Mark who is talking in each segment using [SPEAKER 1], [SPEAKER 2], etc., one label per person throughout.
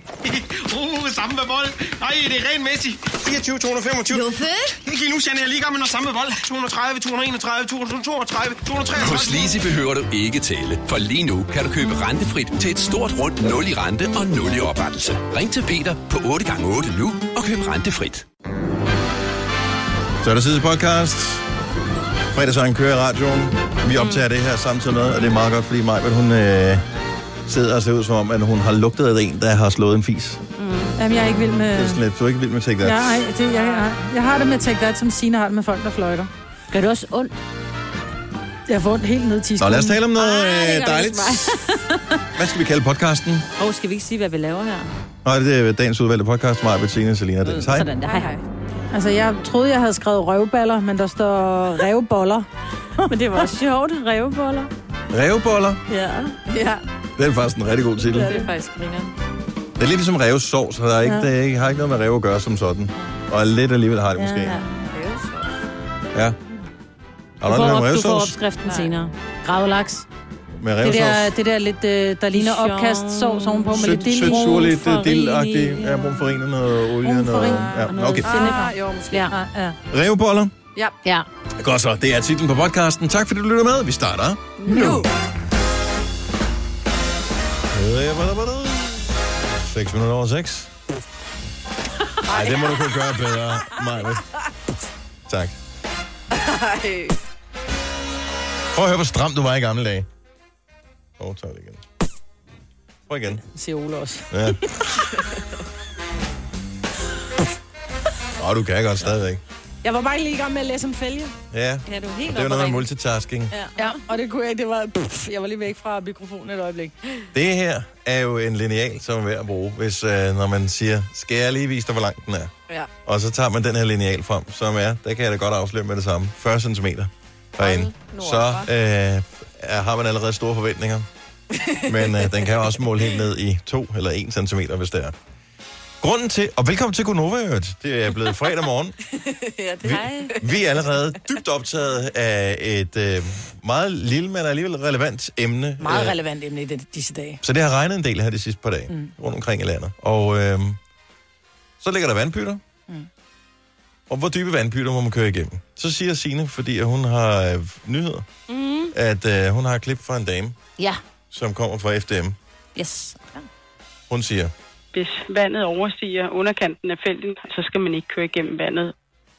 [SPEAKER 1] uh, samme med bold. Nej, det er regelmæssigt. 24, 225.
[SPEAKER 2] Luffe?
[SPEAKER 1] Lige nu, Janne, jeg er lige i gang med noget samme med bold. 230, 231, 232, 233.
[SPEAKER 3] Hos Lise behøver du ikke tale, for lige nu kan du købe rentefrit til et stort rundt 0 i rente og 0 i oprettelse. Ring til Peter på 8x8 nu og køb rentefrit.
[SPEAKER 4] Så er der sidste podcast. Fredagsøjen kører i radioen. Vi optager
[SPEAKER 1] Mm.
[SPEAKER 4] det her samtidig med, og det er meget godt, fordi Majbert, hun øh, sidder og ser ud som om, at hun har lugtet af en, der har slået en fis.
[SPEAKER 5] Jamen, jeg er ikke vild med...
[SPEAKER 4] Det er sådan lidt, du er ikke vild med Take That.
[SPEAKER 5] Ja, Øh. nej, det, jeg, jeg, jeg har det med Take That, som Signe har det med folk, der fløjter.
[SPEAKER 2] Gør det også ondt?
[SPEAKER 5] Jeg får ondt helt ned til
[SPEAKER 4] Nå, lad os tale om noget
[SPEAKER 2] Ah, det gør
[SPEAKER 4] øh,
[SPEAKER 2] det
[SPEAKER 4] dejligt. Hvad skal vi kalde podcasten?
[SPEAKER 2] Åh, oh, skal vi ikke sige, hvad vi laver her?
[SPEAKER 4] Nå, det er dagens udvalgte podcast. Maja, Bettina, Selina og Dennis. Hej.
[SPEAKER 2] Sådan der. Hej, hej.
[SPEAKER 5] Altså, jeg troede, jeg havde skrevet røvballer, men der står revboller.
[SPEAKER 2] Men det var også sjovt, revboller.
[SPEAKER 4] Revboller.
[SPEAKER 2] Ja,
[SPEAKER 5] Ja.
[SPEAKER 4] Det er faktisk en rigtig god titel.
[SPEAKER 2] det er faktisk griner.
[SPEAKER 4] Det er lidt ligesom revsovs, så der er ikke,
[SPEAKER 5] Ja.
[SPEAKER 4] det er ikke, har ikke noget med rev at gøre som sådan. Og lidt alligevel har det måske. Ja.
[SPEAKER 5] Ja.
[SPEAKER 4] ja. Har du
[SPEAKER 2] Du
[SPEAKER 4] noget
[SPEAKER 2] får,
[SPEAKER 4] med
[SPEAKER 2] op, du får
[SPEAKER 4] revsovs?
[SPEAKER 2] opskriften senere. Gravlaks.
[SPEAKER 4] Med
[SPEAKER 5] Det
[SPEAKER 4] revsovs?
[SPEAKER 5] der, det der lidt, øh, der ligner
[SPEAKER 2] Dijon.
[SPEAKER 5] opkast sovs ovenpå med lidt
[SPEAKER 4] Sødt,
[SPEAKER 5] dild.
[SPEAKER 4] sødt, surligt,
[SPEAKER 2] Brun farin
[SPEAKER 4] dildagtigt.
[SPEAKER 2] i-
[SPEAKER 4] Ja, brun farin og noget olie.
[SPEAKER 5] Brun
[SPEAKER 4] og noget,
[SPEAKER 5] farin
[SPEAKER 2] og
[SPEAKER 4] ja.
[SPEAKER 2] noget
[SPEAKER 4] Okay.
[SPEAKER 2] Finnegran.
[SPEAKER 6] Ah, jo, måske.
[SPEAKER 2] Ja.
[SPEAKER 5] Ja, ja.
[SPEAKER 4] Revboller.
[SPEAKER 2] ja.
[SPEAKER 4] Godt så, det er titlen på podcasten. Tak fordi du lytter med. Vi starter nu. 6 minutter over 6. Nej, det må du kunne gøre bedre, Maja. Tak.
[SPEAKER 6] Ej.
[SPEAKER 4] Prøv at høre, hvor stram du var i gamle dage. Åh, oh, tager det igen. Prøv igen.
[SPEAKER 2] Siger Ole også.
[SPEAKER 4] Ja. Åh, oh, du kan godt stadigvæk.
[SPEAKER 5] Jeg var bare lige i gang med at læse om fælge.
[SPEAKER 4] Ja,
[SPEAKER 2] Ja, du er
[SPEAKER 4] og
[SPEAKER 2] helt
[SPEAKER 4] det er jo
[SPEAKER 2] oppe
[SPEAKER 4] noget med
[SPEAKER 2] at ringe.
[SPEAKER 4] multitasking.
[SPEAKER 5] Ja, og det kunne jeg ikke. Det var, pff, jeg var lige væk fra mikrofonen et øjeblik.
[SPEAKER 4] Det her er jo en lineal, som er værd at bruge, hvis, øh, når man siger, skal jeg lige vise dig, hvor lang den er?
[SPEAKER 6] Ja.
[SPEAKER 4] Og så tager man den her lineal frem, som er, der kan jeg da godt afsløre med det samme, 40 cm herinde.
[SPEAKER 6] nu
[SPEAKER 4] Så
[SPEAKER 6] op,
[SPEAKER 4] øh, er- har man allerede store forventninger. Men øh, den kan også måle helt ned i 2 eller 1 cm, hvis det er. Grunden til, og velkommen til Gunova, i øvrigt. det er blevet fredag morgen.
[SPEAKER 6] ja, det
[SPEAKER 4] Vi, vi er allerede dybt optaget af et øh, meget lille, men alligevel relevant emne.
[SPEAKER 5] Meget
[SPEAKER 4] øh,
[SPEAKER 5] relevant emne i det- disse dage.
[SPEAKER 4] så det har regnet en del her de sidste par dage, mm. rundt omkring i landet. Og øhm, så ligger der vandpytter. Mm. Og hvor dybe vandpytter må man køre igennem? Så siger Signe, fordi at hun har øh, nyheder, mm. at øh, hun har et klip fra en dame,
[SPEAKER 2] Ja,
[SPEAKER 4] som kommer fra FDM.
[SPEAKER 2] yes. Ja.
[SPEAKER 4] Hun siger,
[SPEAKER 7] Hvis vandet overstiger underkanten af fælgen, så skal man ikke køre igennem vandet.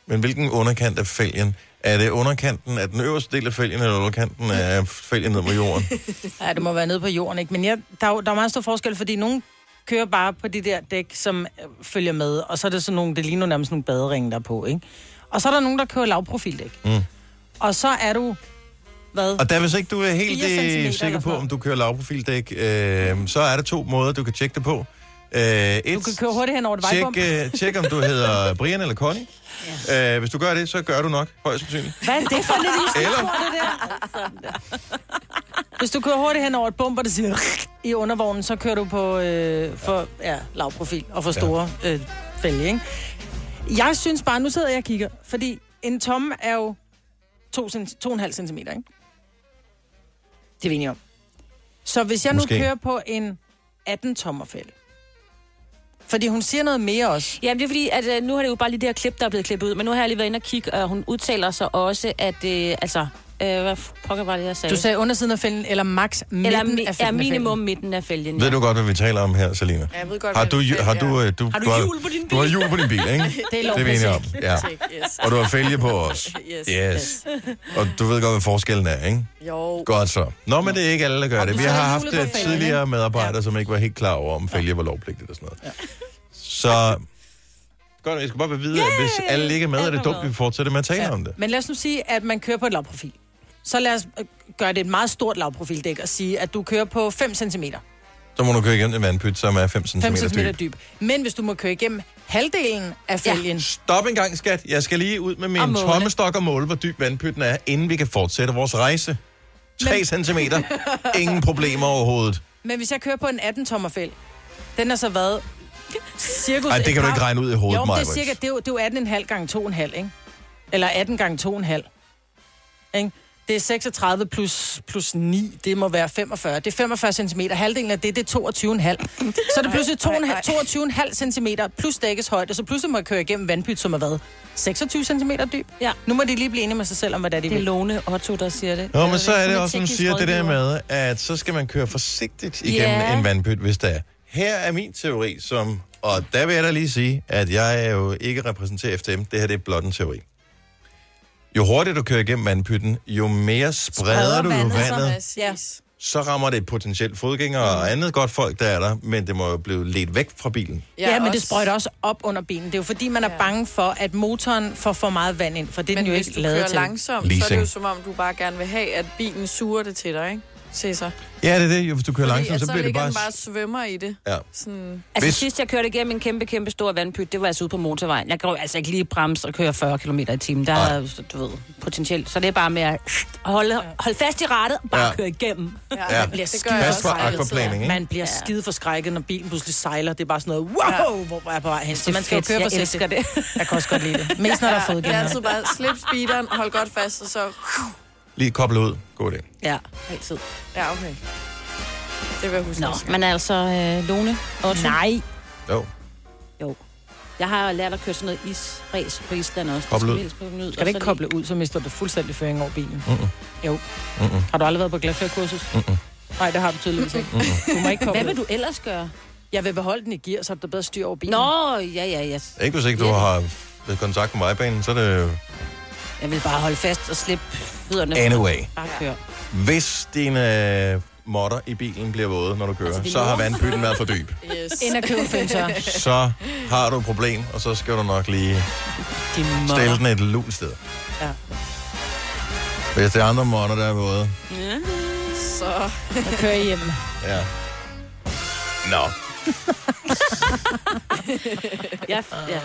[SPEAKER 4] men hvilken underkant af fælgen? Er det underkanten af den øverste del af fælgen, eller underkanten af fælgen ned mod jorden?
[SPEAKER 5] Ja, det må være nede på jorden, ikke? Men jeg, der, er jo, der er meget stor forskel, fordi nogen kører bare på de der dæk, som øh, følger med, og så er det sådan nogle, det ligner nærmest nogle baderinge der er på, ikke? Og så er der nogen, der kører lavprofildæk. Mm. Og så er du, hvad?
[SPEAKER 4] Og der, hvis ikke du er helt
[SPEAKER 5] 4 centimeter
[SPEAKER 4] øh, sikker
[SPEAKER 5] eller
[SPEAKER 4] på,
[SPEAKER 5] sådan
[SPEAKER 4] om du kører lavprofildæk, øh, så er der to måder, du kan tjekke det på. Øh, et,
[SPEAKER 5] Du kan køre hurtigt hen over et
[SPEAKER 4] Tjek,
[SPEAKER 5] vejbom.
[SPEAKER 4] øh, tjek, om du hedder Brian eller Connie. Ja. Øh, hvis du gør det, så gør du nok, højst sandsynligt.
[SPEAKER 5] Hvad er det for lidt isigt,
[SPEAKER 4] Eller-
[SPEAKER 5] det der? Hvis du kører hurtigt hen over et bump, og det siger i undervognen, så kører du på øh, for ja, lav profil og for store øh, fælge, ikke? Jeg synes bare, nu sidder jeg og kigger, fordi en tomme er jo 2,5 cm, ikke? Det er vi enige om. Så hvis jeg
[SPEAKER 4] Måske.
[SPEAKER 5] nu kører på en 18-tommer fælge, fordi hun siger noget mere også.
[SPEAKER 2] Jamen, det er fordi, at øh, nu har det jo bare lige det her klip, der er blevet klippet ud, men nu har jeg lige været inde og kigge, og hun udtaler sig også, at, øh, altså, øh, hvad pokker var det, jeg sagde?
[SPEAKER 5] Du sagde undersiden af fælden, eller max midten
[SPEAKER 2] Eller mi-
[SPEAKER 5] af
[SPEAKER 2] ja,
[SPEAKER 5] fælden.
[SPEAKER 2] minimum midten af fælgen.
[SPEAKER 4] Ved
[SPEAKER 2] Ja.
[SPEAKER 4] du godt, hvad vi taler om her, Selina?
[SPEAKER 6] Ja, jeg ved godt,
[SPEAKER 4] Har
[SPEAKER 6] hvad
[SPEAKER 4] du,
[SPEAKER 6] vi-
[SPEAKER 4] har du, øh, du,
[SPEAKER 2] Har du hjul på din bil?
[SPEAKER 4] Du har hjul på din bil, ikke?
[SPEAKER 5] Det er
[SPEAKER 4] det er vi enige om.
[SPEAKER 5] lovpraktik.
[SPEAKER 4] Ja.
[SPEAKER 6] Yes.
[SPEAKER 4] Og du har fælge på os.
[SPEAKER 6] Yes.
[SPEAKER 4] Yes. Og du ved godt, hvad forskellen er, ikke?
[SPEAKER 6] Jo.
[SPEAKER 4] Godt så. Nå, men det er ikke alle, der gør det. Vi
[SPEAKER 5] så er
[SPEAKER 4] har
[SPEAKER 5] der
[SPEAKER 4] haft
[SPEAKER 5] hjulet på
[SPEAKER 4] øh,
[SPEAKER 5] fælgen,
[SPEAKER 4] tidligere
[SPEAKER 5] ikke?
[SPEAKER 4] medarbejdere, som ikke var helt klar over, om fælge var lovpligtigt og sådan noget. Så... Godt, jeg skal bare vide, at hvis alle ikke er med, er det dumt, at vi fortsætter med at tale om det.
[SPEAKER 5] Men lad os nu sige, at man kører på et lavprofil. Så lad os øh, gøre det et meget stort lavprofildæk og sige, at du kører på 5 cm.
[SPEAKER 4] Så må du køre igennem en vandpyt, som er 5 cm
[SPEAKER 5] 5 cm
[SPEAKER 4] dyb.
[SPEAKER 5] dyb. Men hvis du må køre igennem halvdelen af fælgen, ja.
[SPEAKER 4] Stop en gang, skat. Jeg skal lige ud med min
[SPEAKER 5] Og måle.
[SPEAKER 4] tommestok og måle, hvor dyb vandpytten er, inden vi kan fortsætte vores rejse. 3 Men... centimeter. Ingen problemer overhovedet.
[SPEAKER 5] men hvis jeg kører på en 18-tommer fæld, den har så været cirkus...
[SPEAKER 4] Nej, det kan du ikke regne ud i hovedet,
[SPEAKER 5] Jo, men det er
[SPEAKER 4] Maj-Brit.
[SPEAKER 5] cirka, det er jo, det er jo 18,5 gange 2,5, ikke? Eller 18 gange 2,5. Ikke? Det er 36 plus, plus 9, det må være 45. Det er 45 cm. Halvdelen af det, det er 22,5. Så er det pludselig
[SPEAKER 6] Ej, ej, ej.
[SPEAKER 5] 22,5 cm plus dækkes højde, så pludselig må jeg køre igennem vandpyt, som har været 26 cm dyb.
[SPEAKER 2] Ja.
[SPEAKER 5] Nu må de lige blive enige med sig selv om, hvad det er, de
[SPEAKER 2] Det er
[SPEAKER 5] vil.
[SPEAKER 2] Lone Otto, der siger det.
[SPEAKER 4] Nå, men så er
[SPEAKER 2] Hun
[SPEAKER 4] det også, hun
[SPEAKER 2] teknisk
[SPEAKER 4] siger det der
[SPEAKER 2] rådgiver.
[SPEAKER 4] med, at så skal man køre forsigtigt igennem
[SPEAKER 2] Ja.
[SPEAKER 4] en vandpyt, hvis der er. Her er min teori, som... Og der vil jeg da lige sige, at jeg er jo ikke repræsenterer FDM. Det her det er blot en teori. Jo hurtigere du kører igennem vandpytten, jo mere spreder, spreder du vandet, vandet
[SPEAKER 5] Ja.
[SPEAKER 4] så rammer det potentielt fodgængere og andet godt folk, der er der, men det må jo blive ledt væk fra bilen.
[SPEAKER 5] Ja, ja, men det sprøjter også op under benen. Det er jo fordi, man er ja. bange for, at motoren får for meget vand ind, for det er
[SPEAKER 6] Men
[SPEAKER 5] den jo
[SPEAKER 6] hvis
[SPEAKER 5] ikke
[SPEAKER 6] du kører
[SPEAKER 5] lavet til.
[SPEAKER 6] langsomt, så er
[SPEAKER 4] Leasing.
[SPEAKER 6] det jo som om, du bare gerne vil have, at bilen suger det til dig, ikke? Cæsar.
[SPEAKER 4] Ja, det er det. Jo, Hvis du kører
[SPEAKER 6] Fordi at
[SPEAKER 4] langsomt, så bliver det
[SPEAKER 6] ligger
[SPEAKER 4] bare...
[SPEAKER 6] den bare og svømmer i det.
[SPEAKER 4] Ja.
[SPEAKER 6] Sådan,
[SPEAKER 2] Altså
[SPEAKER 4] Hvis-
[SPEAKER 2] Hvis... sidst jeg kørte igennem en kæmpe, kæmpe stor vandpyt, det var altså ude på motorvejen. Jeg kan jo altså ikke lige bremse og køre 40 km i timen. Der
[SPEAKER 4] Nej.
[SPEAKER 2] er, jo, du ved, potentielt. Så det er bare med at holde, holde fast i rattet og bare
[SPEAKER 4] Ja.
[SPEAKER 2] ja. køre igennem.
[SPEAKER 6] ja,
[SPEAKER 4] Ja.
[SPEAKER 6] det bliver skide
[SPEAKER 4] Pas
[SPEAKER 6] også
[SPEAKER 4] på
[SPEAKER 6] fejlet.
[SPEAKER 4] aquaplaning, ikke?
[SPEAKER 5] Man bliver ja. skide forskrækket, når bilen pludselig sejler. Det er bare sådan noget, wow, ja. hvor var jeg på vej hen. Så
[SPEAKER 2] Det er
[SPEAKER 5] man skal jo
[SPEAKER 2] fedt.
[SPEAKER 5] køre
[SPEAKER 2] Jeg
[SPEAKER 5] forsigtigt.
[SPEAKER 2] elsker det.
[SPEAKER 5] Jeg kan også godt lide det. Mest når der er
[SPEAKER 6] Ja, det er
[SPEAKER 5] fodgænger.
[SPEAKER 6] altid bare, slip speederen, hold godt fast, og så...
[SPEAKER 4] Lige koblet ud. God idé.
[SPEAKER 2] Ja, altid.
[SPEAKER 6] Ja, okay. Det vil jeg huske.
[SPEAKER 2] Nå,
[SPEAKER 6] næste gang.
[SPEAKER 2] men altså, øh, Lone Otto. Nej.
[SPEAKER 4] Jo.
[SPEAKER 2] Jo. Jeg har lært at køre sådan noget isræs på Island også.
[SPEAKER 4] Koble ud.
[SPEAKER 2] ud.
[SPEAKER 5] Skal det ikke koble ud, så mister du fuldstændig føring over bilen. Mm-mm. Jo. Mm-mm. Har du aldrig været på glatførkursus? Nej, det har du tydeligvis ikke. Du må ikke
[SPEAKER 2] Hvad
[SPEAKER 5] koble
[SPEAKER 2] vil du
[SPEAKER 5] ud.
[SPEAKER 2] ellers gøre?
[SPEAKER 5] Jeg vil beholde den i gear, så er der bedre styr over bilen.
[SPEAKER 2] Nå, ja, ja, ja.
[SPEAKER 4] Ikke hvis ikke du
[SPEAKER 2] Ja.
[SPEAKER 4] har været i kontakt med vejbanen, så er det...
[SPEAKER 2] Jeg vil bare holde fast og slippe fødderne.
[SPEAKER 4] Anyway.
[SPEAKER 2] Bare køre.
[SPEAKER 4] Hvis dine øh, modder i bilen bliver våde, når du kører,
[SPEAKER 2] det
[SPEAKER 4] altså,
[SPEAKER 2] er
[SPEAKER 4] så har
[SPEAKER 2] lort.
[SPEAKER 4] vandpytten været for dyb.
[SPEAKER 6] Yes.
[SPEAKER 5] Ind og købe føntør.
[SPEAKER 4] Så har du et problem, og så skal du nok lige
[SPEAKER 5] De
[SPEAKER 4] stille
[SPEAKER 5] måler.
[SPEAKER 4] den et lunt sted.
[SPEAKER 5] Ja.
[SPEAKER 4] Hvis det er andre modder, der er våde.
[SPEAKER 6] Så
[SPEAKER 5] Og køre hjem.
[SPEAKER 4] Ja. Nå.
[SPEAKER 2] Ja, ja.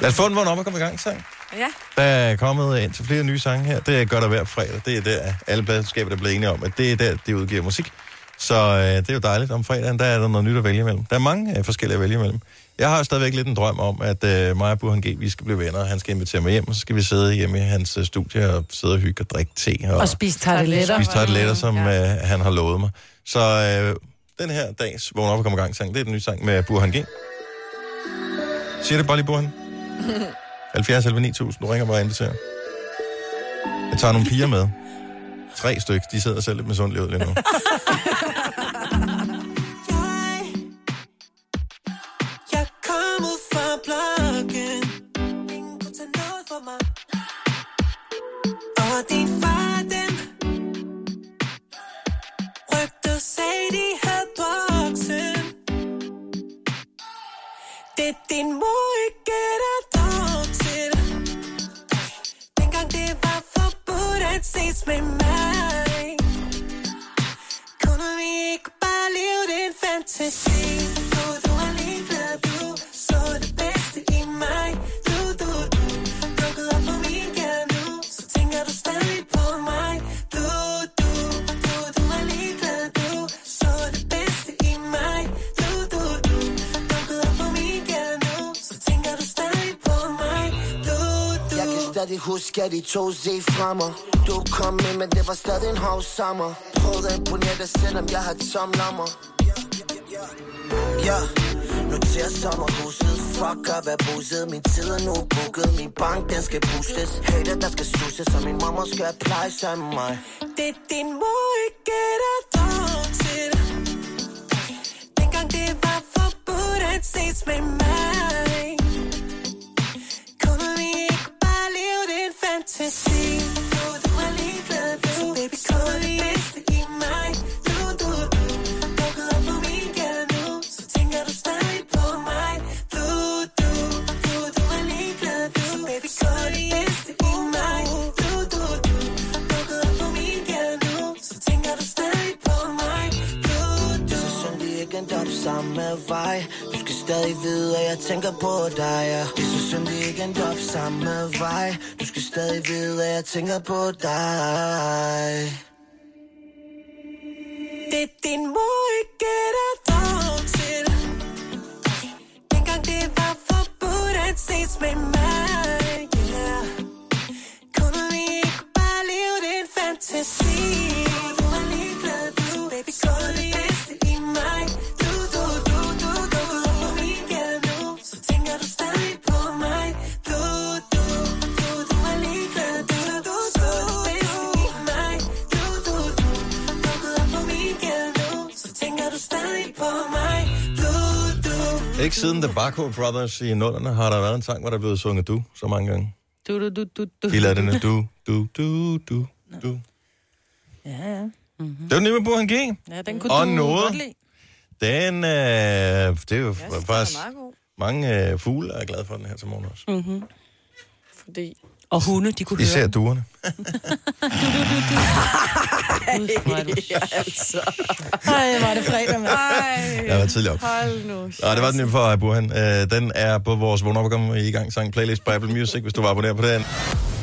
[SPEAKER 4] Lad os få den vågen op og komme i gang, sang.
[SPEAKER 6] ja,
[SPEAKER 4] Der er kommet ind til flere nye sange her. Det gør der hver fredag. Det er der, alle pladselskaber der bliver enige om, at det er der, de udgiver musik. Så øh, det er jo dejligt. Om fredagen, der er der noget nyt at vælge imellem. Der er mange øh, forskellige at vælge imellem. Jeg har jo stadigvæk lidt en drøm om, at øh, mig og Burhan G, vi skal blive venner. Han skal invitere mig hjem, og så skal vi sidde hjemme i hans øh, studie og sidde og hygge og drikke te. Og,
[SPEAKER 5] Og spise tarteletter.
[SPEAKER 4] spise tarteletter, som øh, han har lovet mig. Så øh, den her dags Vågn op og kom i gang sang, det er den nye sang med Burhan G. Siger det bare lige, Burhan. 70 11 9000, du ringer bare og inviterer. Jeg tager nogle piger med. Tre styk, de sidder selv lidt med sundt ud lige nu.
[SPEAKER 8] Jeg kommer fra blokken Ingen kunne tage noget fra mig Og din far dem Rygter sagde de havde boksen Det din mor ikke der dog til Dengang det var forbudt at ses med mig kunne vi ikke bare leve den fantasi? Du, du har lige været du, så det bedste i mig. Du, du, du, lukket op på min gade nu, så tænker du stadig på mig. Du, du, du, du har lige været du, så det bedste i mig. Du, du, du, lukket op på min gade nu, så tænker du stadig på mig. Du, du.
[SPEAKER 9] Jeg kan stadig huske, at de to se fra mig Du kom med, men det var stadig en hård sommer Prøvede at imponere dig, selvom jeg havde tom lommer Ja, nu til at sommerhuset Fuck op er buset, min tid er nu booket Min bank, den skal boostes Hater, der skal slusses, og min mamma skal pleje sammen mig
[SPEAKER 8] Det er din mor ikke der dog til Dengang det var forbudt at ses med mig Kunne vi ikke bare leve den fantasi Du, du er ligeglad, du Så baby, kom det bedste i mig Du, du, du Lukket op på min gade nu Så tænker du stadig på mig Du, du Du, du er ligeglad, du Så baby, kom det bedste i mig Du, du, du Lukket op på min gade nu Så tænker du stadig på mig Du, du
[SPEAKER 9] Så synd, de ikke endte op samme vej Du skal stadig vide, at jeg tænker på dig ja. Det er så synd, de ikke endte op samme vej Du skal stadig vide, at jeg tænker på dig
[SPEAKER 8] Det er din mor ikke der dog til Dengang det var forbudt at ses med mig yeah. Kunne vi ikke bare leve den fantasi se på mig. Du, du,
[SPEAKER 4] Ikke siden The Barco Brothers i nullerne har der været en sang, hvor der er blevet sunget du så mange gange.
[SPEAKER 5] Du, du, du, du, du.
[SPEAKER 4] De lavede den her du, du, du, du, du.
[SPEAKER 5] Ja, ja.
[SPEAKER 4] Det var nemlig Burhan G.
[SPEAKER 5] Ja, den kunne
[SPEAKER 4] Og
[SPEAKER 5] du
[SPEAKER 4] noget.
[SPEAKER 5] godt lide.
[SPEAKER 4] Den, øh, det er jo
[SPEAKER 6] Jeg synes, den
[SPEAKER 4] faktisk
[SPEAKER 6] er meget god,
[SPEAKER 4] mange øh, fugle, er glade for den her til morgen også.
[SPEAKER 6] fordi...
[SPEAKER 2] Og hunde, de kunne høre.
[SPEAKER 4] Især
[SPEAKER 2] den.
[SPEAKER 4] duerne.
[SPEAKER 2] Gud, hvor er du
[SPEAKER 6] altså.
[SPEAKER 5] Ej, var det fredag, mand.
[SPEAKER 6] Ej,
[SPEAKER 4] Jeg var tidligere op.
[SPEAKER 6] hold nu.
[SPEAKER 4] Nej, det var den for uh, Burhan. Øh, den er på vores vågen op og komme i gang sang playlist på Apple Music, hvis du var abonneret på den.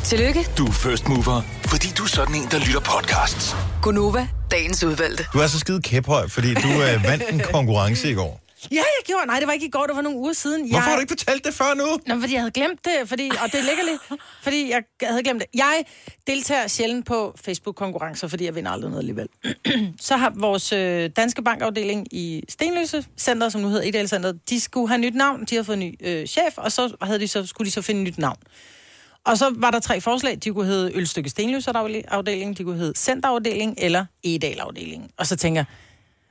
[SPEAKER 10] Tillykke,
[SPEAKER 3] Du er first mover, fordi du er sådan en, der lytter podcasts.
[SPEAKER 10] Gunova, dagens udvalgte.
[SPEAKER 4] Du er så skide kæphøj, fordi du øh, vandt en konkurrence i går.
[SPEAKER 5] Ja, jeg gjorde. Nej, det var ikke i går, det var nogle uger siden.
[SPEAKER 4] Hvorfor
[SPEAKER 5] jeg...
[SPEAKER 4] har du ikke fortalt det før nu?
[SPEAKER 5] Nå, men fordi jeg havde glemt det, fordi, og det ligger lidt, fordi jeg havde glemt det. Jeg deltager sjældent på Facebook-konkurrencer, fordi jeg vinder aldrig noget alligevel. Så har vores øh, danske bankafdeling i Stenløse Center, som nu hedder Edal Center, de skulle have nyt navn, de har fået ny øh, chef, og så, havde de så skulle de så finde nyt navn. Og så var der tre forslag. De kunne hedde Ølstykke Stenløse afdeling, de kunne hedde Centerafdeling eller Edal afdeling. Og så tænker jeg,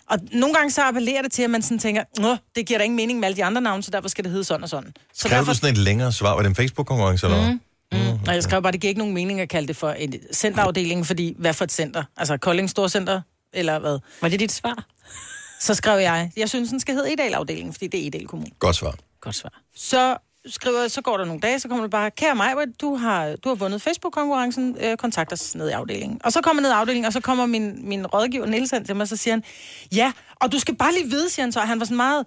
[SPEAKER 5] og nogle gange så appellerer det til, at man sådan tænker, Nå, det giver da ingen mening med alle de andre navne, så derfor skal det hedde sådan og sådan. Så
[SPEAKER 4] Kræver du sådan et længere svar? Var det en Facebook-konkurrence eller mm.
[SPEAKER 5] Mm, og jeg skrev bare, det giver ikke nogen mening at kalde det for en centerafdeling, fordi hvad for et center? Altså Kolding Storcenter, eller hvad?
[SPEAKER 2] Var det dit svar?
[SPEAKER 5] Så skrev jeg, jeg synes, den skal hedde Edal-afdelingen, fordi det er Edal Kommune.
[SPEAKER 4] Godt svar.
[SPEAKER 2] Godt svar.
[SPEAKER 5] Så skriver jeg, så går der nogle dage, så kommer det bare, kære mig, du har, du har vundet Facebook-konkurrencen, øh, kontakt os ned i afdelingen. Og så kommer jeg ned i afdelingen, og så kommer min, min rådgiver Niels hen til mig, og så siger han, ja, og du skal bare lige vide, siger han så, og han var sådan meget,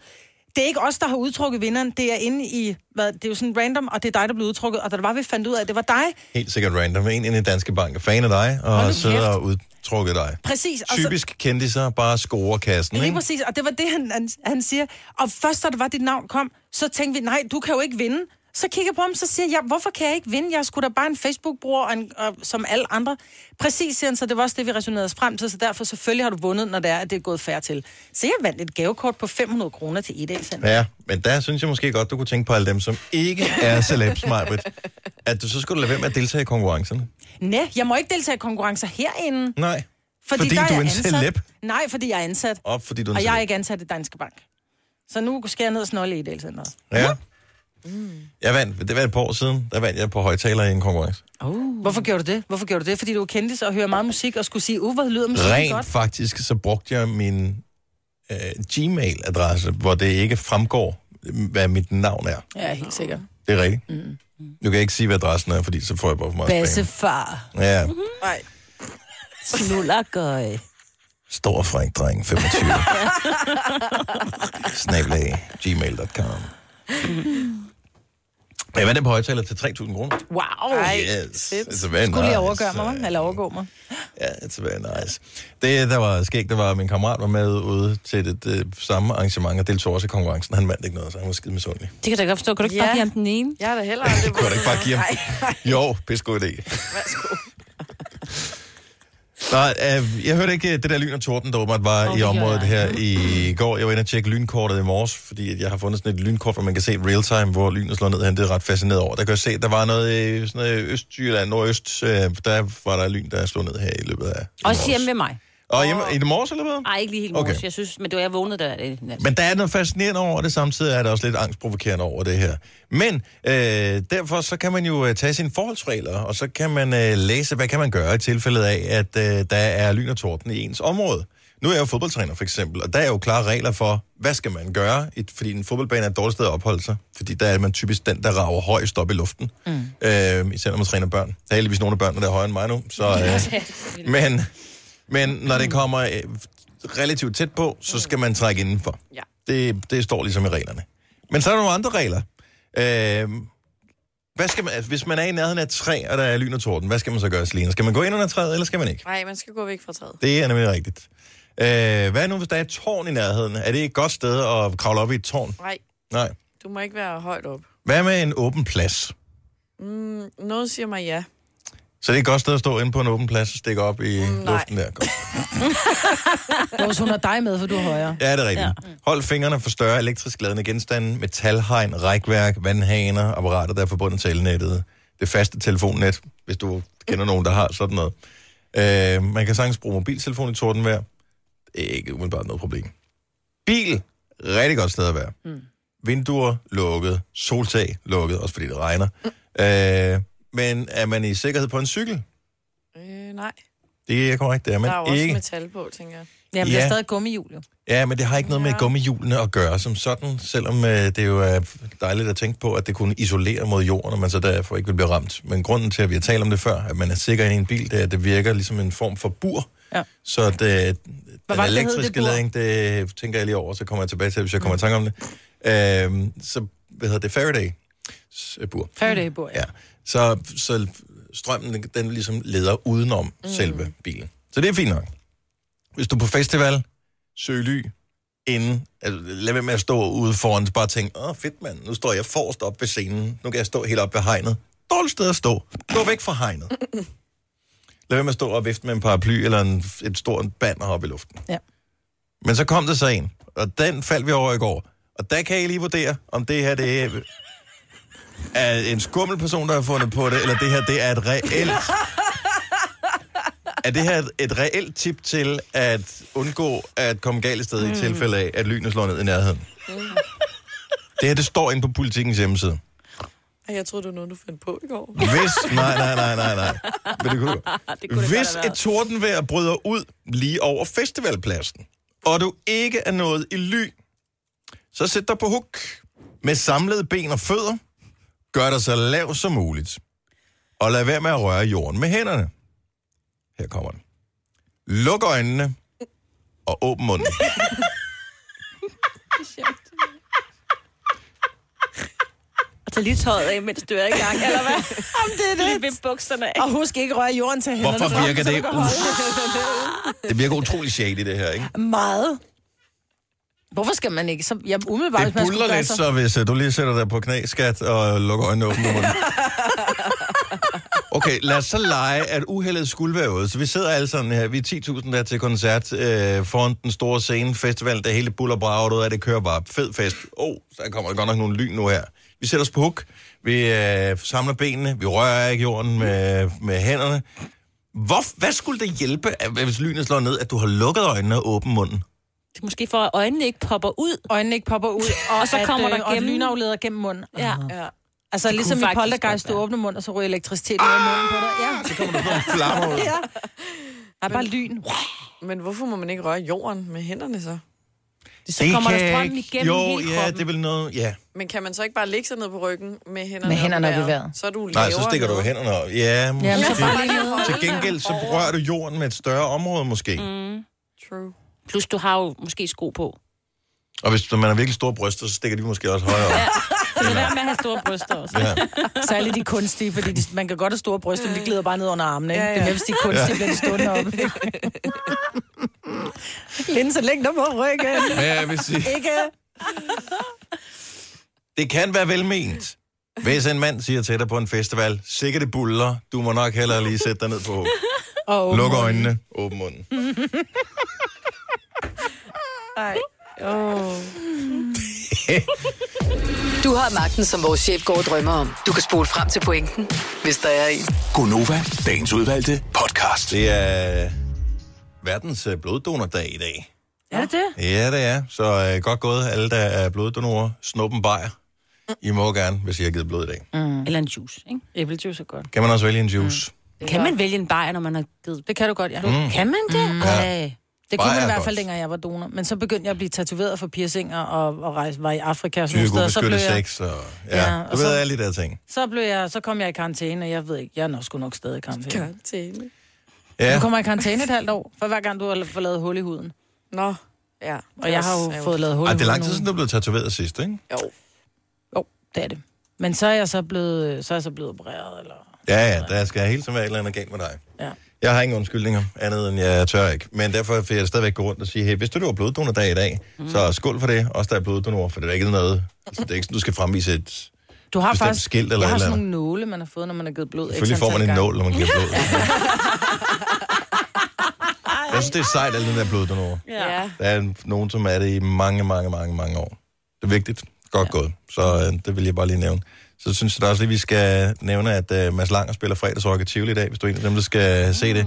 [SPEAKER 5] det er ikke os, der har udtrukket vinderen, det er inde i, hvad, det er jo sådan random, og det er dig, der blev udtrukket, og da det var, vi fandt ud af, at det var dig,
[SPEAKER 4] Helt sikkert random. En inde i Danske Bank er fan af dig, og sidder og udtrukker dig.
[SPEAKER 5] præcis. og så-
[SPEAKER 4] Typisk kendisser, bare scorer kassen,
[SPEAKER 5] Lige
[SPEAKER 4] ikke?
[SPEAKER 5] præcis, og det var det, han, han, han siger. Og først, da det var, dit navn kom, så tænkte vi, nej, du kan jo ikke vinde. Så kigger jeg på ham, så siger jeg, hvorfor kan jeg ikke vinde? Jeg er sgu da bare en Facebook-bruger, og en, og, som alle andre. Præcis, siger han, så det var også det, vi resonerede os frem til, så derfor selvfølgelig har du vundet, når det er, at det er gået færre til. Så jeg vandt et gavekort på 500 kroner til Edel Center.
[SPEAKER 4] Ja, men der synes jeg måske godt, du kunne tænke på alle dem, som ikke er celebs, Majbrit. At du så skulle lade være med at deltage i konkurrencerne.
[SPEAKER 5] Nej, jeg må ikke deltage i konkurrencer herinde.
[SPEAKER 4] Nej.
[SPEAKER 5] Fordi, der
[SPEAKER 4] Fordi du er
[SPEAKER 5] jeg
[SPEAKER 4] en
[SPEAKER 5] ansat.
[SPEAKER 4] celeb?
[SPEAKER 5] Nej, fordi jeg er ansat.
[SPEAKER 4] Og fordi du er en
[SPEAKER 5] Og jeg er
[SPEAKER 4] celeb.
[SPEAKER 5] ikke ansat i Danske Bank. Så nu skal jeg ned og snolle i Edel Center.
[SPEAKER 4] Ja. Jeg vandt, det var et par år siden, der vandt jeg på højtaler i en konkurrence.
[SPEAKER 5] Hvorfor gjorde du det? Hvorfor gjorde du det? Fordi du kendte og hører meget musik og skulle sige, uh, hvor lyder musikken
[SPEAKER 4] Rent
[SPEAKER 5] godt.
[SPEAKER 4] faktisk, så brugte jeg min øh, Gmail-adresse, hvor det ikke fremgår, hvad mit navn er.
[SPEAKER 6] Ja, helt sikkert.
[SPEAKER 4] Det er rigtigt. Mm. Nu kan jeg ikke sige, hvad adressen er, fordi så får jeg bare for meget spam.
[SPEAKER 2] Bassefar.
[SPEAKER 4] Ja,
[SPEAKER 6] Nej,
[SPEAKER 2] Snullergøj.
[SPEAKER 4] stor fræk dreng, 25. Snablag, gmail.com. Jeg vandt den på højtaler til 3.000 kroner.
[SPEAKER 5] Wow.
[SPEAKER 6] Ej,
[SPEAKER 4] yes.
[SPEAKER 6] fedt.
[SPEAKER 4] It's very
[SPEAKER 5] Skulle lige
[SPEAKER 4] nice.
[SPEAKER 5] overgøre mig, hva'? eller overgå mig.
[SPEAKER 4] Ja, it's very nice. Det, der var skægt, det var, at min kammerat var med ude til det, det samme arrangement og deltog også i konkurrencen. Han vandt ikke noget, så han var skide misundelig.
[SPEAKER 2] Det kan jeg da godt forstå. Kan du ikke
[SPEAKER 6] Ja.
[SPEAKER 2] bare give ham den ene?
[SPEAKER 6] jeg er da heller aldrig...
[SPEAKER 4] Kunne jeg da ikke bare give ham? Jo, pis god idé.
[SPEAKER 6] Værsgo.
[SPEAKER 4] Nej, øh, jeg hørte ikke øh, det der lyn og torden, der åbenbart var oh, i
[SPEAKER 2] det
[SPEAKER 4] området
[SPEAKER 2] gjorde Mm.
[SPEAKER 4] her i går. Jeg var inde og tjekke lynkortet i morges, fordi at jeg har fundet sådan et lynkort, hvor man kan se real time, hvor lynet slår ned hen. Det er jeg ret fascineret over. Der kan jeg se, at der var noget i sådan noget Østjylland, Nordøst. Øh, der var der lyn, der slog ned her i løbet af i
[SPEAKER 2] Også
[SPEAKER 4] morges.
[SPEAKER 2] hjemme ved mig.
[SPEAKER 4] Og hjemme i det morges, eller hvad?
[SPEAKER 2] Nej, ikke lige helt
[SPEAKER 4] Okay.
[SPEAKER 2] okay. Jeg synes, men det var, jeg vågnede der. øh, nat.
[SPEAKER 4] Men der er noget fascinerende over det, samtidig er der også lidt angstprovokerende over det her. Men øh, derfor så kan man jo øh, tage sine forholdsregler, og så kan man øh, læse, hvad kan man gøre i tilfældet af, at øh, der er lyn og torden i ens område. Nu er jeg jo fodboldtræner for eksempel, og der er jo klare regler for, hvad skal man gøre, et- fordi en fodboldbane er et dårligt sted at opholde sig, fordi der er man typisk den, der rager højst op i luften, mm. øh, især når man træner børn. Der er heldigvis nogle af børnene, der er højere end mig nu, så... Øh, men, men når det kommer øh, relativt tæt på, så skal man trække indenfor.
[SPEAKER 6] Mm. Ja.
[SPEAKER 4] Det, det står ligesom i reglerne. Men så er der nogle andre regler. Øh, hvad skal man, altså, hvis man er i nærheden af et træ, og der er lyn og torden, hvad skal man så gøre, Selina? Skal man gå ind under træet, eller skal man ikke?
[SPEAKER 6] Nej, man skal gå væk fra træet.
[SPEAKER 4] Det er nemlig rigtigt. Øh, hvad nu, hvis der er et tårn i nærheden? Er det et godt sted at kravle op i et tårn?
[SPEAKER 6] Nej,
[SPEAKER 4] Nej.
[SPEAKER 6] du må ikke være højt op. Mm,
[SPEAKER 4] Hvad med en åben plads?
[SPEAKER 6] Noget siger mig ja.
[SPEAKER 4] Så det er et godt sted at stå inde på en åben plads og stikke op i
[SPEAKER 6] Mm, nej.
[SPEAKER 4] luften der. Godt.
[SPEAKER 5] Hvis hun har dig med, for du er højere.
[SPEAKER 4] Ja, det er rigtigt. Ja. Hold fingrene for større elektrisk ladende genstande, metalhegn, rækværk, vandhaner, apparater, der er forbundet til elnettet. Det faste telefonnet, hvis du kender nogen, der har sådan noget. Øh, man kan sagtens bruge mobiltelefon i tordenvejr. Det er ikke umiddelbart noget problem. Bil, rigtig godt sted at være. Mm. Vinduer lukket, soltag lukket, også fordi det regner. Mm. Øh, men er man i sikkerhed på en cykel?
[SPEAKER 6] Øh, nej.
[SPEAKER 4] Det er korrekt, det er
[SPEAKER 6] Men der er jo
[SPEAKER 4] man
[SPEAKER 6] også
[SPEAKER 4] ikke.
[SPEAKER 6] metal på, tænker jeg.
[SPEAKER 5] Jamen, ja. der
[SPEAKER 4] Ja.
[SPEAKER 5] er stadig gummihjul jo.
[SPEAKER 4] Ja, men det har ikke noget ja. med gummihjulene at gøre som sådan, selvom øh, det jo er dejligt at tænke på, at det kunne isolere mod jorden, og man så derfor ikke vil blive ramt. Men grunden til, at vi har talt om det før, at man er sikker inde i en bil, det er, at det virker ligesom en form for bur.
[SPEAKER 5] Ja.
[SPEAKER 4] Så det, den
[SPEAKER 5] var det, det hed, det
[SPEAKER 4] elektriske
[SPEAKER 5] bur?
[SPEAKER 4] ladning, det tænker jeg lige over, så kommer jeg tilbage til, hvis jeg kommer i tanke om det. Øhm, så, hvad hedder det? Faraday øh, bur.
[SPEAKER 5] Faraday-bur,
[SPEAKER 4] ja. Så, så strømmen, den, den ligesom leder udenom mm. selve bilen. Så det er fint nok. Hvis du er på festival, søg ly inden. Altså, lad være med at stå ude foran, så bare tænke, åh fedt mand, nu står jeg forrest op ved scenen, nu kan jeg stå helt op ved hegnet. Dårligt sted at stå. Gå væk fra hegnet. Lad være med at stå og vifte med en paraply eller en, et stort banner op i luften.
[SPEAKER 5] Ja.
[SPEAKER 4] Men så kom der så en, og den faldt vi over i går. Og der kan I lige vurdere, om det her det er, er en skummel person, der har fundet på det, eller det her det er et reelt... Er det her et, et reelt tip til at undgå at komme galt af sted mm. i tilfælde af, at lynet slår ned i nærheden? Det her, det står inde på politikens hjemmeside.
[SPEAKER 6] Ej, Jeg troede, det var noget, du fandt på i går.
[SPEAKER 4] Hvis... Nej, nej, nej, nej, nej. Men det kunne, det kunne Hvis det et tordenvejr bryder ud lige over festivalpladsen, og du ikke er nået i ly, så sæt dig på huk med samlede ben og fødder. Gør dig så lav som muligt. Og lad være med at røre jorden med hænderne. Her kommer den. Luk øjnene og åbn munden.
[SPEAKER 2] Og tag lige tøjet af, mens du er i gang, eller hvad? Om det er det. Lige vip bukserne af.
[SPEAKER 5] Og husk ikke at røre jorden til hænderne.
[SPEAKER 4] Hvorfor
[SPEAKER 5] frem,
[SPEAKER 4] virker
[SPEAKER 5] så du
[SPEAKER 4] det
[SPEAKER 5] kan
[SPEAKER 4] ud?
[SPEAKER 5] holde-
[SPEAKER 4] Det virker utrolig shady, det her, ikke?
[SPEAKER 5] Meget. Hvorfor skal man ikke? Så, jeg umiddelbart,
[SPEAKER 4] Det
[SPEAKER 5] hvis man skulle
[SPEAKER 4] buller
[SPEAKER 5] gøre
[SPEAKER 4] lidt,
[SPEAKER 5] sig-
[SPEAKER 4] så hvis øh, du lige sætter dig på knæ, skat, og lukker øjnene og åbner munden. Okay, lad os så lege, at uheldet skulle være ude. Så vi sidder alle sådan her, vi er 10.000 der til koncert øh, foran den store scene, festival, der hele buller braget ud af, det kører bare fed fest. Åh, oh, der kommer godt nok nogle lyn nu her. Vi sætter os på huk, vi øh, samler benene, vi rører ikke jorden med, med hænderne. Hvor, hvad skulle det hjælpe, at- hvis lynet slår ned, at du har lukket øjnene og åbent munden?
[SPEAKER 2] Det er måske for, at øjnene ikke popper ud.
[SPEAKER 5] Øjnene ikke popper ud.
[SPEAKER 2] og så
[SPEAKER 5] at,
[SPEAKER 2] kommer
[SPEAKER 5] øh,
[SPEAKER 2] der
[SPEAKER 5] og
[SPEAKER 2] gennem.
[SPEAKER 5] lynafleder gennem munden.
[SPEAKER 2] Ja.
[SPEAKER 6] ja.
[SPEAKER 5] Altså
[SPEAKER 2] Det
[SPEAKER 5] ligesom
[SPEAKER 2] kunne
[SPEAKER 5] i
[SPEAKER 2] faktisk
[SPEAKER 5] poltergeist,
[SPEAKER 2] godt
[SPEAKER 5] du
[SPEAKER 2] være.
[SPEAKER 5] åbner munden, og så ryger elektricitet ud af munden på dig. Ja.
[SPEAKER 4] Så kommer der sådan nogle flammer ud.
[SPEAKER 5] ja. Der er bare lyn.
[SPEAKER 6] Men hvorfor må man ikke røre jorden med hænderne så?
[SPEAKER 2] Så kommer der
[SPEAKER 4] kan
[SPEAKER 2] strømmen
[SPEAKER 4] ikke-
[SPEAKER 2] igennem
[SPEAKER 4] jo,
[SPEAKER 2] hele
[SPEAKER 4] ja,
[SPEAKER 2] kroppen.
[SPEAKER 4] det vil noget, ja.
[SPEAKER 6] Men kan man så ikke bare ligge sig ned på ryggen med hænderne,
[SPEAKER 5] Med hænderne
[SPEAKER 6] op i
[SPEAKER 5] op i vejret.
[SPEAKER 6] Så er du
[SPEAKER 4] Nej,
[SPEAKER 6] lavere
[SPEAKER 4] så stikker du
[SPEAKER 6] nede.
[SPEAKER 4] hænderne op. Ja, måske.
[SPEAKER 5] Ja, men så bare lige ned.
[SPEAKER 4] Til gengæld, så rører du jorden med et større område måske. Mm.
[SPEAKER 6] True.
[SPEAKER 2] Plus, du har jo måske sko på.
[SPEAKER 4] Og hvis man har virkelig store bryster, så stikker de måske også højere op.
[SPEAKER 2] Så lad være med at have store bryster også.
[SPEAKER 4] Ja.
[SPEAKER 5] Særligt de kunstige, fordi de, man kan godt have store bryster, men de glider bare ned under armene. Ikke? Ja,
[SPEAKER 6] Ja,
[SPEAKER 5] ja.
[SPEAKER 6] ja.
[SPEAKER 5] Det er mere, hvis de er kunstige, ja. bliver de stående oppe. Linse, læg dig på ryggen.
[SPEAKER 4] Men jeg vil sige,
[SPEAKER 5] Ikke?
[SPEAKER 4] det kan være velment. Hvis en mand siger til dig på en festival, sikkert det buller, du må nok hellere lige sætte dig ned på.
[SPEAKER 5] Og
[SPEAKER 4] Luk øjnene, åbn munden.
[SPEAKER 6] Ej.
[SPEAKER 10] Du har magten, som vores chef går og drømmer om. Du kan spole frem til pointen, hvis der er en.
[SPEAKER 3] Gonova, dagens udvalgte podcast.
[SPEAKER 4] Det er øh, verdens øh, bloddonordag i dag.
[SPEAKER 2] Er det det?
[SPEAKER 4] Ja, det er. Så øh, godt gået, alle der er bloddonorer. Snuppen bajer. I må gerne, hvis I har givet blod i dag.
[SPEAKER 2] Mm. Eller en juice, ikke? Æblejuice er godt.
[SPEAKER 4] Kan man også vælge en juice? Mm.
[SPEAKER 2] Kan man vælge en bajer, når man har givet?
[SPEAKER 5] Det kan du godt, ja.
[SPEAKER 2] Kan man det? Ej.
[SPEAKER 5] Det kunne
[SPEAKER 4] Mm. Bare
[SPEAKER 5] man i
[SPEAKER 4] er
[SPEAKER 5] hvert
[SPEAKER 4] godt.
[SPEAKER 5] fald, dengang jeg var donor. Men så begyndte jeg at blive tatoveret for piercinger og, og rejse, var i Afrika og sådan nogle
[SPEAKER 4] Psyko,
[SPEAKER 5] steder. Så blev,
[SPEAKER 4] beskyttet
[SPEAKER 5] jeg,
[SPEAKER 4] sex og... Ja,
[SPEAKER 5] Ja,
[SPEAKER 4] du
[SPEAKER 5] og
[SPEAKER 4] ved
[SPEAKER 5] så-
[SPEAKER 4] alle de der ting.
[SPEAKER 5] så, blev jeg, så kom jeg i karantæne, og jeg ved ikke, jeg er nok sgu nok stadig i karantæne.
[SPEAKER 6] Karantæne.
[SPEAKER 4] Ja,
[SPEAKER 5] Du kommer i karantæne et halvt år, for hver gang du har fået lavet hul i huden.
[SPEAKER 6] Nå, ja.
[SPEAKER 5] Og jeg har jo fået lavet hul i
[SPEAKER 4] Ej,
[SPEAKER 5] huden.
[SPEAKER 4] det er lang tid
[SPEAKER 5] nu.
[SPEAKER 4] siden, du blev tatoveret sidst, ikke?
[SPEAKER 6] Jo.
[SPEAKER 5] Jo, det er det. Men så er jeg så blevet, så er jeg så blevet opereret, eller...
[SPEAKER 4] Ja, ja, der skal hele tiden være et eller andet galt med dig.
[SPEAKER 5] Ja.
[SPEAKER 4] Jeg har ingen undskyldninger, andet end jeg tør ikke. Men derfor vil jeg stadigvæk gå rundt og sige, hey, hvis du var bloddonordag i dag, mm. så skål for det, også der er bloddonorer, for det er ikke noget, altså, det er ikke sådan, du skal fremvise et...
[SPEAKER 5] Du har
[SPEAKER 4] Bestemt
[SPEAKER 5] faktisk...
[SPEAKER 4] skilt eller
[SPEAKER 5] jeg har
[SPEAKER 4] et eller
[SPEAKER 5] sådan
[SPEAKER 4] andet.
[SPEAKER 5] nogle nåle, man har fået, når man har givet blod.
[SPEAKER 4] Selvfølgelig
[SPEAKER 5] X
[SPEAKER 4] får man en
[SPEAKER 5] antal
[SPEAKER 4] nål, når man giver blod. Jeg synes, det er sejt, alle den der bloddonorer.
[SPEAKER 6] Ja. ja.
[SPEAKER 4] Der er nogen, som er det i mange, mange, mange, mange år. Det er vigtigt. Godt ja. gået. Så øh, det vil jeg bare lige nævne. Så synes jeg da også lige, vi skal nævne, at øh, Mads Langer spiller fredagsrock i Tivoli i dag, hvis du er en af dem, der skal mm. se det. øh,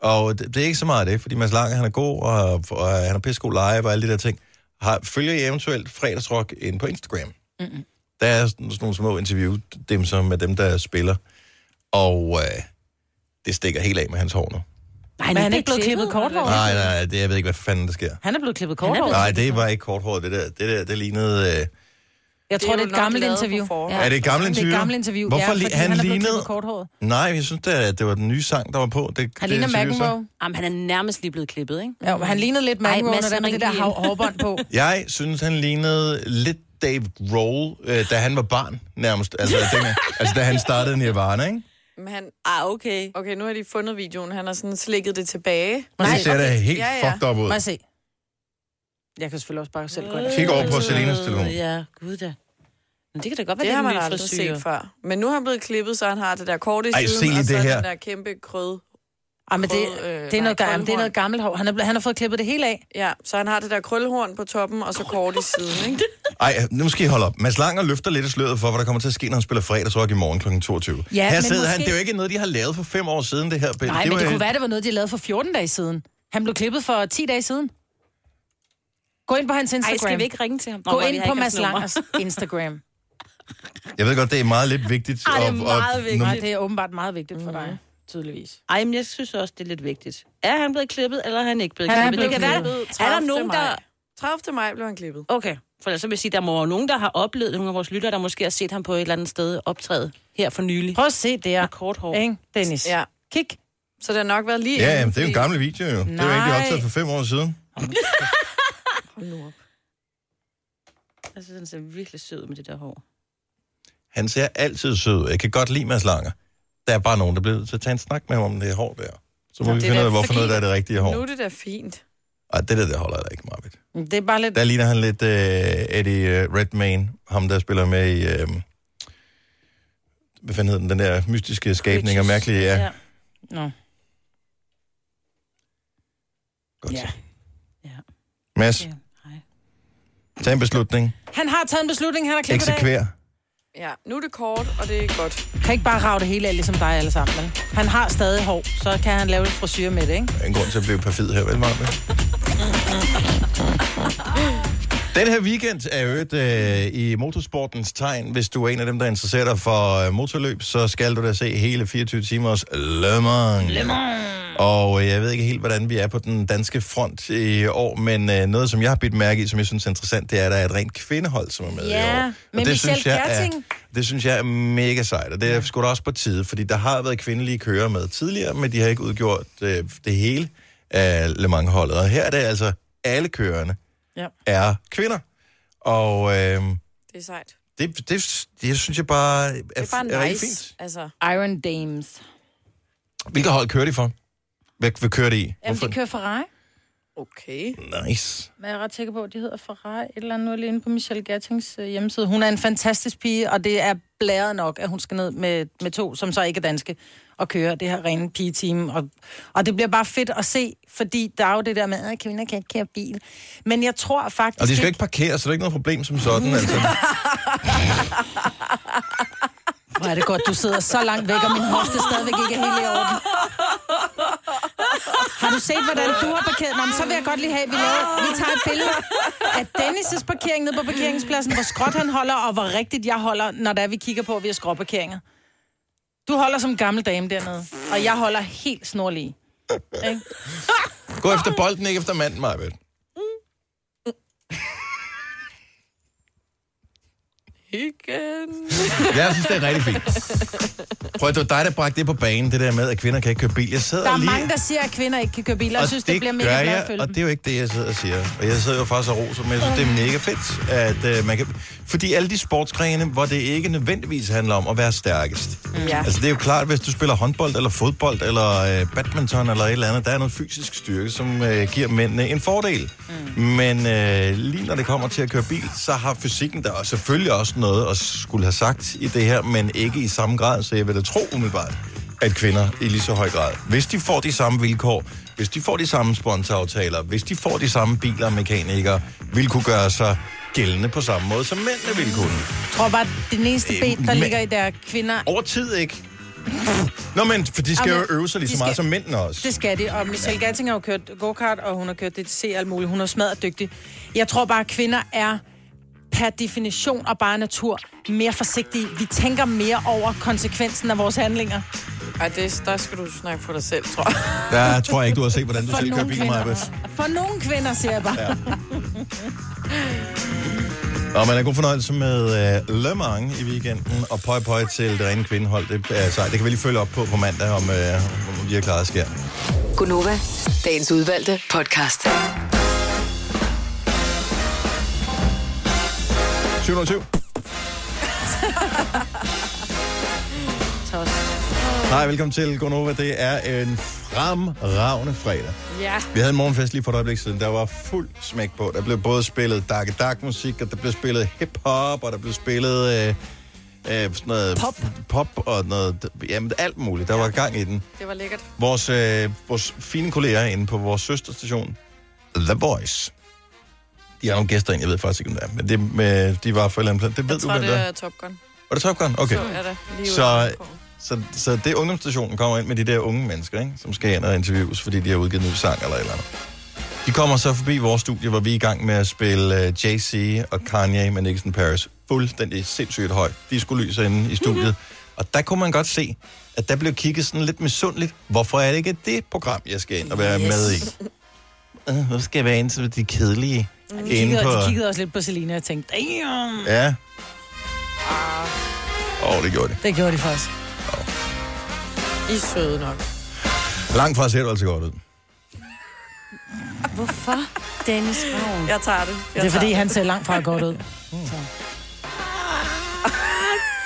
[SPEAKER 4] Og det, det er ikke så meget af det, fordi Mads Langer, han er god, og, og han er pissegod live og alle de der ting. Har, følger I eventuelt fredagsrock ind på Instagram? Der er sådan sådan nogle små interview, dem som med dem, der spiller. Og øh, det stikker helt af med hans hår nu.
[SPEAKER 5] Nej, han er ikke blevet klippet kort hår.
[SPEAKER 4] Nej, nej, nej, det, jeg ved ikke, hvad fanden der sker.
[SPEAKER 5] Han er blevet klippet kort
[SPEAKER 4] Korthåret?
[SPEAKER 5] hår.
[SPEAKER 4] Nej, det var ikke korthåret, det der. Det der, det lignede... Øh,
[SPEAKER 5] Jeg tror,
[SPEAKER 6] Det er
[SPEAKER 5] det er
[SPEAKER 6] jo
[SPEAKER 5] et
[SPEAKER 6] nok
[SPEAKER 5] gammelt
[SPEAKER 6] lavet på
[SPEAKER 5] interview.
[SPEAKER 6] forhånd.
[SPEAKER 4] Er det et gammelt
[SPEAKER 5] Det er
[SPEAKER 4] interview?
[SPEAKER 5] et gammelt interview,
[SPEAKER 4] Hvorfor
[SPEAKER 5] ja,
[SPEAKER 4] li-
[SPEAKER 5] fordi
[SPEAKER 4] han
[SPEAKER 5] han, er blevet
[SPEAKER 4] lignede-
[SPEAKER 5] klippet kort hår.
[SPEAKER 4] nej, jeg synes, det, er- det var den nye sang, der var på. Det,
[SPEAKER 2] Han
[SPEAKER 4] det
[SPEAKER 2] ligner
[SPEAKER 4] interview, så.
[SPEAKER 2] McEnroe. Jamen, han er nærmest lige blevet klippet, ikke?
[SPEAKER 5] Jo, men han lignede lidt McEnroe, når der med det der hav- hårbånd på.
[SPEAKER 4] Jeg synes, han lignede lidt Dave Grohl, øh, da han var barn, nærmest. Altså, dengang, altså da han startede Nirvana, ikke?
[SPEAKER 6] Men han... Ah, okay. Okay, nu har de fundet videoen. Han har sådan slikket det tilbage.
[SPEAKER 4] Nej, det ser da helt
[SPEAKER 6] Ja,
[SPEAKER 4] ja,
[SPEAKER 6] ja.
[SPEAKER 4] ja. fucked up ud.
[SPEAKER 5] Må jeg se? Jeg kan selvfølgelig også bare selv gå ind.
[SPEAKER 4] Kig over på Selinas telefon.
[SPEAKER 2] Ja, gud da. Men det kan da godt være,
[SPEAKER 6] Det
[SPEAKER 2] det,
[SPEAKER 6] har
[SPEAKER 2] er
[SPEAKER 6] man
[SPEAKER 2] en ny
[SPEAKER 6] aldrig
[SPEAKER 2] frisyr.
[SPEAKER 6] set før. Men nu har han blevet klippet, så han har det der korte i
[SPEAKER 4] Ej, se
[SPEAKER 6] siden,
[SPEAKER 4] lige
[SPEAKER 6] og så
[SPEAKER 4] det her.
[SPEAKER 6] den der kæmpe krød.
[SPEAKER 5] Ej, Ah, men det,
[SPEAKER 6] Krød, øh,
[SPEAKER 5] det, er noget,
[SPEAKER 6] nej,
[SPEAKER 5] gammelt, det er noget
[SPEAKER 6] krølhorn.
[SPEAKER 5] gammelt hår. Han, er, ble- han har fået klippet det hele af.
[SPEAKER 6] Ja, så han har det der krølhorn på toppen, og så kort i siden, ikke?
[SPEAKER 4] Ej, nu skal I holde op. Mads Langer løfter lidt af sløret for, hvad der kommer til at ske, når han spiller fredagsrock i morgen kl. 22.
[SPEAKER 5] Ja,
[SPEAKER 4] Her
[SPEAKER 5] men
[SPEAKER 4] sidder han.
[SPEAKER 5] måske-
[SPEAKER 4] Det er jo ikke noget, de har lavet for fem år siden, det her. Bent.
[SPEAKER 5] Nej, men
[SPEAKER 4] var
[SPEAKER 5] det
[SPEAKER 4] jo-
[SPEAKER 5] kunne være, det var noget, de lavede for 14 dage siden. Han blev klippet for 10 dage siden. Gå ind på hans Instagram.
[SPEAKER 2] Ej, skal vi ikke ringe til ham?
[SPEAKER 5] Gå ind på Mads Langers Instagram.
[SPEAKER 4] Jeg ved godt, det er meget lidt vigtigt.
[SPEAKER 2] Ej, det er
[SPEAKER 4] og-
[SPEAKER 2] meget
[SPEAKER 4] og,
[SPEAKER 2] vigtigt. Mm.
[SPEAKER 4] Nå,
[SPEAKER 5] Nej, det er åbenbart meget vigtigt for dig, tydeligvis.
[SPEAKER 2] Ej, men jeg synes også, det er lidt vigtigt. Er han blevet klippet, eller er han ikke blevet
[SPEAKER 5] Han er
[SPEAKER 2] klippet?
[SPEAKER 5] blevet
[SPEAKER 2] det kan
[SPEAKER 5] klippet.
[SPEAKER 2] være, er der
[SPEAKER 6] 30.
[SPEAKER 2] nogen, der...
[SPEAKER 6] maj. 30. maj blev han klippet.
[SPEAKER 2] Okay, for ellers så vil jeg sige, der må være nogen, der har oplevet, nogle af vores lyttere, der måske har set ham på et eller andet sted optræde her for nylig.
[SPEAKER 5] Prøv at se det her.
[SPEAKER 2] Med kort hår.
[SPEAKER 5] Ikke, Dennis?
[SPEAKER 6] Ja.
[SPEAKER 5] Kig.
[SPEAKER 6] Så det har nok været lige
[SPEAKER 4] Ja,
[SPEAKER 6] inden,
[SPEAKER 4] jamen, det er jo en
[SPEAKER 6] fordi-
[SPEAKER 4] gammel video, jo. Det er jo egentlig
[SPEAKER 5] Nej.
[SPEAKER 4] optaget for fem år siden.
[SPEAKER 6] Hold nu op.
[SPEAKER 2] Jeg synes, han ser virkelig sød ud med det der hår.
[SPEAKER 4] Han ser altid sød ud. Jeg kan godt lide Mads Langer. Der er bare nogen, der bliver nødt til at tage en snak med ham om det hår der. Så må
[SPEAKER 6] Nå,
[SPEAKER 4] vi
[SPEAKER 6] det er
[SPEAKER 4] finde ud
[SPEAKER 6] da
[SPEAKER 4] af, hvorfor
[SPEAKER 6] fordi-
[SPEAKER 4] noget der er det rigtige hår.
[SPEAKER 6] Nu er det da fint.
[SPEAKER 4] Ej, det der, det holder jeg da ikke meget ved.
[SPEAKER 5] Det er bare lidt...
[SPEAKER 4] Der ligner han lidt øh, Eddie øh, Redmayne, ham der spiller med i... Øh, hvad fanden hedder den? Den der mystiske skabning og mærkelige... Ja.
[SPEAKER 2] Ja.
[SPEAKER 5] Nå.
[SPEAKER 4] Godt.
[SPEAKER 5] Ja.
[SPEAKER 2] Ja.
[SPEAKER 4] Mads,
[SPEAKER 2] Ja, hej.
[SPEAKER 4] tag en beslutning.
[SPEAKER 5] Han har taget en beslutning, han har klippet det af.
[SPEAKER 4] Eksekver.
[SPEAKER 6] Ja, nu er det kort, og det er godt.
[SPEAKER 5] Kan ikke bare rave det hele af, ligesom dig alle sammen. vel? Han har stadig hår, så kan han lave et frisyr med det, ikke?
[SPEAKER 4] Der er en grund til at blive perfid her, vel, Marve? Den her weekend er jo et, øh, i motorsportens tegn. Hvis du er en af dem, der interesserer dig for øh, motorløb, så skal du da se hele 24 timers Le Mans. Le Mans. Og øh, jeg ved ikke helt, hvordan vi er på den danske front i år, men øh, noget, som jeg har bidt mærke i, som jeg synes er interessant, det er, at der er et rent kvindehold, som er med i
[SPEAKER 5] Ja,
[SPEAKER 4] år.
[SPEAKER 5] med
[SPEAKER 4] Og det
[SPEAKER 5] Michelle
[SPEAKER 4] synes jeg
[SPEAKER 5] Gerting.
[SPEAKER 4] Er, det synes jeg er mega sejt, og det er sgu da også på tide, fordi der har været kvindelige kører med tidligere, men de har ikke udgjort øh, det hele af Le Mans-holdet. Og her er det altså alle kørerne
[SPEAKER 5] Ja.
[SPEAKER 4] er kvinder. Og øh,
[SPEAKER 6] Det er sejt. Det
[SPEAKER 4] det, det, det synes jeg bare er,
[SPEAKER 6] er bare nice.
[SPEAKER 4] er rigtig fint.
[SPEAKER 6] Altså,
[SPEAKER 5] Iron Dames.
[SPEAKER 4] Hvilke hold kører de for? Hvad, hvad kører de i?
[SPEAKER 5] Jamen,
[SPEAKER 4] Hvorfor?
[SPEAKER 5] de kører Ferrari.
[SPEAKER 6] okay.
[SPEAKER 4] Nice.
[SPEAKER 5] Men jeg er ret sikker på, at de hedder Ferrari. Et eller andet nu er jeg lige inde på Michelle Gattings øh, hjemmeside. Hun er en fantastisk pige, og det er blæret nok, at hun skal ned med, med to, som så ikke er danske, og køre det her rene pigeteam. Og, og det bliver bare fedt at se, fordi der er jo det der med, at kvinder kan ikke køre bil. Men jeg tror faktisk...
[SPEAKER 4] Og de skal ikke parkere, så det er ikke noget problem som sådan. Altså.
[SPEAKER 5] Hvor er det godt, du sidder så langt væk, og min hofte stadigvæk ikke er helt i orden. Har du set, hvordan du har parkeret? Nå, men så vil jeg godt lige have, at vi, laver, vi tager et billede af Dennis' parkering nede på parkeringspladsen, hvor skråt han holder, og hvor rigtigt jeg holder, når der vi kigger på, at vi har skråparkeringer. Du holder som gammel dame dernede, og jeg holder helt snorlig. Ikke?
[SPEAKER 4] Gå efter bolden, ikke efter manden, Marvind.
[SPEAKER 6] Igen.
[SPEAKER 4] Jeg synes, det er rigtig fint. Prøv at det var dig, der bragte det på banen, det der med, at kvinder kan ikke køre bil. Jeg sidder
[SPEAKER 5] Der er
[SPEAKER 4] lige...
[SPEAKER 5] mange, der siger, at kvinder ikke kan køre biler, og jeg synes, det, bliver
[SPEAKER 4] gør
[SPEAKER 5] mega glad at
[SPEAKER 4] jeg,
[SPEAKER 5] følge
[SPEAKER 4] og
[SPEAKER 5] dem.
[SPEAKER 4] det er jo ikke det, jeg sidder og siger. Og jeg sidder jo faktisk og roser, men jeg synes, det er mega fedt, at øh, man kan... Fordi alle de sportsgrene, hvor det ikke nødvendigvis handler om at være stærkest.
[SPEAKER 5] Mm.
[SPEAKER 6] Ja.
[SPEAKER 4] Altså, det er jo klart, hvis du spiller håndbold, eller fodbold, eller øh, badminton, eller et eller andet, der er noget fysisk styrke, som øh, giver mændene en fordel. Mm. Men øh, lige når det kommer til at køre bil, så har fysikken der også- selvfølgelig også noget at skulle have sagt i det her, men ikke i samme grad, så jeg vil da tro umiddelbart, at kvinder i lige så høj grad, hvis de får de samme vilkår, hvis de får de samme sponsoraftaler, hvis de får de samme biler og mekanikere, vil kunne gøre sig gældende på samme måde, som mændene ville kunne.
[SPEAKER 5] Jeg tror bare, det næste
[SPEAKER 4] Øh,
[SPEAKER 5] ben, der
[SPEAKER 4] men-
[SPEAKER 5] ligger i der kvinder
[SPEAKER 4] Over tid ikke, Nå, men for de skal
[SPEAKER 5] Jamen,
[SPEAKER 4] jo øve sig lige
[SPEAKER 5] de
[SPEAKER 4] så meget
[SPEAKER 5] skal-
[SPEAKER 4] som mændene også.
[SPEAKER 5] Det skal de, og Michelle Gatting har jo kørt go-kart, og hun har kørt DTC og alt muligt. Hun er smadret dygtig. Jeg tror bare, at kvinder er per definition og bare natur mere forsigtige. Vi tænker mere over konsekvensen af vores handlinger.
[SPEAKER 6] Ej, det, der skal du snakke for dig selv, tror jeg.
[SPEAKER 4] Der tror jeg ikke, du har set, hvordan du
[SPEAKER 5] For
[SPEAKER 4] selv kører
[SPEAKER 5] nogle
[SPEAKER 4] bil,
[SPEAKER 5] kvinder.
[SPEAKER 4] Majbeth.
[SPEAKER 5] For nogle kvinder, siger jeg bare.
[SPEAKER 4] Ja. Nå, men er god fornøjelse med øh, Le Mans i weekenden, og pøj pøj til det rene kvindehold. Det er sejt. Det kan vi lige følge op på på mandag, om, øh, om de har klaret sker.
[SPEAKER 10] Gunova, dagens udvalgte podcast.
[SPEAKER 4] 720.
[SPEAKER 6] Mm.
[SPEAKER 4] Hej, velkommen til Gonova. Det er en fremragende fredag.
[SPEAKER 6] Ja.
[SPEAKER 4] Vi havde en morgenfest lige for et øjeblik siden. Der var fuld smæk på. Der blev både spillet dark dark musik, og der blev spillet hip-hop, og der blev spillet øh, øh, sådan noget pop. pop og noget, jamen, alt muligt. Der var gang i den.
[SPEAKER 6] Det var lækkert.
[SPEAKER 4] Vores, øh, vores fine kolleger inde på vores søsterstation, The Voice. De har nogle gæster ind, jeg ved faktisk ikke, om det er. Men det, med, de var for et eller andet plan. Det ved
[SPEAKER 6] Jeg
[SPEAKER 4] du,
[SPEAKER 6] tror,
[SPEAKER 4] hvem
[SPEAKER 6] det er Top Gun.
[SPEAKER 4] Var det Top Gun? Okay.
[SPEAKER 6] Så er det lige
[SPEAKER 4] Så, så, så det ungdomsstationen kommer ind med de der unge mennesker, ikke? som skal ind og interviews, fordi de har udgivet en ny sang eller et eller andet. De kommer så forbi vores studie, hvor vi er i gang med at spille uh, Jay-Z og Kanye med Nixon Paris. Fuldstændig sindssygt højt. De skulle lyse inde i studiet. Og der kunne man godt se, at der blev kigget sådan lidt misundeligt. Hvorfor er det ikke det program, jeg skal ind og være yes. med i? Øh, Hvorfor skal jeg være inde til de kedelige?
[SPEAKER 5] De
[SPEAKER 4] Inde
[SPEAKER 5] kiggede, de kiggede også lidt på Selina og tænkte, damn,
[SPEAKER 4] Ja.
[SPEAKER 5] Ah.
[SPEAKER 4] Åh, oh, det gjorde det.
[SPEAKER 5] det gjorde de faktisk.
[SPEAKER 6] I er søde nok.
[SPEAKER 4] Langt fra ser du altså godt ud.
[SPEAKER 2] Hvorfor Dennis Ravn?
[SPEAKER 6] Jeg tager det. Jeg
[SPEAKER 5] Det er
[SPEAKER 6] tager
[SPEAKER 5] fordi, han ser langt fra godt ud.
[SPEAKER 4] Mm.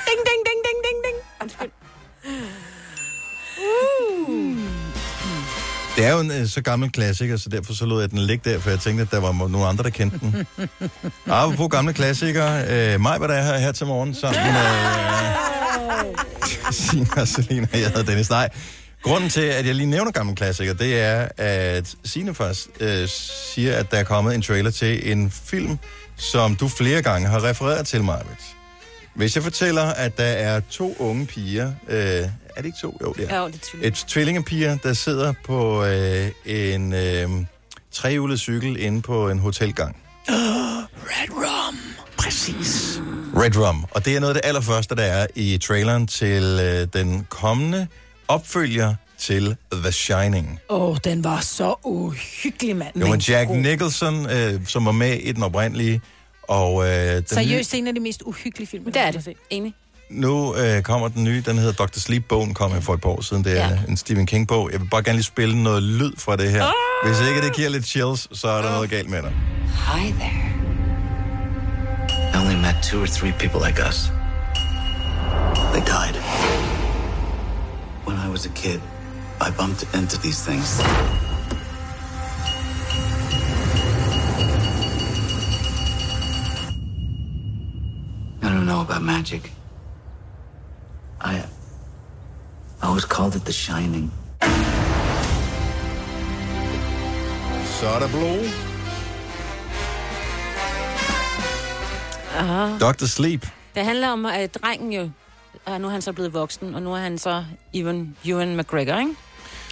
[SPEAKER 6] Ding, ding, ding, ding, ding, ding. Undskyld. Uh.
[SPEAKER 4] Det er jo en øh, så gammel klassiker, så derfor så lod jeg den ligge der, for jeg tænkte, at der var må- nogle andre, der kendte den. Ah, på gamle klassikere. Øh, mig var der her, her til morgen sammen med Sina og Selina. Jeg hedder Dennis. Nej, grunden til, at jeg lige nævner gamle klassikere, det er, at Sine faktisk øh, siger, at der er kommet en trailer til en film, som du flere gange har refereret til, Marvitt. Hvis jeg fortæller, at der er to unge piger... Øh, er det ikke to? Jo, det er.
[SPEAKER 2] Jo, det er tvillinger.
[SPEAKER 4] Et tvillingepiger, der sidder på øh, en øh, trehjulet cykel inde på en hotelgang.
[SPEAKER 8] Red Rum. Præcis.
[SPEAKER 4] Red Rum. Og det er noget af det allerførste, der er i traileren til øh, den kommende opfølger til The Shining.
[SPEAKER 5] Åh, oh, den var så uhyggelig, mand.
[SPEAKER 4] Det var
[SPEAKER 5] Men
[SPEAKER 4] Jack
[SPEAKER 5] god.
[SPEAKER 4] Nicholson, øh, som var med i den oprindelige. Og, øh, den
[SPEAKER 5] Seriøst, det er en af de mest uhyggelige film, Det er det,
[SPEAKER 2] enig.
[SPEAKER 4] Nye, nu øh, kommer den nye, den hedder Dr. Sleep-bogen, kom her for et par år siden. Det er
[SPEAKER 2] Ja.
[SPEAKER 4] ja. en Stephen King-bog. Jeg vil bare gerne lige spille noget lyd fra det her.
[SPEAKER 5] Ah!
[SPEAKER 4] Hvis ikke det giver lidt chills, så er der noget galt med dig.
[SPEAKER 11] Hi there. I only met two or three people like us. They died. When I was a kid, I bumped into these things. I don't know about magic. I. I always called it the shining.
[SPEAKER 4] Så er der blod.
[SPEAKER 2] Ah.
[SPEAKER 4] Dr. Sleep.
[SPEAKER 2] Det handler om, at drengen jo... Og nu er han så blevet voksen, og nu er han så Ewan, Ewan McGregor, ikke?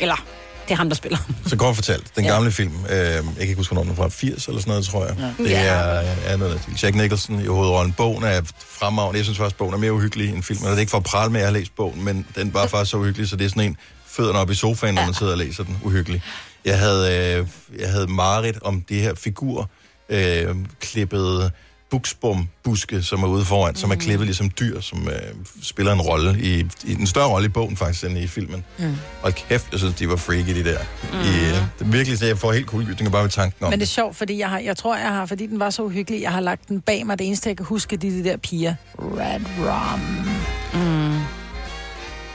[SPEAKER 2] Eller, det er ham, der spiller.
[SPEAKER 4] Så kort fortalt, den gamle film, øh, jeg kan ikke huske, hvornår den er fra 80 eller sådan noget, tror jeg.
[SPEAKER 2] Ja.
[SPEAKER 4] Det
[SPEAKER 2] Ja.
[SPEAKER 4] er, er noget af det. Jack Nicholson i hovedrollen. Bogen er fremragende. Jeg synes faktisk, bogen er mere uhyggelig end filmen. Og det er ikke for at prale med, at jeg har læst bogen, men den var faktisk så uhyggelig, så det er sådan en fødderne op i sofaen, når man sidder og læser den. Uhyggelig. Jeg havde, øh, jeg havde mareridt om de her figurer, øh, klippede buksbombuske, som er ude foran, mm. som er klippet ligesom dyr, som øh, spiller en rolle i, i en større rolle i bogen faktisk end i filmen. Mm. Hold kæft, jeg synes, de var freaky, de der. Mm. I, øh, det er virkelig, så jeg får helt kuldegysninger bare ved tanken om
[SPEAKER 5] Men det er sjovt, fordi jeg, har, jeg tror, jeg har, fordi den var så uhyggelig, jeg har lagt den bag mig. Det eneste, jeg kan huske, det er de der piger. Red Rum. Mm.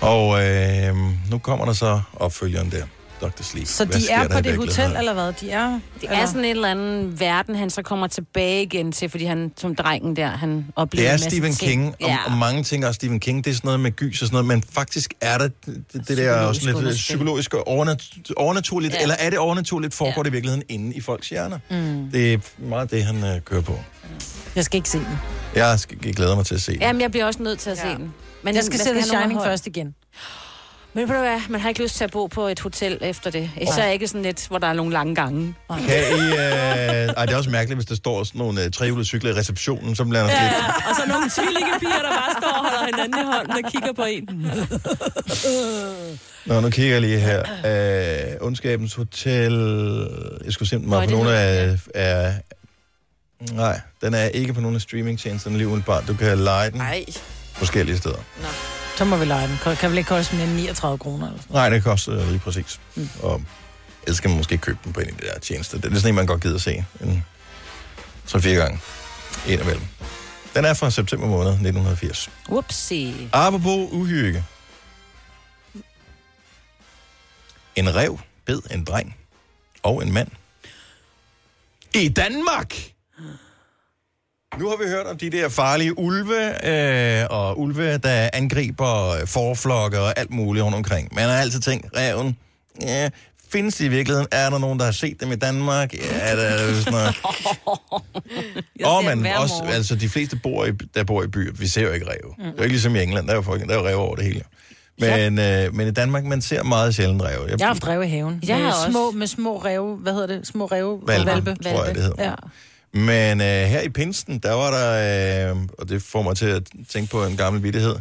[SPEAKER 4] Og øh, nu kommer der så opfølgeren der, Dr. Sleep.
[SPEAKER 5] Så
[SPEAKER 4] Hvad
[SPEAKER 5] de
[SPEAKER 4] sker
[SPEAKER 5] er
[SPEAKER 4] der
[SPEAKER 5] på
[SPEAKER 4] i
[SPEAKER 5] det hotel,
[SPEAKER 4] virkeligheden?
[SPEAKER 5] eller hvad? De er,
[SPEAKER 2] Det
[SPEAKER 5] eller?
[SPEAKER 2] er sådan en eller anden verden, han så kommer tilbage igen til, fordi han som drengen der, han oplever
[SPEAKER 4] Det er
[SPEAKER 2] en masse
[SPEAKER 4] Stephen
[SPEAKER 2] ting.
[SPEAKER 4] King, og,
[SPEAKER 2] Ja.
[SPEAKER 4] og mange ting er Stephen King. Det er sådan noget med gys og sådan noget, men faktisk er der det, det det der
[SPEAKER 2] Psykologisk
[SPEAKER 4] også sådan lidt øh,
[SPEAKER 2] underspil.
[SPEAKER 4] psykologisk og overnat- overnaturligt,
[SPEAKER 2] Ja.
[SPEAKER 4] ja. eller er det overnaturligt, foregår ja. det i virkeligheden inde i folks hjerner? Mm. Det er meget det, han øh, kører på.
[SPEAKER 5] Jeg skal ikke se den.
[SPEAKER 4] Jeg, skal, jeg glæder mig til at se det.
[SPEAKER 2] Jamen, jeg bliver også nødt til at ja. se den.
[SPEAKER 5] Men jeg skal
[SPEAKER 2] man
[SPEAKER 5] se
[SPEAKER 2] have
[SPEAKER 5] The
[SPEAKER 2] nogen
[SPEAKER 5] Shining
[SPEAKER 2] hold.
[SPEAKER 5] først igen.
[SPEAKER 2] Men ved du hvad, man har ikke lyst til at bo på et hotel efter det. Især ikke sådan et, hvor der er nogle lange gange.
[SPEAKER 4] Kan I, øh... Ej, det er også mærkeligt, hvis der står sådan nogle øh, trehjulede cykler i receptionen, som lander ja.
[SPEAKER 2] Ja, og så nogle tvillingepiger, der bare står og holder hinanden i hånden og kigger på en.
[SPEAKER 6] Mm-hmm.
[SPEAKER 4] Nå, nu kigger jeg lige her. Øh, Undskabens Hotel... Jeg skulle simpelthen mig på nogle af... Er... Nej, den er ikke på nogen af streamingtjenesterne lige udenbart. Du kan lege den
[SPEAKER 5] Nej.
[SPEAKER 4] forskellige steder.
[SPEAKER 5] Så må vi lege den. Kan- Kan vel ikke koste mere end 39 kroner? Eller?
[SPEAKER 4] Nej, det koster lige præcis. Mm. Og ellers skal man måske købe den på en af de der tjenester. Det er sådan en, man godt gider at se. En, så fire gange. En af mellem. Den er fra september måned 1980.
[SPEAKER 2] Whoopsie.
[SPEAKER 4] Apropos uhygge. En rev bed en dreng og en mand. I Danmark! Nu har vi hørt om de der farlige ulve, øh, og ulve, der angriber forflokke og alt muligt rundt omkring. Man har altid tænkt, reven, ja, findes de i virkeligheden? Er der nogen, der har set dem i Danmark? Ja, der er sådan noget. og
[SPEAKER 8] dem
[SPEAKER 4] men
[SPEAKER 8] hver
[SPEAKER 4] også,
[SPEAKER 8] morgen.
[SPEAKER 4] altså de fleste, bor i, der bor i byer, vi ser jo ikke ræve.
[SPEAKER 8] Mm.
[SPEAKER 4] Det er jo ikke ligesom i England, der er jo, folk, der er jo ræve over det hele. Men, øh, men i Danmark, man ser meget sjældent ræve.
[SPEAKER 5] Jeg har haft ræve i haven.
[SPEAKER 4] Jeg
[SPEAKER 5] med
[SPEAKER 4] har også.
[SPEAKER 5] Små, med små ræve, hvad hedder det? Små ræve
[SPEAKER 4] Hvalpe,
[SPEAKER 5] og valpe.
[SPEAKER 4] tror jeg, det hedder.
[SPEAKER 5] Ja.
[SPEAKER 4] Men øh, her i Pinsen, der var der, øh, og det får mig til at tænke på en gammel vittighed.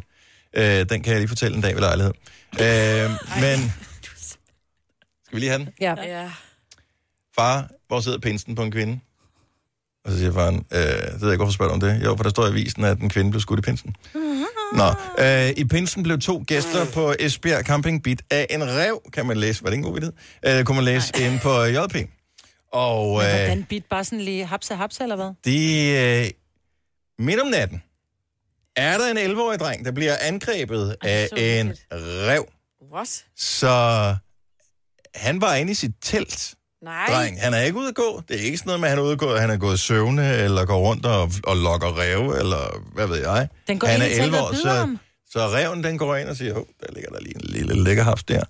[SPEAKER 4] Øh, den kan jeg lige fortælle en dag ved lejlighed. Øh, men, skal vi lige have den?
[SPEAKER 5] Ja.
[SPEAKER 6] ja.
[SPEAKER 4] Far, hvor sidder Pinsen på en kvinde? Og så siger faren, øh, det ved jeg ikke, hvorfor spørger du om det? Jo, for der står i avisen, at en kvinde blev skudt i Pinsen.
[SPEAKER 5] Mhm.
[SPEAKER 4] Nå, øh, i Pinsen blev to gæster på Esbjerg Camping bit af en rev, kan man læse. Var det ikke en god vidighed? Øh, kunne man læse inde på JP. Og,
[SPEAKER 5] Men
[SPEAKER 4] øh,
[SPEAKER 5] hvordan bit bare sådan lige hapse hapse, eller hvad?
[SPEAKER 4] de, øh, midt om natten er der en 11-årig dreng, der bliver angrebet af en rev.
[SPEAKER 6] What?
[SPEAKER 4] Så han var inde i sit telt,
[SPEAKER 6] Nej.
[SPEAKER 4] dreng. Han er ikke ude at gå. Det er ikke sådan noget med, at han er ude at gå. Han er gået i søvne, eller går rundt og, og lokker ræve, eller hvad ved jeg.
[SPEAKER 5] Den går
[SPEAKER 4] han
[SPEAKER 5] ind
[SPEAKER 4] er
[SPEAKER 5] i teltet og bider
[SPEAKER 4] så,
[SPEAKER 5] ham.
[SPEAKER 4] så reven den går ind og siger, hov, der ligger der lige en lille lækker haps der.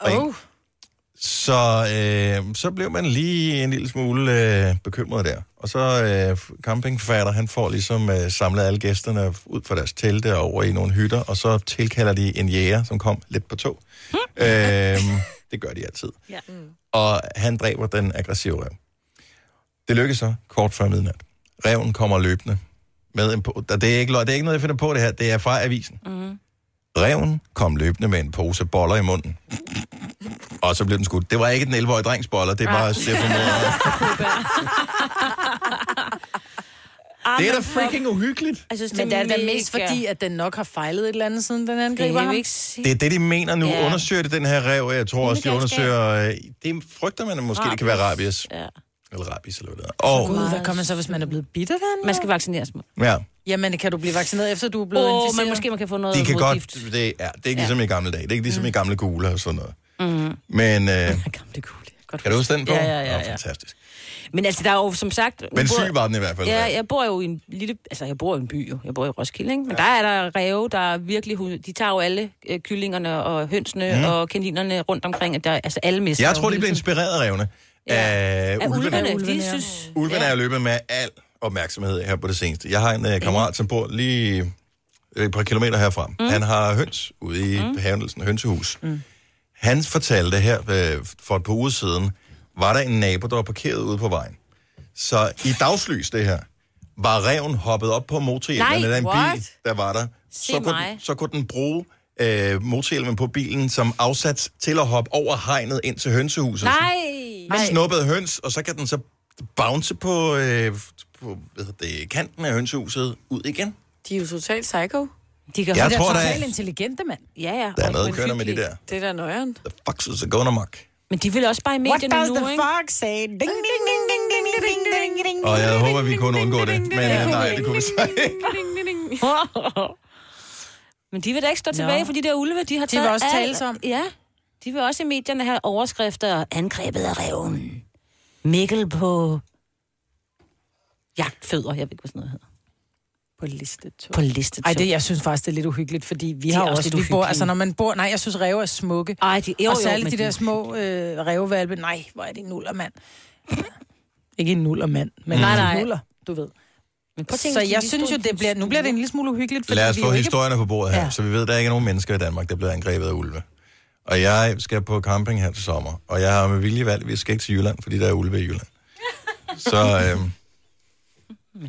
[SPEAKER 5] Oh.
[SPEAKER 4] Så, øh, så blev man lige en lille smule øh, bekymret der. Og så øh, campingfatter, han får ligesom øh, samlet alle gæsterne ud fra deres telte og over i nogle hytter, og så tilkalder de en jæger, som kom lidt på tog. øh, det gør de altid.
[SPEAKER 2] Ja.
[SPEAKER 5] Mm.
[SPEAKER 4] Og han dræber den aggressive rev. Det lykkes så kort før midnat. Reven kommer løbende. Med en po- det, er ikke, løg- det er ikke noget, jeg finder på det her. Det er fra avisen.
[SPEAKER 2] Mhm.
[SPEAKER 8] Mm.
[SPEAKER 4] Reven kom løbende med en pose boller i munden. Og så blev den skudt. Det var ikke den 11-årige drengs boller, det var Steffen Det er da freaking uhyggeligt.
[SPEAKER 2] Jeg synes, det
[SPEAKER 5] Men det er da
[SPEAKER 2] mega-
[SPEAKER 5] mest fordi, at den nok har fejlet et eller andet, siden den
[SPEAKER 2] Det
[SPEAKER 5] angriber
[SPEAKER 2] kan
[SPEAKER 5] ham.
[SPEAKER 2] vi ikke sige.
[SPEAKER 4] Det er det, de mener nu.
[SPEAKER 2] Ja.
[SPEAKER 4] Yeah. Undersøger det den her rev? Jeg tror også, de undersøger... øh, Det frygter man at måske, det kan være rabies.
[SPEAKER 2] Ja.
[SPEAKER 4] Eller rabies, eller hvad det er. Og,
[SPEAKER 5] Gud, hvad kommer så, hvis man er blevet bitter den? Man
[SPEAKER 2] skal vaccineres.
[SPEAKER 4] ja,
[SPEAKER 5] Jamen, kan du blive vaccineret, efter du er blevet
[SPEAKER 2] Åh, men
[SPEAKER 5] inficeret?
[SPEAKER 2] måske man kan få noget
[SPEAKER 4] de kan godt... Det, ja, det er ikke ligesom i gamle dage. Det er ikke ligesom i gamle kugler og sådan noget.
[SPEAKER 2] Mm.
[SPEAKER 4] Men... Øh, gamle
[SPEAKER 2] kugler.
[SPEAKER 4] Kan du huske den på?
[SPEAKER 2] Ja, ja, ja,
[SPEAKER 4] Nå,
[SPEAKER 2] ja.
[SPEAKER 4] fantastisk.
[SPEAKER 2] Men altså, der er jo som sagt... nu
[SPEAKER 4] Men
[SPEAKER 2] bor-
[SPEAKER 4] syg var den i hvert fald.
[SPEAKER 2] Ja, jeg bor jo i en lille... Altså, jeg bor i en by jo. Jeg bor i Roskilde, ikke? Men ja. der er der ræve, der er virkelig... hu- De tager jo alle øh, kyllingerne og hønsene
[SPEAKER 4] Mm.
[SPEAKER 2] mm. og kaninerne rundt omkring. at Der, altså, alle mister
[SPEAKER 4] Jeg
[SPEAKER 2] jo
[SPEAKER 4] tror, de
[SPEAKER 2] hele
[SPEAKER 4] blev
[SPEAKER 2] tiden.
[SPEAKER 4] inspireret af revne. Ja. Af,
[SPEAKER 2] Af
[SPEAKER 4] ulvene.
[SPEAKER 2] ulvene. De synes...
[SPEAKER 4] Ulven er jo løbet med al opmærksomhed her på det seneste. Jeg har en uh, kammerat, som bor lige øh, et par kilometer herfra. Mm. Han har høns ude i mm. Havendelsen, hønsehus. Mm. Han fortalte her øh, for et par uger siden, var der en nabo, der var parkeret ude på vejen. Så i dagslys det her, var reven hoppet op på motorhjælpen
[SPEAKER 8] Nej,
[SPEAKER 4] af en bil,
[SPEAKER 8] what?
[SPEAKER 4] der var der.
[SPEAKER 8] Se
[SPEAKER 4] Så kunne,
[SPEAKER 8] mig.
[SPEAKER 4] den, så kunne den bruge øh, motorhjælpen på bilen som afsats til at hoppe over hegnet ind til hønsehuset.
[SPEAKER 2] Nej!
[SPEAKER 4] Man snuppede høns, og så kan den så bounce på, øh, på hvad hedder det, kanten af hønsehuset ud igen.
[SPEAKER 6] De er jo totalt psycho.
[SPEAKER 2] De
[SPEAKER 4] kan- Jeg
[SPEAKER 5] de
[SPEAKER 4] tror,
[SPEAKER 5] er
[SPEAKER 4] der
[SPEAKER 5] totalt
[SPEAKER 4] er-
[SPEAKER 5] intelligente, mand.
[SPEAKER 2] Ja, ja.
[SPEAKER 4] Der er noget kørende med det der.
[SPEAKER 6] Det er da nøjeren.
[SPEAKER 4] Foxes er going amok.
[SPEAKER 2] Men de vil også bare i
[SPEAKER 5] What
[SPEAKER 2] medierne
[SPEAKER 5] does
[SPEAKER 2] nu,
[SPEAKER 5] the
[SPEAKER 2] ikke?
[SPEAKER 5] fox say? Ding, ding, ding, ding, ding, ding, ding, ding, ding.
[SPEAKER 4] Og jeg håber, vi kunne undgå det. Men øh, nej, det kunne vi så ikke.
[SPEAKER 2] Men de vil da ikke stå tilbage, for de der ulve, de har
[SPEAKER 5] De vil
[SPEAKER 2] taget
[SPEAKER 5] også
[SPEAKER 2] alt-
[SPEAKER 5] tales om.
[SPEAKER 2] Ja, de vil også i medierne have overskrifter angrebet af reven. Mikkel på jagtfødder, jeg ved ikke, hvad sådan noget hedder.
[SPEAKER 5] På listetog.
[SPEAKER 2] På listetog.
[SPEAKER 5] Ej, det, jeg synes faktisk, det er lidt uhyggeligt, fordi vi
[SPEAKER 2] er
[SPEAKER 5] har
[SPEAKER 2] også
[SPEAKER 5] også,
[SPEAKER 2] lidt
[SPEAKER 5] vi bor,
[SPEAKER 2] uhyggelige.
[SPEAKER 5] altså når man bor, nej, jeg synes, ræve er smukke.
[SPEAKER 2] Ej, de, jo,
[SPEAKER 5] og
[SPEAKER 2] jo,
[SPEAKER 5] særligt
[SPEAKER 2] men
[SPEAKER 5] de
[SPEAKER 2] de
[SPEAKER 5] der
[SPEAKER 2] er
[SPEAKER 5] små øh, rævevalpe, nej, hvor er det en nuller, mand. Ikke en nuller, mand, men
[SPEAKER 2] Nej,
[SPEAKER 5] en
[SPEAKER 2] nej.
[SPEAKER 5] nuller, du ved.
[SPEAKER 2] Men
[SPEAKER 5] prøv at tænke, Så hvis de jeg lige synes stod jo, i det bliver- nu bliver det en lille smule uhyggeligt. fordi
[SPEAKER 4] Lad os
[SPEAKER 5] vi
[SPEAKER 4] få
[SPEAKER 5] jo ikke-
[SPEAKER 4] historierne på bordet her,
[SPEAKER 5] Ja.
[SPEAKER 4] ja. så vi ved, at der ikke er nogen mennesker i Danmark, der bliver angrebet af ulve. Og jeg skal på camping her til sommer, og jeg har med vilje valgt, at vi skal ikke til Jylland, fordi der er ulve i Jylland. Så, øhm,
[SPEAKER 5] Men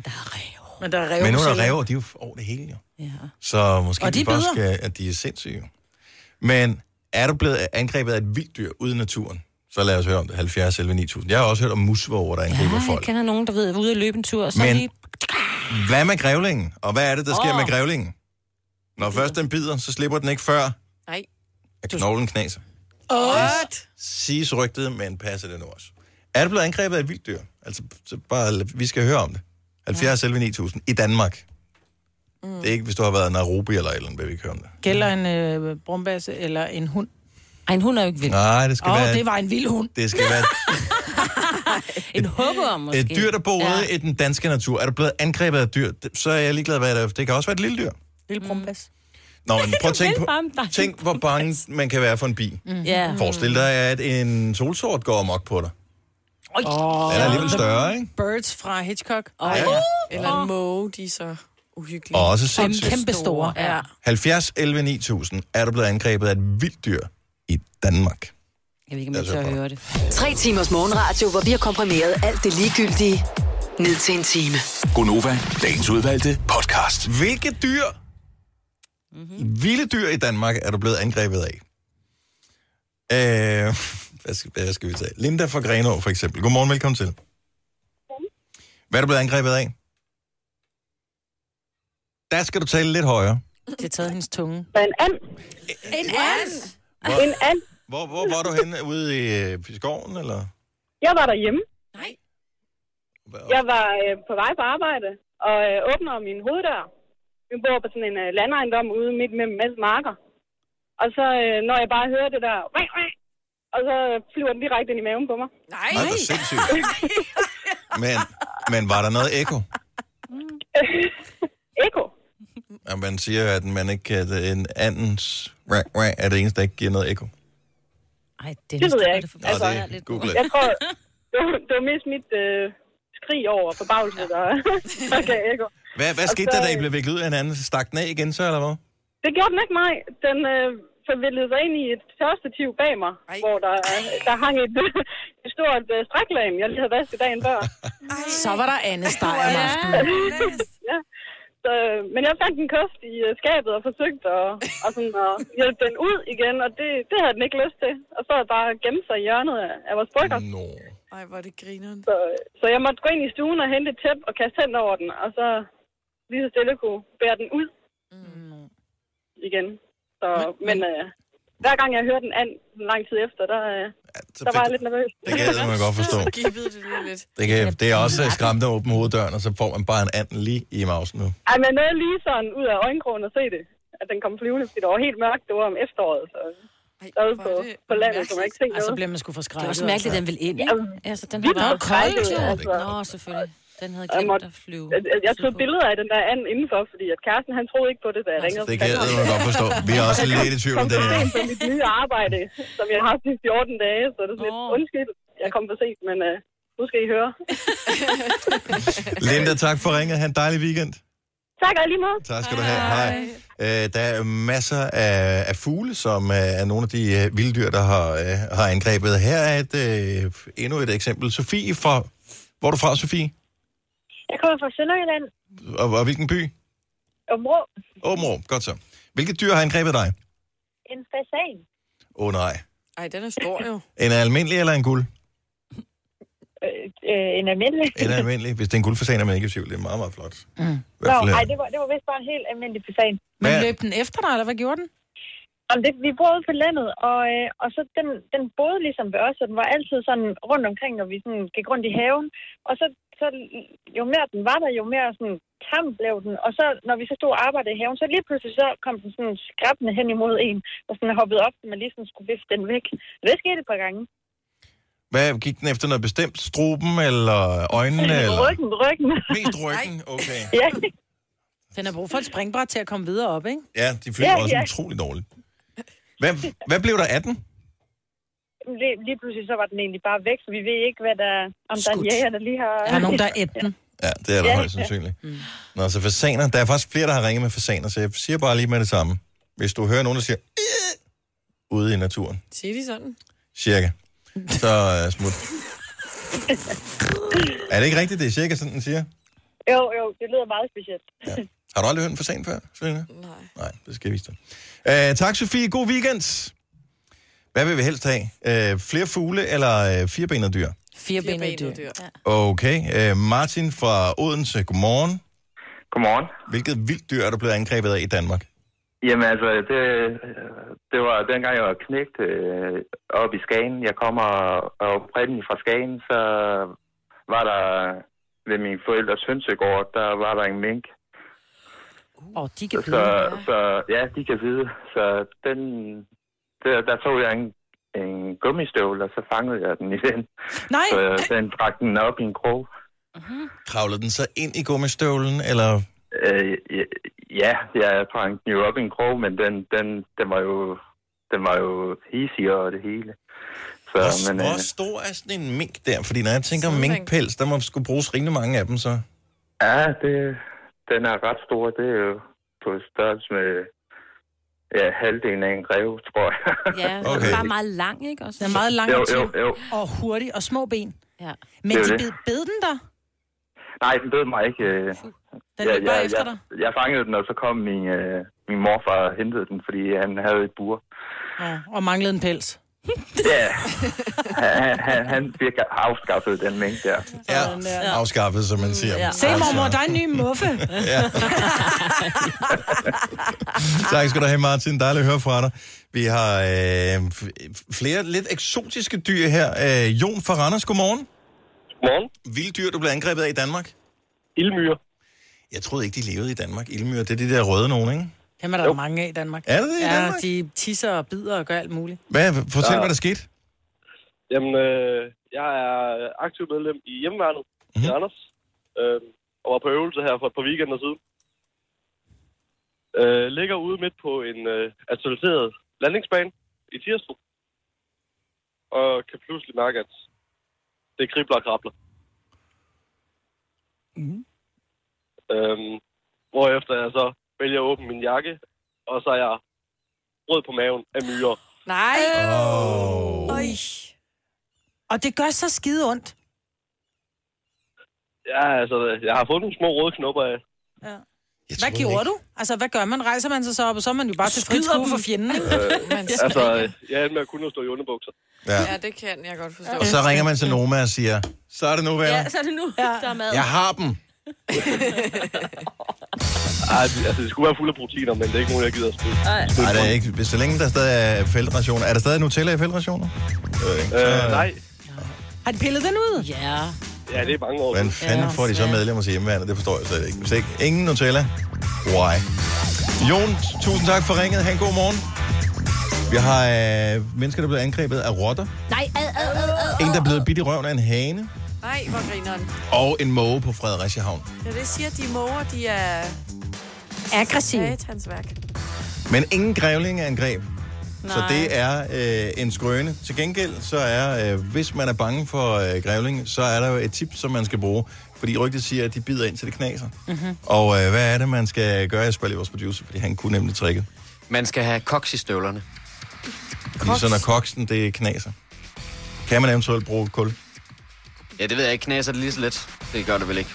[SPEAKER 5] der er ræve.
[SPEAKER 4] men nu er
[SPEAKER 5] selv.
[SPEAKER 4] der ræver, de er jo over det hele, jo.
[SPEAKER 5] Ja.
[SPEAKER 4] Så måske
[SPEAKER 5] Og de
[SPEAKER 4] de bare
[SPEAKER 5] bider.
[SPEAKER 4] skal, at de er sindssyge. jo. Men er du blevet angrebet af et vildt dyr ude i naturen, så lad os høre om det. 70 11 9000. Jeg har også hørt om musvåger, der angriber
[SPEAKER 2] Ja, jeg
[SPEAKER 4] folk.
[SPEAKER 2] kender nogen, der ved, ude at løbe en tur, og så
[SPEAKER 4] Men-
[SPEAKER 2] lige...
[SPEAKER 4] Hvad med grævlingen? Og hvad er det, der sker
[SPEAKER 2] Åh.
[SPEAKER 4] oh. med grævlingen? Når først den bider, så slipper den ikke før,
[SPEAKER 6] Nej.
[SPEAKER 4] at knoglen knaser.
[SPEAKER 6] What?
[SPEAKER 4] Siges rygtet, men passer det nu også? Er det blevet angrebet af et vildt dyr? Altså, så bare, vi skal høre om det. 70 11 9000 i Danmark. Mm. Det er ikke, hvis du har været i Nairobi eller et eller andet, vil vi ikke høre om det.
[SPEAKER 5] Gælder en øh, brumbasse eller en hund?
[SPEAKER 2] Ej, en hund er jo ikke vild.
[SPEAKER 4] Nej, det skal
[SPEAKER 5] Åh,
[SPEAKER 4] være...
[SPEAKER 5] det var en vild hund.
[SPEAKER 4] Det skal være
[SPEAKER 2] en hukkeorm måske.
[SPEAKER 4] et dyr, der bor ja. i den danske natur. Er du blevet angrebet af et dyr, det- så er jeg ligeglad, hvad det er. Det kan også være et lille dyr.
[SPEAKER 5] Lille brumbasse.
[SPEAKER 4] Nå, men prøv at tænke på,
[SPEAKER 2] Velkommen, dig.
[SPEAKER 4] tænk, hvor bange man kan være for en bi.
[SPEAKER 2] Mm. Ja.
[SPEAKER 4] Forestil dig, at en solsort går amok på dig.
[SPEAKER 5] Oh,
[SPEAKER 4] Den er alligevel større, ikke?
[SPEAKER 5] Birds fra Hitchcock.
[SPEAKER 6] Oh, ja. Eller en måge, de er så uhyggelige.
[SPEAKER 4] Og også sindssygt.
[SPEAKER 5] Kæmpe store. Ja.
[SPEAKER 4] 70 11 9000 er du blevet angrebet af et vildt dyr i Danmark.
[SPEAKER 2] Jeg ved ikke, om
[SPEAKER 4] jeg tør høre
[SPEAKER 2] det.
[SPEAKER 10] Tre timers morgenradio, hvor vi har komprimeret alt det ligegyldige ned til en time.
[SPEAKER 3] Gonova, dagens udvalgte podcast.
[SPEAKER 4] Hvilke dyr, mm-hmm. vilde dyr i Danmark, er du blevet angrebet af? Øh, hvad, skal, hvad skal vi tage? Linda fra Grenå, for eksempel. Godmorgen, velkommen til. Hvad er du blevet angrebet af? Der skal du tale lidt højere.
[SPEAKER 5] Det har taget hendes tunge.
[SPEAKER 12] En and.
[SPEAKER 2] En and?
[SPEAKER 4] Hvor-
[SPEAKER 12] En and.
[SPEAKER 4] Hvor, hvor var du henne? Ude i, øh, i skoven, eller?
[SPEAKER 12] Jeg var derhjemme. Nej. Jeg var øh, på vej på arbejde, og øh, åbner min hoveddør. Vi bor på sådan en øh, landejendom ude midt mellem masse marker. Og så øh, når jeg bare hører det der, "Wah, wah," og så øh, flyver den direkte ind i maven på mig.
[SPEAKER 6] Nej.
[SPEAKER 4] Nej, hvor sindssygt. Men, men var der noget ekko?
[SPEAKER 13] Mm.
[SPEAKER 12] Eko.
[SPEAKER 4] Ja, man siger, at man ikke kan... at En andens... Right, right, er det eneste, der ikke giver noget ekko.
[SPEAKER 2] Ej,
[SPEAKER 12] Det ved jeg ikke.
[SPEAKER 4] Nå, det er lidt Google.
[SPEAKER 12] jeg tror, det var, det var mest mit øh, skrig over forbavelse, der, der gav eko.
[SPEAKER 4] Hvad, hvad
[SPEAKER 12] Og
[SPEAKER 4] skete
[SPEAKER 12] så,
[SPEAKER 4] der, da I
[SPEAKER 12] øh,
[SPEAKER 4] blev viklet ud af hinanden? Stak den af igen så, eller hvad?
[SPEAKER 12] Det gjorde den ikke mig. Den øh, forvildede sig ind i et tørstativ bag mig, Ej. hvor der, der hang et, et stort øh, stræklagen, jeg lige havde vasket dagen før.
[SPEAKER 5] Så var der andet steg om aftenen.
[SPEAKER 12] ja. Så, øh, men jeg fandt en kost i øh, skabet og forsøgte at, og sådan, at hjælpe den ud igen, og det, det havde den ikke lyst til. Og så bare gemt sig i hjørnet af, af vores bryggers.
[SPEAKER 4] No.
[SPEAKER 6] Ej, hvor er det grineren.
[SPEAKER 12] Så, så jeg måtte gå ind i stuen og hente et tæp og kaste hen over den, og så lige så stille kunne bære den ud mm. igen. Så, men øh, hver gang jeg hører den and lang tid efter, der, øh, der var jeg lidt nervøs.
[SPEAKER 4] Det kan man godt forstå.
[SPEAKER 6] Så gibbede det lige lidt.
[SPEAKER 4] Det, kan, det er også øh, skræmt at åbne hoveddøren, og så får man bare en anden lige i mausen nu.
[SPEAKER 12] Ej, men jeg nåede lige sådan ud af øjenkrogen og se det, at den kom flyvende, fordi det var helt mørkt, det var om efteråret, så derude på, på landet, som jeg ikke
[SPEAKER 5] Ej,
[SPEAKER 12] tænkte
[SPEAKER 5] så
[SPEAKER 6] Altså,
[SPEAKER 12] noget.
[SPEAKER 5] bliver man sgu for
[SPEAKER 2] Det
[SPEAKER 5] skrækket.
[SPEAKER 2] er også mærkeligt, at den vil ind, ikke? Altså, den var
[SPEAKER 12] Vildt
[SPEAKER 2] bare
[SPEAKER 12] nok koldt,
[SPEAKER 2] kold,
[SPEAKER 12] jo. Altså.
[SPEAKER 2] jo. Nå, selvfølgelig. Den havde
[SPEAKER 12] Jeg,
[SPEAKER 2] glemt
[SPEAKER 12] måtte,
[SPEAKER 2] at flyve.
[SPEAKER 12] jeg, jeg tog billeder af den der and indenfor, fordi at kæresten, han troede ikke på det, da jeg ringede.
[SPEAKER 4] Det
[SPEAKER 12] til
[SPEAKER 4] kan
[SPEAKER 12] fanden.
[SPEAKER 4] man godt forstå. Vi er også lidt i tvivl om
[SPEAKER 12] kom
[SPEAKER 4] det
[SPEAKER 12] for
[SPEAKER 4] her.
[SPEAKER 12] sent på mit nye arbejde, som jeg har haft i 14 dage, så det er sådan lidt undskyld, jeg kom for sent, men uh, nu skal I høre.
[SPEAKER 4] Linda, tak for ringet. Ha' en dejlig weekend.
[SPEAKER 12] tak og i lige måde.
[SPEAKER 4] Tak skal du have. Hej. Øh, der er masser af, af fugle, som øh, er nogle af de øh, vilde dyr, der har, øh, har angrebet. Her er et, øh, endnu et eksempel. Sofie fra... Hvor er du fra, Sofie?
[SPEAKER 14] Jeg kommer fra Sønderjylland.
[SPEAKER 4] Og, og hvilken by?
[SPEAKER 14] Områ.
[SPEAKER 4] Åbenrå. Godt så. Hvilket dyr har angrebet dig?
[SPEAKER 14] En fasan.
[SPEAKER 4] Åh oh, nej.
[SPEAKER 6] Ej, den er stor jo.
[SPEAKER 4] En almindelig eller en guld?
[SPEAKER 14] Øh, øh, en almindelig.
[SPEAKER 4] En almindelig. Hvis det er en guldfasan, er man ikke i tvivl. Det er meget, meget flot.
[SPEAKER 5] Mm.
[SPEAKER 4] I hvert
[SPEAKER 14] Nå,
[SPEAKER 4] fald, øh,
[SPEAKER 14] nej, det var, det var vist bare en helt almindelig fasan.
[SPEAKER 5] Men
[SPEAKER 4] Hvad-
[SPEAKER 5] løb den efter dig, eller hvad gjorde den?
[SPEAKER 14] Jamen, det, vi boede på landet, og, øh, og så den, den boede ligesom ved os, og den var altid sådan rundt omkring, når vi sådan gik rundt i haven. Og så, så jo mere den var der, jo mere sådan tam blev den. Og så når vi så stod og arbejdede i haven, så lige pludselig så kom den sådan skrabende hen imod en, og sådan hoppede op, man lige sådan skulle vifte den væk. Det skete et par gange.
[SPEAKER 4] Hvad gik den efter noget bestemt? Struben eller øjnene? Eller?
[SPEAKER 14] Ryggen, ryggen.
[SPEAKER 4] Mest ryggen, okay.
[SPEAKER 14] ja.
[SPEAKER 5] Den har brug for et springbræt til at komme videre op, ikke?
[SPEAKER 4] Ja, de flyver
[SPEAKER 14] Ja,
[SPEAKER 4] også
[SPEAKER 14] ja.
[SPEAKER 4] utrolig dårligt. Hvad, hvad blev der af den?
[SPEAKER 14] Jamen, Lige, lige pludselig så var den egentlig bare væk, så vi ved ikke, hvad der, om der er en jæger, der lige har...
[SPEAKER 5] Der er nogen, der er et den.
[SPEAKER 4] Ja, det er der
[SPEAKER 15] Ja.
[SPEAKER 4] ja, højst sandsynligt. Ja. Nå, så fasaner. Der er faktisk flere, der har ringet med fasaner, så jeg siger bare lige med det samme. Hvis du hører nogen, der siger "Øh", ude i naturen,
[SPEAKER 6] Siger de sådan?
[SPEAKER 4] cirka, så uh, smut. Er det ikke rigtigt, det er cirka sådan, den siger?
[SPEAKER 14] Jo, jo, det lyder meget specielt. Ja.
[SPEAKER 4] Har du aldrig hørt en fasan før, Selina? Nej. Nej, det skal jeg vise dig. Uh, tak, Sofie. God weekend. Hvad vil vi helst have? Uh, flere fugle eller uh, firebenede dyr?
[SPEAKER 2] Firebenede dyr. dyr. Ja.
[SPEAKER 4] Okay. Uh, Martin fra Odense, godmorgen. Godmorgen. Hvilket vildt dyr er du blevet angrebet af i Danmark?
[SPEAKER 16] Jamen altså, det, det var dengang jeg var knægt øh, oppe i Skagen. Jeg kommer oprindeligt fra Skagen, så var der ved mine forældres hønsegård, der var der en mink.
[SPEAKER 2] Åh, de kan
[SPEAKER 16] Så,
[SPEAKER 2] blive.
[SPEAKER 16] så ja, de kan vide. Så den, der, der tog jeg en, en gummistøvle, og så fangede jeg den i den.
[SPEAKER 5] Nej.
[SPEAKER 16] Så jeg den bragte den op i en krog.
[SPEAKER 4] Kravlede den så ind i gummistøvlen, eller?
[SPEAKER 16] Øh, ja- ja, jeg sprang den jo op i en krog, men den, den, den var jo den var jo hisig og det hele. Så,
[SPEAKER 4] Hvor,
[SPEAKER 16] men, øh,
[SPEAKER 4] hvor stor er sådan en mink der? Fordi når jeg tænker minkpels, der må skulle bruges rimelig mange af dem så.
[SPEAKER 16] ja, det, den er ret stor. Det er jo på størrelse med ja, halvdelen af en rev, tror jeg.
[SPEAKER 2] Ja, okay. den er bare meget lang, ikke? Også.
[SPEAKER 5] Den er meget lang
[SPEAKER 16] Jo,
[SPEAKER 5] og tynd,
[SPEAKER 16] jo, jo.
[SPEAKER 5] og hurtig og små ben.
[SPEAKER 2] Ja.
[SPEAKER 5] Men
[SPEAKER 16] Det er
[SPEAKER 5] de bed,
[SPEAKER 16] jo det.
[SPEAKER 5] bed den der?
[SPEAKER 16] Nej, den bed mig ikke. øh.
[SPEAKER 5] Den løb bare efter dig?
[SPEAKER 16] jeg, jeg fangede den, og så kom min, øh, min morfar og hentede den, fordi han havde et bur.
[SPEAKER 5] Ja, og manglede en pels.
[SPEAKER 16] Ja, han, han, han fik afskaffet den mink der.
[SPEAKER 4] Ja, Mm, afskaffet, som man siger. Altså,
[SPEAKER 5] Se, mormor, der er en ny muffe.
[SPEAKER 4] Ja. Tak skal du have, Martin. Dejligt at høre fra dig. Vi har øh, f- flere lidt eksotiske dyr her. Øh, Jon fra Randers, godmorgen. Godmorgen. Vilde dyr, du blev angrebet af i Danmark? Ildmyre. Jeg troede ikke, de levede i Danmark. Ildmyre, det er de der røde nogen, ikke?
[SPEAKER 5] Dem er der jo. mange af i Danmark.
[SPEAKER 4] Er der det i
[SPEAKER 5] ja,
[SPEAKER 4] Danmark?
[SPEAKER 5] de tisser og bider og gør alt muligt.
[SPEAKER 4] Hvad, fortæl,
[SPEAKER 5] Ja.
[SPEAKER 4] ja. hvad der skete.
[SPEAKER 15] Jamen, øh, jeg er aktiv medlem i hjemmeværnet mm-hmm. i
[SPEAKER 1] Mhm.
[SPEAKER 15] Anders, øh, og var på øvelse her for et par weekender siden. Øh, ligger ude midt på en øh, asfalteret landingsbane i Tirstrup, og kan pludselig mærke, at det kribler og krabler.
[SPEAKER 8] Mhm.
[SPEAKER 15] Øhm, hvorefter jeg så vælger at åbne min jakke, og så er jeg rød på maven af myrer.
[SPEAKER 6] Nej.
[SPEAKER 4] Oh.
[SPEAKER 5] Øj. Og det gør så skide ondt.
[SPEAKER 15] Ja, altså, jeg har fået nogle små røde knopper af.
[SPEAKER 5] Hvad gjorde du? Altså, hvad gør man? Rejser man sig så op, og så er man jo bare til frit
[SPEAKER 6] Skyder
[SPEAKER 5] skue
[SPEAKER 6] dem.
[SPEAKER 5] for fjenden, ikke?
[SPEAKER 15] Øh, altså, jeg endte med at kun at stå i underbukser.
[SPEAKER 4] Ja.
[SPEAKER 6] Ja, det kan jeg godt forstå.
[SPEAKER 4] Og så ringer man til Noma og siger, så er det nu, venner.
[SPEAKER 6] Ja, så er det nu, der er mad.
[SPEAKER 4] Jeg har dem.
[SPEAKER 15] Ej, det- altså, det skulle være fuld af proteiner, men det er ikke nogen, jeg gider at spille.
[SPEAKER 4] Nej, det er ikke. Hvis så længe der stadig er feltrationer. Er der stadig Nutella i feltrationer?
[SPEAKER 15] Øh, nej.
[SPEAKER 5] Har de pillet den ud? Ja.
[SPEAKER 15] Ja, det er mange år.
[SPEAKER 4] Hvordan fanden får de så medlemmer til hjemmeværende? Det forstår jeg slet ikke. Hvis ikke ingen Nutella, why? Jon, tusind tak for ringet. Ha' en god morgen. Vi har øh, mennesker, der er blevet angrebet af rotter.
[SPEAKER 2] Nej, ad, ad, ad, ad.
[SPEAKER 4] En, der er blevet bidt i røven af en hane.
[SPEAKER 6] Nej, hvor grineren.
[SPEAKER 4] Og en måge på Fredericia Havn.
[SPEAKER 6] Ja, det siger, at de måger, de er...
[SPEAKER 5] Aggressive.
[SPEAKER 6] Satans værk.
[SPEAKER 4] Men ingen grævlingeangreb. Så
[SPEAKER 6] Nej.
[SPEAKER 4] det er øh, en skrøne. Til gengæld, så er, øh, hvis man er bange for øh, grævling, så er der jo et tip, som man skal bruge. Fordi rygtet siger, at de bider ind til det knaser. Mm-hmm. Og øh, hvad er det, man skal gøre? Jeg spørger lige vores producer, fordi han kunne nemlig tricket.
[SPEAKER 17] Man skal have koks i støvlerne.
[SPEAKER 4] Fordi så når koksen, det knaser. Kan man eventuelt bruge kul?
[SPEAKER 17] Ja, det ved jeg ikke. Knaser det lige så lidt. Det gør det vel ikke.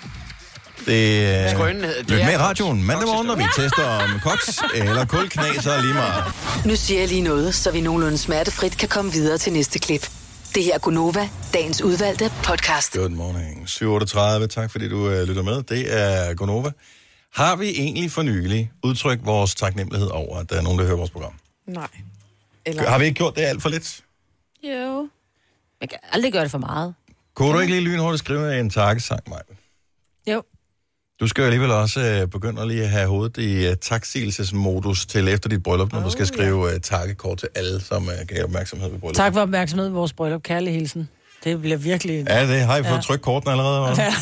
[SPEAKER 4] Det, øh,
[SPEAKER 17] Skrønen hedder- det
[SPEAKER 4] lyt
[SPEAKER 17] er
[SPEAKER 4] med i
[SPEAKER 17] koks.
[SPEAKER 4] radioen mandag morgen, når vi tester om koks eller kul knaser lige meget.
[SPEAKER 10] Nu siger jeg lige noget, så vi nogenlunde smertefrit kan komme videre til næste klip. Det her er Gunova, dagens udvalgte podcast.
[SPEAKER 4] Good morning. 7.38. Tak fordi du øh, lytter med. Det er Gonova. Har vi egentlig for nylig udtrykt vores taknemmelighed over, at der er nogen, der hører vores program?
[SPEAKER 6] Nej.
[SPEAKER 4] Eller... Har vi ikke gjort det alt for lidt?
[SPEAKER 2] Jo. Man kan aldrig gøre det for meget.
[SPEAKER 4] Kunne du ikke lige lynhurtigt skrive en takkesang, Maja?
[SPEAKER 5] Jo.
[SPEAKER 4] Du skal jo alligevel også øh, begynde at lige have hovedet i øh, taksigelsesmodus til efter dit bryllup, når oh, du skal skrive øh, takkekort til alle, som øh, gav opmærksomhed ved bryllup.
[SPEAKER 5] Tak for opmærksomheden ved vores bryllup. Kærlig hilsen. Det bliver virkelig...
[SPEAKER 4] Ja, det har I fået
[SPEAKER 5] Ja.
[SPEAKER 4] ja. trykt kortene allerede. Ja.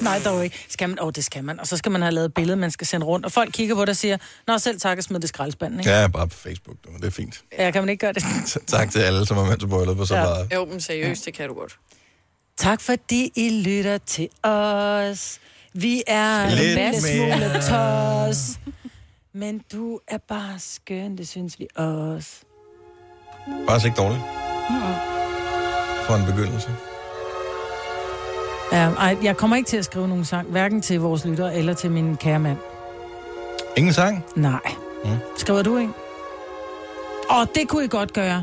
[SPEAKER 5] Nej, dog ikke. Skal man? Åh, oh, det skal man. Og så skal man have lavet et billede, man skal sende rundt. Og folk kigger på det og siger, Nå, selv tak og smid det i skraldespanden, ikke?
[SPEAKER 4] ja, bare på Facebook. Du. Det er fint.
[SPEAKER 5] ja. kan man ikke gøre det?
[SPEAKER 4] Tak til alle, som var med til bryllup, og så
[SPEAKER 5] Ja.
[SPEAKER 4] ja. bare
[SPEAKER 6] Jo, men seriøst, det kan du godt.
[SPEAKER 5] Tak fordi I lytter til os. Vi er
[SPEAKER 8] Lidt
[SPEAKER 5] en smule
[SPEAKER 8] mere.
[SPEAKER 5] tos. Men du er bare skøn, det synes vi også.
[SPEAKER 4] Faktisk ikke dårligt
[SPEAKER 5] Mm.
[SPEAKER 4] for en begyndelse.
[SPEAKER 5] Ja, ej, jeg kommer ikke til at skrive nogen sang, hverken til vores lytter eller til min kære mand.
[SPEAKER 4] Ingen sang?
[SPEAKER 5] Nej.
[SPEAKER 4] Mm.
[SPEAKER 5] Skriver du en? Åh, det kunne I godt gøre.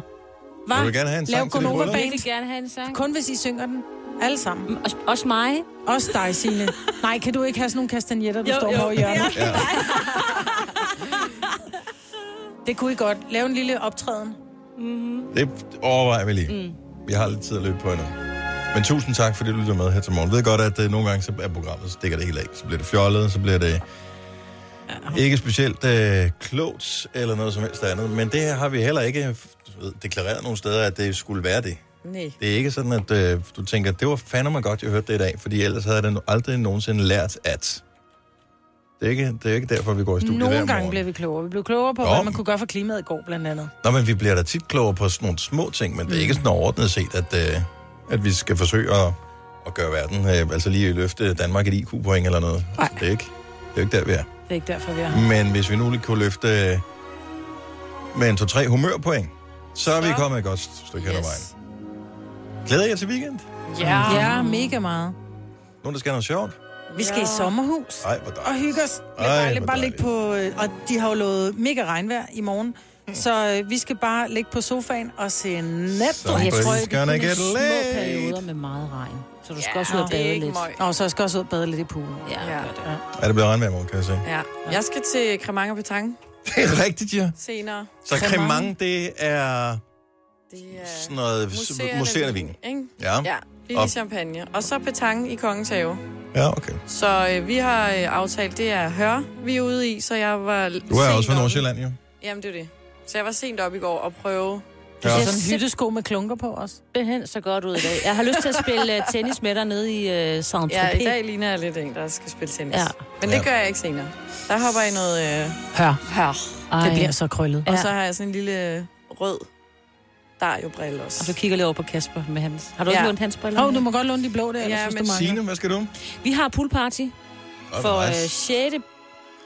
[SPEAKER 5] Hva?
[SPEAKER 4] Vil du gerne have en sang
[SPEAKER 5] Lav
[SPEAKER 4] til dit
[SPEAKER 5] Gonova
[SPEAKER 4] bryllup?
[SPEAKER 5] Band.
[SPEAKER 4] Jeg vil
[SPEAKER 5] gerne have en sang. Kun hvis I synger den. Alle sammen. Også, mig. Også dig, Signe. Nej, kan du ikke have sådan nogle kastanjetter, du
[SPEAKER 8] Jo,
[SPEAKER 5] jo, står
[SPEAKER 8] jo.
[SPEAKER 5] jo. på i hjørnet?
[SPEAKER 8] Ja.
[SPEAKER 5] Det kunne I godt. Lav en lille optræden. Mm-hmm.
[SPEAKER 4] Det overvejer vi lige. Mm. Vi har lidt tid at løbe på endnu. Men tusind tak, fordi du lytter med her til morgen. Jeg ved godt, at uh, nogle gange så er programmet, så stikker det helt af. Så bliver det fjollet, så bliver det ikke specielt uh, klogt eller noget som helst andet. Men det her har vi heller ikke øh, du ved, deklareret nogen steder, at det skulle være det.
[SPEAKER 6] Nej.
[SPEAKER 4] Det er ikke sådan, at øh, du tænker, det var fandme godt, jeg hørte det i dag, fordi ellers havde jeg da aldrig nogensinde lært, at... Det er ikke, det er ikke derfor, vi går i studiet hver
[SPEAKER 5] Nogle gange
[SPEAKER 4] morgen.
[SPEAKER 5] bliver vi klogere. Vi blev klogere på,
[SPEAKER 4] Nå.
[SPEAKER 5] hvad man kunne gøre for klimaet i går, blandt andet.
[SPEAKER 4] Nå, men vi bliver da tit klogere på sådan nogle små ting, men det er ikke sådan overordnet set, at, øh, at vi skal forsøge at, at gøre verden, øh, altså lige løfte Danmark et IQ-point eller noget. Nej. Det er ikke, det er ikke der, vi er.
[SPEAKER 5] Det er ikke derfor, vi er her.
[SPEAKER 4] Men hvis vi nu lige kunne løfte øh, med en 2-3 humørpoint, så er vi kommet et godt stykke yes. hen ad vejen. Glæder jeg til weekend?
[SPEAKER 5] Ja. ja, mega meget.
[SPEAKER 4] Nogen, der skal have noget sjovt?
[SPEAKER 5] Vi skal ja. i sommerhus
[SPEAKER 4] Ej, hvor
[SPEAKER 5] og hygge os. Det
[SPEAKER 4] Ej,
[SPEAKER 5] er dejligt
[SPEAKER 4] hvor
[SPEAKER 5] bare ligge på... øh, Og de har jo lovet mega regnvejr i morgen.
[SPEAKER 4] Mm.
[SPEAKER 5] Så øh, vi skal bare ligge på sofaen og se Netflix.
[SPEAKER 4] Somebody's Jeg tror, det er gonna kun get små laid.
[SPEAKER 2] perioder med meget regn. Så du skal også ud og
[SPEAKER 5] det er
[SPEAKER 2] bade
[SPEAKER 5] ikke
[SPEAKER 2] lidt.
[SPEAKER 5] møg. Nå, så jeg skal også ud og bade lidt i poolen.
[SPEAKER 2] Ja,
[SPEAKER 6] ja.
[SPEAKER 5] ja.
[SPEAKER 4] Er det blevet regnvejr i morgen, kan jeg se?
[SPEAKER 6] ja. Jeg skal til Cremant og Petang
[SPEAKER 4] Det er rigtigt, ja.
[SPEAKER 6] senere.
[SPEAKER 4] Så cremant, det er
[SPEAKER 6] Det
[SPEAKER 4] sådan noget
[SPEAKER 6] Museerne
[SPEAKER 4] museerne
[SPEAKER 6] vin,
[SPEAKER 4] vin.
[SPEAKER 6] ikke?
[SPEAKER 4] Ja.
[SPEAKER 6] ja. Lige
[SPEAKER 4] Og-
[SPEAKER 6] champagne. Og så Petang i Kongens Have.
[SPEAKER 4] Ja, okay.
[SPEAKER 6] Så øh, vi har øh, aftalt, det er hør, vi er ude i, så jeg var
[SPEAKER 4] Du er også fra Nordsjælland, jo.
[SPEAKER 6] Jamen, det er det. Så jeg var sent op i går og prøve.
[SPEAKER 4] Ja.
[SPEAKER 2] Ja.
[SPEAKER 5] Altså, Sådan en hyttesko med klunker på os.
[SPEAKER 2] Det hen så godt ud i dag. Jeg har lyst til at spille øh, tennis med dig nede i øh, Saint-Tropez.
[SPEAKER 6] Ja, i dag ligner jeg lidt en, der skal spille tennis. Ja. Men
[SPEAKER 2] Ja.
[SPEAKER 6] det gør jeg ikke senere. Der hopper jeg i noget øh,
[SPEAKER 5] Hør.
[SPEAKER 6] hør.
[SPEAKER 5] Det bliver så krøllet.
[SPEAKER 6] Og så har jeg sådan en lille øh, rød Dario-brille også.
[SPEAKER 2] Og du kigger lige over på Kasper med hans. Har du ja. ikke lånt hans briller?
[SPEAKER 5] Hov, du må godt låne de blå der.
[SPEAKER 2] Ja,
[SPEAKER 5] Ja,
[SPEAKER 2] men-
[SPEAKER 5] men...
[SPEAKER 4] Signe, hvad skal du?
[SPEAKER 2] Vi har poolparty
[SPEAKER 4] Godt,
[SPEAKER 2] for øh,
[SPEAKER 4] nice.
[SPEAKER 2] 6.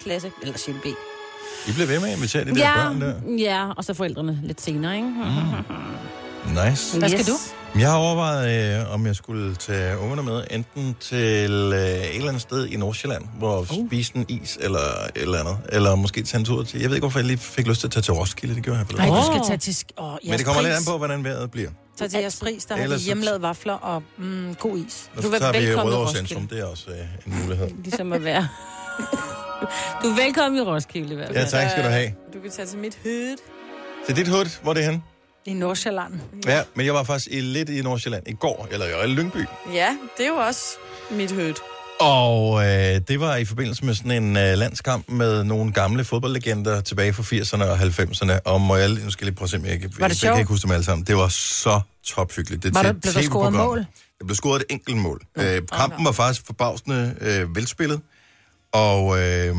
[SPEAKER 2] klasse, eller 6. B.
[SPEAKER 4] I bliver ved med at invitere de der
[SPEAKER 2] ja,
[SPEAKER 4] børn der. Mm.
[SPEAKER 2] ja, og så forældrene lidt senere, ikke?
[SPEAKER 4] Nice.
[SPEAKER 2] Hvad skal du?
[SPEAKER 4] Jeg har overvejet, øh, om jeg skulle tage ungerne med, enten til øh, et eller andet sted i Nordsjælland, hvor uh. spise en is eller et eller andet, eller måske tage en tur til, jeg ved ikke, hvorfor jeg lige fik lyst til at tage til Roskilde, det gjorde jeg på
[SPEAKER 5] Nej, du skal tage til... sk- Åh,
[SPEAKER 4] Men det kommer lidt an på, hvordan vejret bliver.
[SPEAKER 5] Tag til jeres pris, der har
[SPEAKER 4] Ellers
[SPEAKER 5] vi
[SPEAKER 4] så-
[SPEAKER 5] hjemmelavede vafler og mm, god is.
[SPEAKER 4] Og så tager vi Rødovre Centrum, det er også øh, en mulighed.
[SPEAKER 2] Ligesom at være... du er velkommen i Roskilde i hvert
[SPEAKER 4] Ja,
[SPEAKER 2] fald.
[SPEAKER 4] tak skal du have.
[SPEAKER 6] Du kan tage til mit hød.
[SPEAKER 4] Så dit hud, hvor er det henne?
[SPEAKER 5] I Nordsjælland.
[SPEAKER 4] Ja, men jeg var faktisk i, lidt i Nordsjælland i går, eller jeg var i Lyngby.
[SPEAKER 6] Ja, det er jo også mit hød.
[SPEAKER 4] Og øh, det var i forbindelse med sådan en øh, landskamp med nogle gamle fodboldlegender tilbage fra 80'erne og 90'erne. Og må jeg, lige- nu skal jeg lige prøve at se, om jeg, kan,
[SPEAKER 5] Var det
[SPEAKER 4] jeg, jeg kan
[SPEAKER 5] sjovt?
[SPEAKER 4] ikke huske dem alle sammen. Det var så tophyggeligt. Det
[SPEAKER 5] Var
[SPEAKER 4] er
[SPEAKER 5] der,
[SPEAKER 4] til et
[SPEAKER 5] blev der scoret
[SPEAKER 4] TV-program.
[SPEAKER 5] mål?
[SPEAKER 4] Der blev scoret et enkelt mål. Øh, kampen var faktisk forbavsende øh, velspillet. Og øh, det,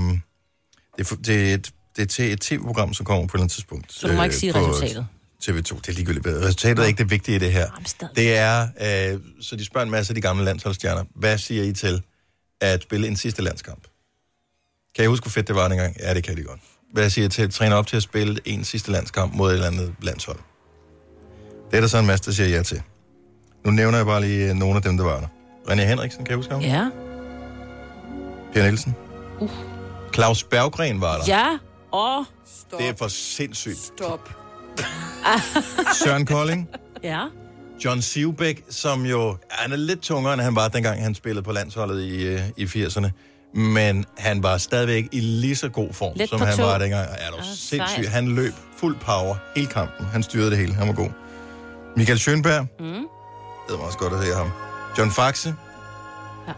[SPEAKER 4] er, fu- det, er et, det er til et tv-program, som kommer på et eller andet tidspunkt. øh,
[SPEAKER 2] Så du må ikke sige
[SPEAKER 8] Øh,
[SPEAKER 4] på
[SPEAKER 2] resultatet?
[SPEAKER 4] TV2, det er ligegyldigt. hvad- Resultatet er ikke det vigtige i det her. Det er, øh, så de spørger en masse af de gamle landsholdsstjerner, hvad siger I til at spille en sidste landskamp? Kan I huske, hvor fedt det var dengang? Ja, det kan de godt. Hvad siger I til at træne op til at spille en sidste landskamp mod et eller andet landshold? Det er der så en masse, der siger ja til. Nu nævner jeg bare lige øh, nogle af dem, der var der. René Henriksen, kan I huske ham?
[SPEAKER 2] Ja.
[SPEAKER 4] Per Nielsen?
[SPEAKER 2] Uh.
[SPEAKER 4] Claus Berggren var der.
[SPEAKER 2] Ja, og...
[SPEAKER 4] Det er for sindssygt.
[SPEAKER 6] Stop.
[SPEAKER 4] Søren Kolding?
[SPEAKER 2] ja.
[SPEAKER 4] John Sivbæk, som jo han er lidt tungere, end han var, dengang han spillede på landsholdet i, øh, i 80'erne. Men han var stadigvæk i lige så god form,
[SPEAKER 8] Let
[SPEAKER 4] som
[SPEAKER 8] på
[SPEAKER 4] han
[SPEAKER 8] tå.
[SPEAKER 4] var dengang. Ja,
[SPEAKER 5] Ah,
[SPEAKER 4] det var sindssygt. Han løb fuld power hele kampen. Han styrede det hele. Han var god. Michael Schønberg.
[SPEAKER 2] Mm.
[SPEAKER 4] Det var også godt at se ham. John Faxe. Ja.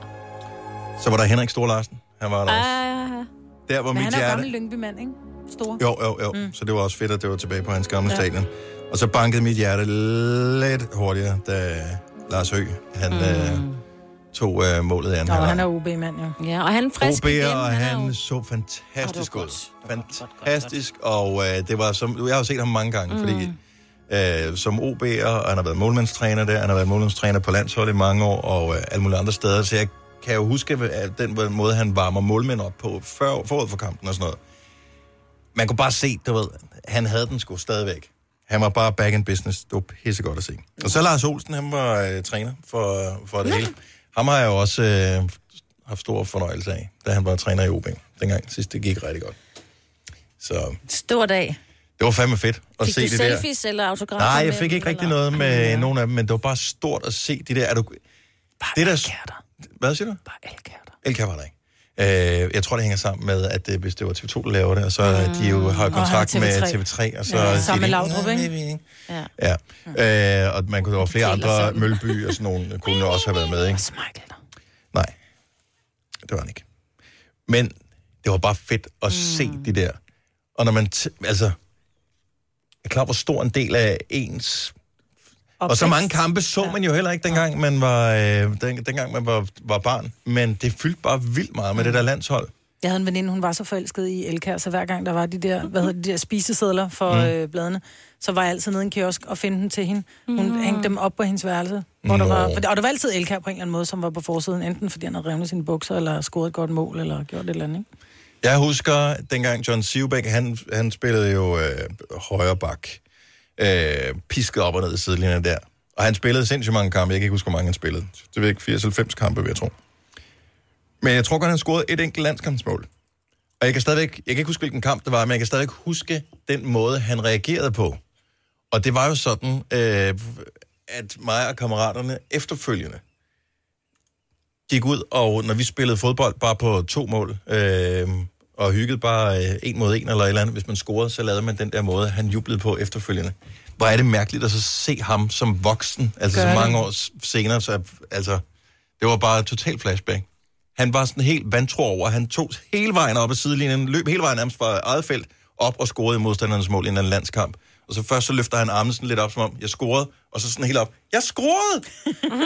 [SPEAKER 4] Så var der Henrik Storlarsen. Han var der også.
[SPEAKER 5] Ah,
[SPEAKER 4] Der var
[SPEAKER 5] men han
[SPEAKER 4] mit
[SPEAKER 5] er jo
[SPEAKER 4] hjerte.
[SPEAKER 5] gammel Lyngby-mand, ikke? Stor.
[SPEAKER 4] Jo, jo, jo. Mm. Så det var også fedt, at det var tilbage på hans gamle
[SPEAKER 5] Ja.
[SPEAKER 4] ja. stadion. Og så bankede mit hjerte lidt hurtigere, da Lars Høgh, han mm. øh, tog øh, målet af en
[SPEAKER 5] Nå, han
[SPEAKER 4] halvleg.
[SPEAKER 5] er OB-mand, jo.
[SPEAKER 2] Ja, og han er frisk
[SPEAKER 4] OB'er,
[SPEAKER 2] igen.
[SPEAKER 4] og han,
[SPEAKER 2] er jo-
[SPEAKER 4] så fantastisk ud. Fantastisk, og øh, det var som, jeg har jo set ham mange gange, mm. fordi øh, som OB'er, og han har været målmandstræner der, han har været målmandstræner på landshold i mange år, og øh, alle mulige andre steder, så jeg kan jeg jo huske, at den måde, han varmer målmænd op på før, forud for kampen og sådan noget. Man kunne bare se, du ved, han havde den sgu stadigvæk. Han var bare back in business. Det var pissegodt at se. Og så Lars Olsen, han var øh, træner for, øh, for det hele. Ham har jeg jo også øh, haft stor fornøjelse af, da han var træner i OB. Dengang sidst, det gik rigtig godt. Så
[SPEAKER 2] Stor dag.
[SPEAKER 4] det var fandme fedt at
[SPEAKER 2] Fik
[SPEAKER 4] se
[SPEAKER 2] du
[SPEAKER 4] det der.
[SPEAKER 2] selfies eller autografer?
[SPEAKER 4] Nej,
[SPEAKER 2] med
[SPEAKER 4] jeg fik
[SPEAKER 2] dem,
[SPEAKER 4] ikke rigtig
[SPEAKER 2] eller?
[SPEAKER 4] noget med ja. nogen af dem, men det var bare stort at se de der... Er du... Bare det der... Hvad siger du? Bare elkærter. Elkærter var der ikke. Øh, jeg tror, det hænger sammen med, at øh, hvis det var TV2, der laver det, og så mm. de jo har kontrakt
[SPEAKER 5] Og
[SPEAKER 4] med
[SPEAKER 5] TV3.
[SPEAKER 4] TV3, og så...
[SPEAKER 5] Ja.
[SPEAKER 4] siger
[SPEAKER 5] Sammen med
[SPEAKER 4] de,
[SPEAKER 5] Laudrup, ikke?
[SPEAKER 2] Ja.
[SPEAKER 4] Ja, øh, og man kunne, der var flere andre, Mølby og sådan nogle, kunne jo også have været med, ikke? Nej, det var han ikke. Men det var bare fedt at mm. se de der. Og når man, t- altså, jeg er klar, hvor stor en del af ens... Og så mange kampe så man jo heller ikke, dengang man var, øh, den, dengang man var, var barn. Men det fyldte bare vildt meget med det der landshold.
[SPEAKER 5] Jeg havde en veninde, hun var så forelsket i Elkær, så hver gang der var de der, hvad hedder de der spisesedler for
[SPEAKER 4] Mm.
[SPEAKER 5] mm. øh, bladene, så var jeg altid nede i en kiosk og finde dem til hende. Hun
[SPEAKER 2] Mm.
[SPEAKER 5] mm. hængte dem op på hendes værelse. Hvor der
[SPEAKER 4] Nå.
[SPEAKER 5] var, for- og der var altid Elkær på en eller anden måde, som var på forsiden, enten fordi han havde revnet sine bukser, eller scoret et godt mål, eller gjort et eller andet. Ikke?
[SPEAKER 4] Jeg husker, dengang John Sivbæk, han, han spillede jo øh, højre bak. Øh, pisket op og ned i sidelinjen der. Og han spillede sindssygt mange kampe. Jeg kan ikke huske, hvor mange han spillede. Det ved jeg ikke 80-90 kampe, vil jeg tro. Men jeg tror godt, han scorede et enkelt landskampsmål. Og jeg kan stadigvæk, jeg kan ikke huske, hvilken kamp det var, men jeg kan stadigvæk huske den måde, han reagerede på. Og det var jo sådan, øh, at mig og kammeraterne efterfølgende gik ud, og når vi spillede fodbold bare på to mål, øh, og hyggede bare øh, en mod en eller et eller andet, hvis man scorede, så lavede man den der måde, han jublede på efterfølgende. Hvor er det mærkeligt at så se ham som voksen, altså
[SPEAKER 5] Gør
[SPEAKER 4] så
[SPEAKER 5] det.
[SPEAKER 4] mange år s- senere, så altså, det var bare total flashback. Han var sådan helt vantro over, han tog hele vejen op ad sidelinjen, løb hele vejen nærmest fra eget felt op og scorede i modstandernes mål i en eller anden landskamp. Og så først så løfter han armen sådan lidt op, som om jeg scorede, og så sådan helt op, jeg scorede!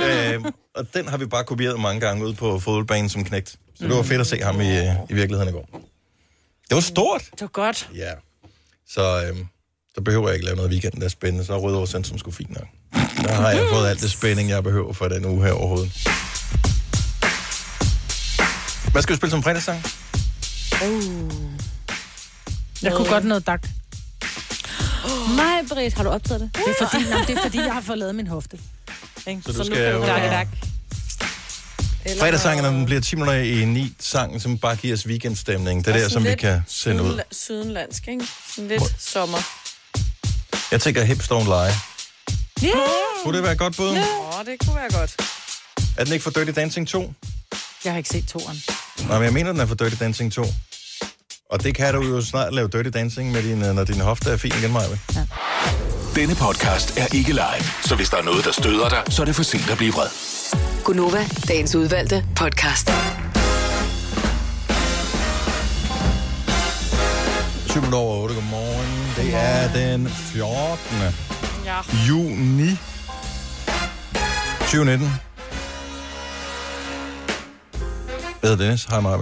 [SPEAKER 4] øh, og den har vi bare kopieret mange gange ude på fodboldbanen som knægt. Så det var fedt at se ham i, øh, i virkeligheden i går. Det var stort!
[SPEAKER 5] Mm. Det var godt.
[SPEAKER 4] Ja. Så øh, der behøver jeg ikke lave noget weekend, der er spændende. Så er Rødovre Centrum sgu fint nok. Der har jeg fået alt det spænding, jeg behøver for den uge her overhovedet. Hvad skal vi spille som fredagssang?
[SPEAKER 5] Uh. Jeg kunne godt noget dak.
[SPEAKER 2] Nej, Britt, har du optaget det?
[SPEAKER 5] Det er fordi, nå, det er fordi jeg har fået lavet min hofte. Ikke?
[SPEAKER 4] Så du skal jo- Dak-dak. Fredagssangen, når den bliver 10 minutter i 9, sangen, som bare giver os weekendstemning. Det er der, som vi kan sende ud.
[SPEAKER 6] Sydenlandsk, ikke? Sådan lidt sommer.
[SPEAKER 4] Jeg tænker, hips don't lie.
[SPEAKER 6] Ja!
[SPEAKER 4] Kunne det være et godt bud?
[SPEAKER 6] Åh, det kunne være godt.
[SPEAKER 4] Er den ikke for Dirty Dancing 2?
[SPEAKER 5] Jeg har ikke set toren.
[SPEAKER 4] Nej, men jeg mener, den er for Dirty Dancing 2. Og det kan du jo snart lave Dirty Dancing, med din, øh, når din hofte er fin igen, Maja.
[SPEAKER 18] Denne podcast er ikke live, så hvis der er noget, der støder dig, så er det for sent at blive vred.
[SPEAKER 10] Gunova, dagens udvalgte podcast.
[SPEAKER 4] 7 minutter over 8. Godmorgen. Det er den 14.
[SPEAKER 6] Ja.
[SPEAKER 4] juni 2019. Hvad hedder Dennis? Hej, Maja.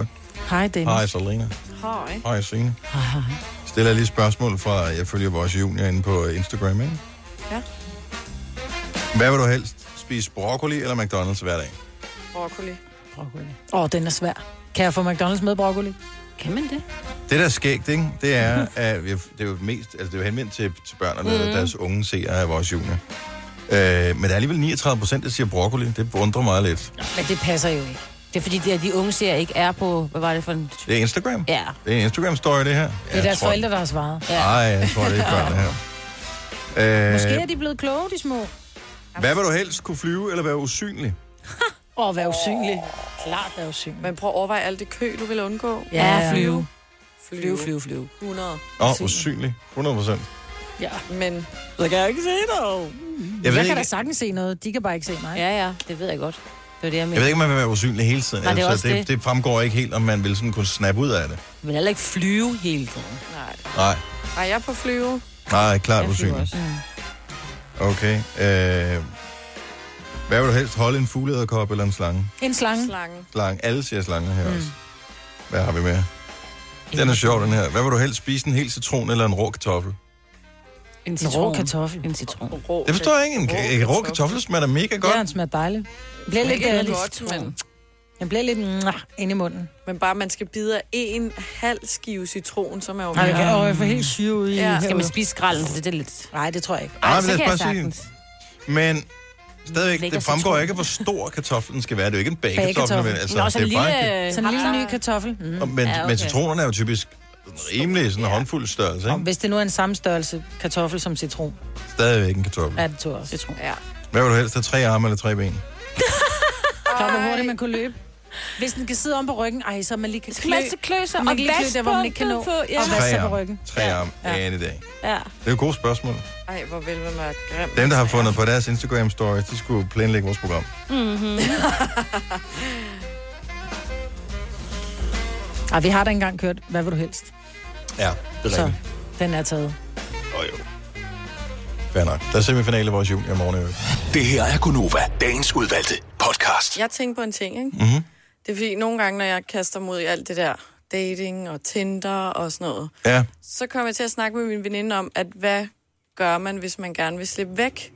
[SPEAKER 5] Hej, Dennis.
[SPEAKER 4] Hej, Selena.
[SPEAKER 6] Hej.
[SPEAKER 4] Hej, Signe.
[SPEAKER 5] Hej, hej.
[SPEAKER 4] Stiller jeg lige et spørgsmål fra, jeg følger vores junior inde på Instagram, ikke?
[SPEAKER 6] Ja.
[SPEAKER 4] Hvad vil du helst? Spise broccoli eller McDonald's hver dag?
[SPEAKER 6] Broccoli.
[SPEAKER 5] Broccoli. Åh, oh, den er svær. Kan jeg få McDonald's med broccoli? Kan man det?
[SPEAKER 4] Det, der er skægt, ikke? det er, at vi- det er jo mest, altså det er jo henvendt til, til børnene mm.
[SPEAKER 5] Mhm.
[SPEAKER 4] og deres unge seere af vores junior. Øh, men der er alligevel 39 procent, der siger broccoli. Det undrer mig lidt.
[SPEAKER 2] Men det passer jo ikke. Det er fordi, de, de unge ser ikke er på, hvad var det for en...
[SPEAKER 4] Det er Instagram.
[SPEAKER 2] Ja.
[SPEAKER 4] Det er en Instagram-story, det her.
[SPEAKER 5] Det er deres forældre, der har svaret.
[SPEAKER 4] Nej, jeg tror, det er ikke børn, det her. Øh,
[SPEAKER 5] Måske er de blevet kloge, de små.
[SPEAKER 4] Hvad vil du helst? Kunne flyve eller være usynlig?
[SPEAKER 5] Og være usynlig. Klart være usynlig.
[SPEAKER 6] Men prøv at overveje alt det kø, du vil undgå.
[SPEAKER 5] Ja, flyve.
[SPEAKER 6] Flyve,
[SPEAKER 5] flyve, flyve.
[SPEAKER 6] 100.
[SPEAKER 4] Åh, oh, usynlig. 100 procent.
[SPEAKER 5] Ja.
[SPEAKER 6] Men...
[SPEAKER 5] Så kan jeg ikke se dig.
[SPEAKER 4] Jeg
[SPEAKER 5] Jeg,
[SPEAKER 4] ved
[SPEAKER 5] jeg kan
[SPEAKER 4] ikke-
[SPEAKER 5] da sagtens se noget. De kan bare ikke se mig. Ja, ja. Det ved jeg godt. Det var det, jeg
[SPEAKER 4] Jeg ved ikke, om man vil være usynlig hele tiden.
[SPEAKER 5] Nej, det er
[SPEAKER 4] altså,
[SPEAKER 5] også
[SPEAKER 4] det,
[SPEAKER 5] det.
[SPEAKER 4] det fremgår ikke helt, om man vil sådan kunne snappe ud af det.
[SPEAKER 2] Men heller ikke flyve hele tiden.
[SPEAKER 6] Nej.
[SPEAKER 4] Nej,
[SPEAKER 6] Ej, jeg er på flyve.
[SPEAKER 4] nej, klart
[SPEAKER 6] Jeg flyver
[SPEAKER 4] usynlig.
[SPEAKER 6] også.
[SPEAKER 5] Mm.
[SPEAKER 4] Okay. Øh, hvad vil du helst? Holde en fuglederkop eller en slange?
[SPEAKER 5] En slange.
[SPEAKER 6] Slange.
[SPEAKER 4] Slange. Alle siger slange her mm. også. Hvad har vi med? Den er sjov, den her. Hvad vil du helst spise? En hel citron eller en rå kartoffel?
[SPEAKER 5] En, en rå kartoffel. En citron. Rå.
[SPEAKER 4] Det forstår jeg ikke. En, en rå kartoffel smager da mega godt.
[SPEAKER 5] Ja, den smager dejligt. Det bliver lidt
[SPEAKER 6] Ikke
[SPEAKER 5] øh,
[SPEAKER 6] godt, men-
[SPEAKER 5] Den bliver lidt mwah, inde i munden.
[SPEAKER 6] Men bare, man skal bide af en halv skive citron, som er jo...
[SPEAKER 5] Ej, jeg kan- åh, jeg får helt syre ude i-
[SPEAKER 6] Ja.
[SPEAKER 5] Skal man
[SPEAKER 2] spise skralden? Det er lidt...
[SPEAKER 5] Nej, det tror jeg ikke.
[SPEAKER 4] Ej, men lad os bare sige- Men stadigvæk, det fremgår ikke, hvor stor kartoflen skal være. Det er jo ikke en bagekartoffel, men altså,
[SPEAKER 5] Nå, sådan
[SPEAKER 4] det
[SPEAKER 5] en
[SPEAKER 4] er bare en-
[SPEAKER 5] lille, sådan en lille ny kartoffel. Mm.
[SPEAKER 4] Og- Men, ja, okay. men citronerne er jo typisk rimelig sådan en håndfuld størrelse, ikke?
[SPEAKER 5] Hvis det nu er en samme størrelse kartoffel som citron,
[SPEAKER 4] Stadigvæk en kartoffel.
[SPEAKER 5] er det to også. Citron.
[SPEAKER 6] Ja.
[SPEAKER 4] Hvad vil du helst have? Tre arme eller tre ben?
[SPEAKER 5] Klar, hvor hurtigt man kunne løbe. Hvis den kan sidde om på ryggen, ej, så man lige kan klø.
[SPEAKER 2] man så klø sig,
[SPEAKER 5] Man
[SPEAKER 2] og
[SPEAKER 5] kan lige klø
[SPEAKER 2] vask
[SPEAKER 5] der, hvor man ikke kan nå.
[SPEAKER 2] punktet på, ja.
[SPEAKER 5] Og vask
[SPEAKER 4] Tre
[SPEAKER 5] sig på
[SPEAKER 4] arme.
[SPEAKER 5] ryggen.
[SPEAKER 4] Tre arme. Ja. i dag.
[SPEAKER 2] Ja.
[SPEAKER 4] Det er jo gode spørgsmål.
[SPEAKER 6] Ej, hvor vil man være grim.
[SPEAKER 4] Dem, der har fundet på deres Instagram stories, de skulle planlægge vores program.
[SPEAKER 5] Mm-hmm. Ej, vi har da engang kørt, hvad vil du helst?
[SPEAKER 4] Ja, det er rigtigt.
[SPEAKER 5] Den er taget.
[SPEAKER 4] Åh jo. Fair nok. Der er semifinale i vores jul i morgen. i øvrigt.
[SPEAKER 18] Det her er Gunova, dagens udvalgte podcast.
[SPEAKER 6] Jeg tænker på en ting, ikke?
[SPEAKER 4] Mhm.
[SPEAKER 6] Det er fordi, nogle gange, når jeg kaster mod i alt det der dating og Tinder og sådan noget,
[SPEAKER 4] Ja.
[SPEAKER 6] så kommer jeg til at snakke med min veninde om, at hvad gør man, hvis man gerne vil slippe væk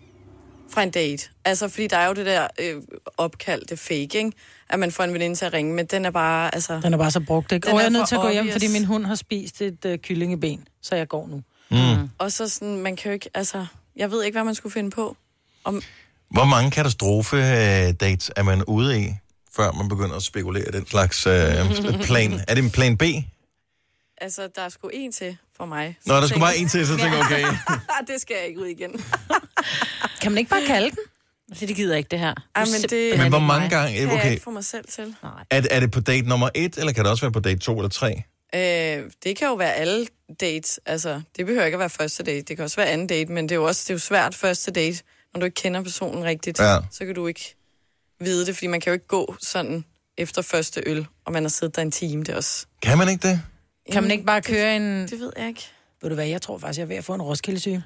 [SPEAKER 6] fra en date? Altså, fordi der er jo det der øh, opkald, det fake, ikke? At man får en veninde til at ringe, men den er bare, altså...
[SPEAKER 5] Den er bare så brugt, ikke?
[SPEAKER 6] Den
[SPEAKER 5] Og jeg er
[SPEAKER 6] er
[SPEAKER 5] nødt
[SPEAKER 6] for
[SPEAKER 5] til at gå hjem,
[SPEAKER 6] obvious.
[SPEAKER 5] fordi min hund har spist et øh, kyllingeben, så jeg går nu.
[SPEAKER 4] Mm.
[SPEAKER 6] Og så sådan, man kan jo ikke, altså... Jeg ved ikke, hvad man skulle finde på. Om,
[SPEAKER 4] Hvor mange katastrofe-dates er man ude i, før man begynder at spekulere i den slags øh, plan? Er det en plan B?
[SPEAKER 6] altså, der er sgu en til for mig.
[SPEAKER 4] Nå, der er sgu
[SPEAKER 6] tænker-
[SPEAKER 4] bare en til, så tænker jeg, okay.
[SPEAKER 6] det skal jeg ikke ud igen.
[SPEAKER 5] Kan man ikke bare kalde den?
[SPEAKER 2] Altså, det gider jeg ikke, det her.
[SPEAKER 6] Ej, men det...
[SPEAKER 4] Men hvor mange gange-
[SPEAKER 6] Kan jeg
[SPEAKER 4] okay.
[SPEAKER 6] ikke få mig selv til. Nej.
[SPEAKER 4] Er, er det på date nummer et, eller kan det også være på date to eller tre?
[SPEAKER 6] Øh, det kan jo være alle dates. Altså, det behøver ikke at være første date. Det kan også være anden date, men det er jo også det er jo svært første date, når du ikke kender personen rigtigt.
[SPEAKER 4] Ja.
[SPEAKER 6] Så kan du ikke vide det, fordi man kan jo ikke gå sådan efter første øl, og man har siddet der en time. Det er også...
[SPEAKER 4] Kan man ikke det?
[SPEAKER 5] Kan man ikke bare køre en... Det
[SPEAKER 6] ved jeg ikke.
[SPEAKER 5] Ved du hvad, jeg tror faktisk, jeg er ved at få en roskildesyge.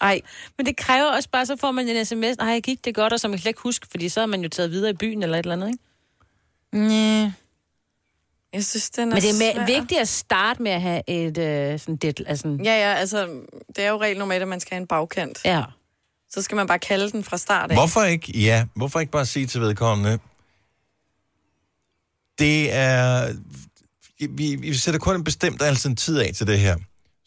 [SPEAKER 2] Ej, men det kræver også bare, så får man en sms, nej, gik det godt, og så man slet ikke huske, fordi så er man jo taget videre i byen eller et eller andet, ikke?
[SPEAKER 5] Næh.
[SPEAKER 6] Jeg synes, den er
[SPEAKER 2] Men det er
[SPEAKER 6] svær.
[SPEAKER 2] med, vigtigt at starte med at have et øh, sådan det, altså,
[SPEAKER 6] Ja, ja, altså, det er jo regel normalt, at man skal have en bagkant.
[SPEAKER 2] Ja.
[SPEAKER 6] Så skal man bare kalde den fra start af.
[SPEAKER 4] Hvorfor ikke, ja, hvorfor ikke bare sige til vedkommende, det er, vi, vi sætter kun en bestemt altså en tid af til det her.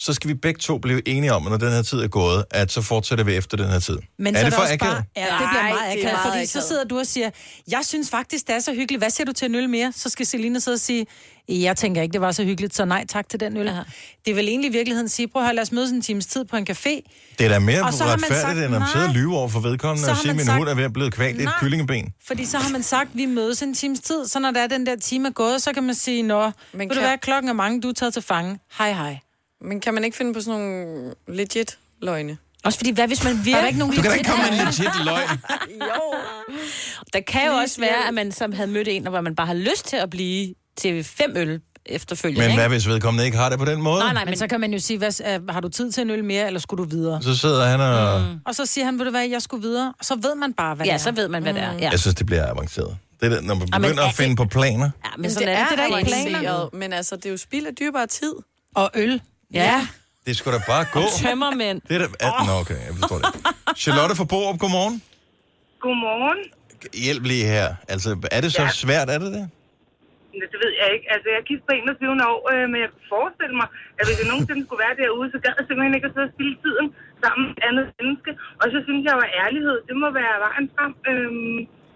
[SPEAKER 4] Så skal vi begge to blive enige om, at når den her tid er gået, at så fortsætter vi efter den her tid.
[SPEAKER 5] Men
[SPEAKER 4] er
[SPEAKER 5] så
[SPEAKER 4] det for
[SPEAKER 5] også
[SPEAKER 4] akavet?
[SPEAKER 5] bare, ja, det bliver
[SPEAKER 6] Nej,
[SPEAKER 5] meget
[SPEAKER 6] det er
[SPEAKER 5] akavet,
[SPEAKER 6] meget
[SPEAKER 5] fordi så
[SPEAKER 6] akavet.
[SPEAKER 5] sidder du og siger, jeg synes faktisk, det er så hyggeligt, hvad siger du til en øl mere? Så skal Selina sidde og sige, jeg tænker ikke, det var så hyggeligt, så nej tak til den øl. Aha. Det er vel egentlig i virkeligheden at sige, prøv at høre, lad os mødes en times tid på en café.
[SPEAKER 4] Det er da mere
[SPEAKER 5] Og så har man
[SPEAKER 4] retfærdigt,
[SPEAKER 5] sagt
[SPEAKER 4] end at
[SPEAKER 5] nej.
[SPEAKER 4] sidde og lyve over for vedkommende
[SPEAKER 5] Så
[SPEAKER 4] og
[SPEAKER 5] har
[SPEAKER 4] sige, at
[SPEAKER 5] man
[SPEAKER 4] min
[SPEAKER 5] sagt-
[SPEAKER 4] hund er ved at blive kvalt i et
[SPEAKER 5] Nej.
[SPEAKER 4] kyllingeben.
[SPEAKER 5] Fordi så har man sagt, vi mødes en times tid, så når der er den der time er gået, så kan man sige, nå, Men ved
[SPEAKER 6] kan-
[SPEAKER 5] du hvad, klokken er mange, du er taget til fange. Hej, hej.
[SPEAKER 6] Men kan man ikke finde på sådan nogle Mm, legit løgne?
[SPEAKER 2] Også fordi, hvad hvis man
[SPEAKER 5] virkelig... ikke nogen
[SPEAKER 4] Du kan da ikke komme med en
[SPEAKER 5] legit-
[SPEAKER 4] legit løgn.
[SPEAKER 2] Der kan jo
[SPEAKER 5] Lige
[SPEAKER 2] også være,
[SPEAKER 5] hjælp.
[SPEAKER 2] at man som havde mødt en, og hvor man bare har lyst til at blive til fem øl efterfølgende.
[SPEAKER 4] Men
[SPEAKER 2] ikke?
[SPEAKER 4] hvad hvis vedkommende ikke har det på den måde?
[SPEAKER 5] Nej, nej, men, men så kan man jo sige, hvad, s- øh, har du tid til en øl mere, eller skulle du videre?
[SPEAKER 4] Så sidder han og... Mm.
[SPEAKER 5] Og så siger han, ved du hvad, jeg skulle videre. Og så ved man bare, hvad
[SPEAKER 2] Ja,
[SPEAKER 5] det er. Mm.
[SPEAKER 2] så ved man, hvad det er, ja.
[SPEAKER 4] Jeg synes, det bliver avanceret. Det er det, når man
[SPEAKER 5] men
[SPEAKER 4] begynder
[SPEAKER 5] er
[SPEAKER 4] at finde på planer.
[SPEAKER 2] Ja,
[SPEAKER 6] Men, men
[SPEAKER 5] sådan
[SPEAKER 6] det,
[SPEAKER 5] er
[SPEAKER 6] er,
[SPEAKER 5] det. Det er da ikke
[SPEAKER 6] avanceret,
[SPEAKER 5] planer.
[SPEAKER 6] Men altså, det er jo spild af dyrbare tid.
[SPEAKER 5] Og øl.
[SPEAKER 2] Ja.
[SPEAKER 4] Det skal da bare gå.
[SPEAKER 2] Tømmermænd.
[SPEAKER 4] Det er da... At... Nå, okay, jeg forstår det. Charlotte fra Borup, godmorgen.
[SPEAKER 7] Godmorgen.
[SPEAKER 4] Hjælp lige her. Altså, er det så
[SPEAKER 7] Ja.
[SPEAKER 4] svært, er det det?
[SPEAKER 7] Men Det ved jeg ikke. Altså, jeg er gift på 21 år, øh, men jeg kunne forestille mig, at hvis jeg nogensinde skulle være derude, så gad jeg simpelthen ikke at sidde og spille tiden sammen med et andet menneske. Og så synes jeg jo, at ærlighed, det må være vejen frem øh,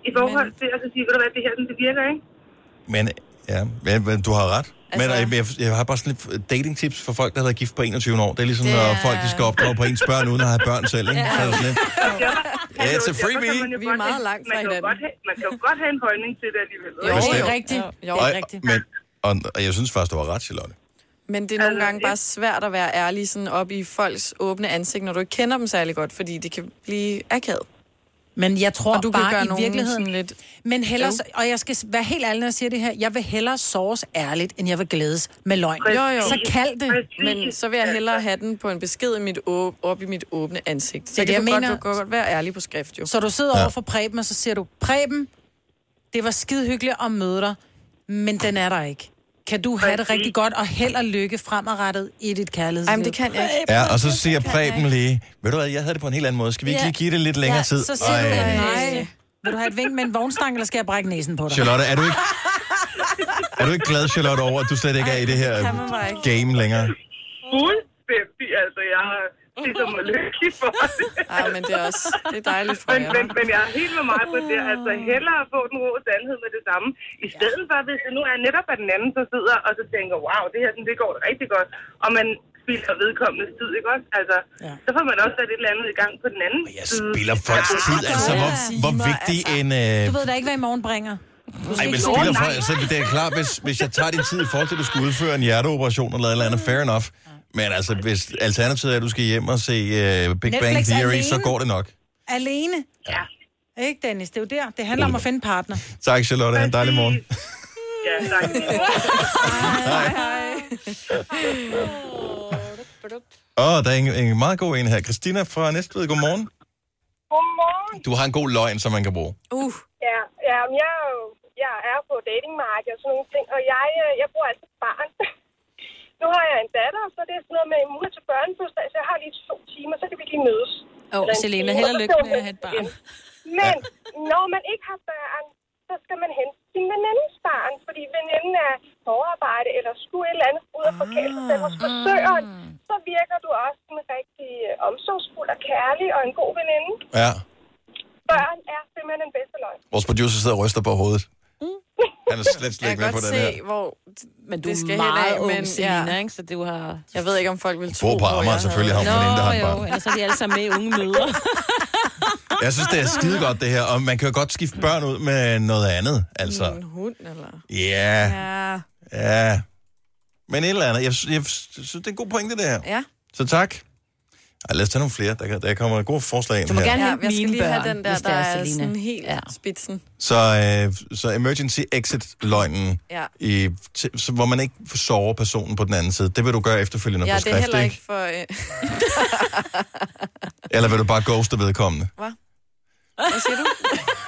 [SPEAKER 7] i forhold til at så sige, ved du hvad, det her, sådan, det virker, ikke?
[SPEAKER 4] Men, ja, men, men du har ret. Altså... Men jeg, jeg, har bare sådan lidt datingtips for folk, der har været gift på 21 år. Det er ligesom,
[SPEAKER 7] Det
[SPEAKER 4] når
[SPEAKER 7] er-
[SPEAKER 4] folk de skal opdrage på ens børn, uden at have børn selv. Ikke?
[SPEAKER 7] Ja.
[SPEAKER 4] Så er det sådan lidt.
[SPEAKER 7] Hallo,
[SPEAKER 4] It's a
[SPEAKER 7] derfor kan
[SPEAKER 4] freebie.
[SPEAKER 7] man jo
[SPEAKER 6] Vi er
[SPEAKER 7] godt
[SPEAKER 6] meget
[SPEAKER 7] have-
[SPEAKER 6] langt
[SPEAKER 7] man
[SPEAKER 6] fra
[SPEAKER 7] kan jo
[SPEAKER 6] hinanden.
[SPEAKER 7] godt have- Man kan jo godt have en holdning til det alligevel.
[SPEAKER 6] Jo,
[SPEAKER 4] Bestemt.
[SPEAKER 6] jo, rigtigt. Jo,
[SPEAKER 4] og,
[SPEAKER 6] rigtigt.
[SPEAKER 4] Men, og, og, jeg synes faktisk, du var ret, Charlotte.
[SPEAKER 6] Men det er nogle gange bare svært at være ærlig sådan op i folks åbne ansigt, når du ikke kender dem særlig godt, fordi det kan blive akavet.
[SPEAKER 5] Men jeg tror
[SPEAKER 6] Og du kan
[SPEAKER 5] bare
[SPEAKER 6] gøre
[SPEAKER 5] i
[SPEAKER 6] nogen
[SPEAKER 5] virkeligheden...
[SPEAKER 6] sådan lidt-
[SPEAKER 5] Men hellere,
[SPEAKER 6] Jo.
[SPEAKER 5] og jeg skal være helt ærlig, når jeg siger det her, jeg vil hellere såres ærligt, end jeg vil glædes med løgn.
[SPEAKER 6] Jo, jo.
[SPEAKER 5] Så kald det.
[SPEAKER 6] Men så vil jeg hellere have den på en besked i mit åb- op i mit åbne ansigt. Så
[SPEAKER 5] Det er
[SPEAKER 6] det,
[SPEAKER 5] det,
[SPEAKER 6] det
[SPEAKER 5] jeg
[SPEAKER 6] kan godt,
[SPEAKER 5] mener.
[SPEAKER 6] du kan godt være ærlig på skrift, jo.
[SPEAKER 5] Så du sidder ja. over for Preben, og så siger du, Preben, det var skide hyggeligt at møde dig, men den er der ikke. Kan du have det rigtig godt, og held og lykke fremadrettet i dit kærlighedsliv?
[SPEAKER 6] Jamen, det kan jeg ikke.
[SPEAKER 4] Ja, og så siger Preben lige, ved du hvad, jeg havde det på en helt anden måde. Skal vi ikke lige give det lidt længere tid?
[SPEAKER 5] Så siger du,
[SPEAKER 4] Ej.
[SPEAKER 5] nej. Vil du have et vink med en vognstang, eller skal jeg brække næsen på dig?
[SPEAKER 4] Charlotte, er du ikke- Er du ikke glad, Charlotte, over, at du slet ikke er i det her
[SPEAKER 5] kan man bare ikke.
[SPEAKER 4] game længere?
[SPEAKER 7] Fuldstændig, altså jeg er ligesom lykkelig for det.
[SPEAKER 6] Ej, men det er også det er dejligt for
[SPEAKER 7] men,
[SPEAKER 6] jer.
[SPEAKER 7] men, men jeg er helt med mig på det. Altså hellere få den rå sandhed med det samme. I stedet for, hvis det nu er netop, at den anden så sidder og så tænker, wow, det her sådan, det går da rigtig godt. Og man spilder vedkommendes tid, ikke også? Altså, ja. så får man også sat et eller andet i gang på den anden jeg side.
[SPEAKER 4] Spiller folks tid, altså, hvor, hvor
[SPEAKER 5] altså.
[SPEAKER 4] vigtig en... Øh,
[SPEAKER 5] Du ved da ikke, hvad i morgen bringer.
[SPEAKER 4] Ej, men spiller for, altså, det er klart, hvis, hvis jeg tager din tid i forhold til, at du skal udføre en hjerteoperation eller et eller andet, fair enough. Men altså, hvis alternativet er, at du skal hjem og se uh, Big Bang
[SPEAKER 5] Netflix
[SPEAKER 4] Theory,
[SPEAKER 5] alene.
[SPEAKER 4] så går det nok.
[SPEAKER 5] Alene? Ja. Ikke, Dennis? Det er jo der. Det handler om at finde en partner.
[SPEAKER 4] Tak, Charlotte. Ha' en dejlig morgen.
[SPEAKER 7] Ja, tak.
[SPEAKER 4] Åh, oh, der er en, en meget god en her. Christina fra Næstved, godmorgen.
[SPEAKER 19] Godmorgen.
[SPEAKER 4] Du har en god løgn, som man kan bruge.
[SPEAKER 19] Uh. Ja, ja men jeg, er jo- jeg er på datingmarkedet og sådan nogle ting, og jeg, øh, jeg bruger altid barn. nu har jeg en datter, så det er sådan noget med mor til børnefødselsdag, så jeg har lige to timer, så kan vi lige mødes.
[SPEAKER 2] Åh,
[SPEAKER 19] Eller en
[SPEAKER 2] Selena,
[SPEAKER 19] time,
[SPEAKER 2] held og
[SPEAKER 19] så
[SPEAKER 2] lykke
[SPEAKER 19] kan
[SPEAKER 2] med
[SPEAKER 19] hun
[SPEAKER 2] at have et
[SPEAKER 19] hente igen. Men når man ikke har børn, så skal man hente sin venindes barn, fordi veninden er på overarbejde eller skulle et eller andet ud og forkæle sig selv hos forsøgeren. Så virker du også en rigtig øh, omsorgsfuld og kærlig og en god veninde.
[SPEAKER 4] Ja.
[SPEAKER 19] Børn er simpelthen den bedste løgn.
[SPEAKER 4] Vores producer sidder og ryster på hovedet. Han er slet,
[SPEAKER 6] Mm.
[SPEAKER 4] slet
[SPEAKER 6] Jeg
[SPEAKER 4] ikke
[SPEAKER 6] kan
[SPEAKER 4] med på
[SPEAKER 6] godt
[SPEAKER 4] den
[SPEAKER 6] se,
[SPEAKER 4] her.
[SPEAKER 6] hvor
[SPEAKER 2] Men du
[SPEAKER 6] det
[SPEAKER 2] er
[SPEAKER 6] skal
[SPEAKER 2] meget
[SPEAKER 6] hen af,
[SPEAKER 2] ung,
[SPEAKER 6] men
[SPEAKER 2] Selina,
[SPEAKER 6] ja.
[SPEAKER 2] ikke? Så det er jo har...
[SPEAKER 6] Jeg ved ikke, om folk vil tro
[SPEAKER 4] Bor på Amager, selvfølgelig har hun veninde, der har et
[SPEAKER 2] Nå, jo,
[SPEAKER 4] barn.
[SPEAKER 2] ellers er de alle sammen med i unge møder.
[SPEAKER 4] Jeg synes, det er skide godt, det her. Og man kan jo godt skifte børn ud med noget andet, altså.
[SPEAKER 6] en hund, eller...
[SPEAKER 4] Ja.
[SPEAKER 6] Ja.
[SPEAKER 4] Ja. Men et eller andet. Jeg, sy- jeg synes, det er en god pointe, det her.
[SPEAKER 6] Ja.
[SPEAKER 4] Så tak. Ej, lad os tage nogle flere. Der, kan- der kommer et godt forslag ind
[SPEAKER 6] Du må
[SPEAKER 4] her.
[SPEAKER 6] gerne ja,
[SPEAKER 2] hente
[SPEAKER 6] jeg skal
[SPEAKER 2] mine
[SPEAKER 6] lige have
[SPEAKER 2] børn,
[SPEAKER 6] den der,
[SPEAKER 2] hvis
[SPEAKER 6] der
[SPEAKER 2] det er
[SPEAKER 6] er
[SPEAKER 2] Selina.
[SPEAKER 6] sådan helt ja. spidsen.
[SPEAKER 4] Så, øh, så emergency exit-løgnen,
[SPEAKER 6] Ja.
[SPEAKER 4] i, til, så, hvor man ikke sover personen på den anden side. Det vil du gøre efterfølgende
[SPEAKER 6] ja,
[SPEAKER 4] på
[SPEAKER 6] det er
[SPEAKER 4] skrift,
[SPEAKER 6] heller
[SPEAKER 4] ikke?
[SPEAKER 6] ikke for... Øh...
[SPEAKER 4] Eller vil du bare ghoste vedkommende?
[SPEAKER 6] Hvad siger du?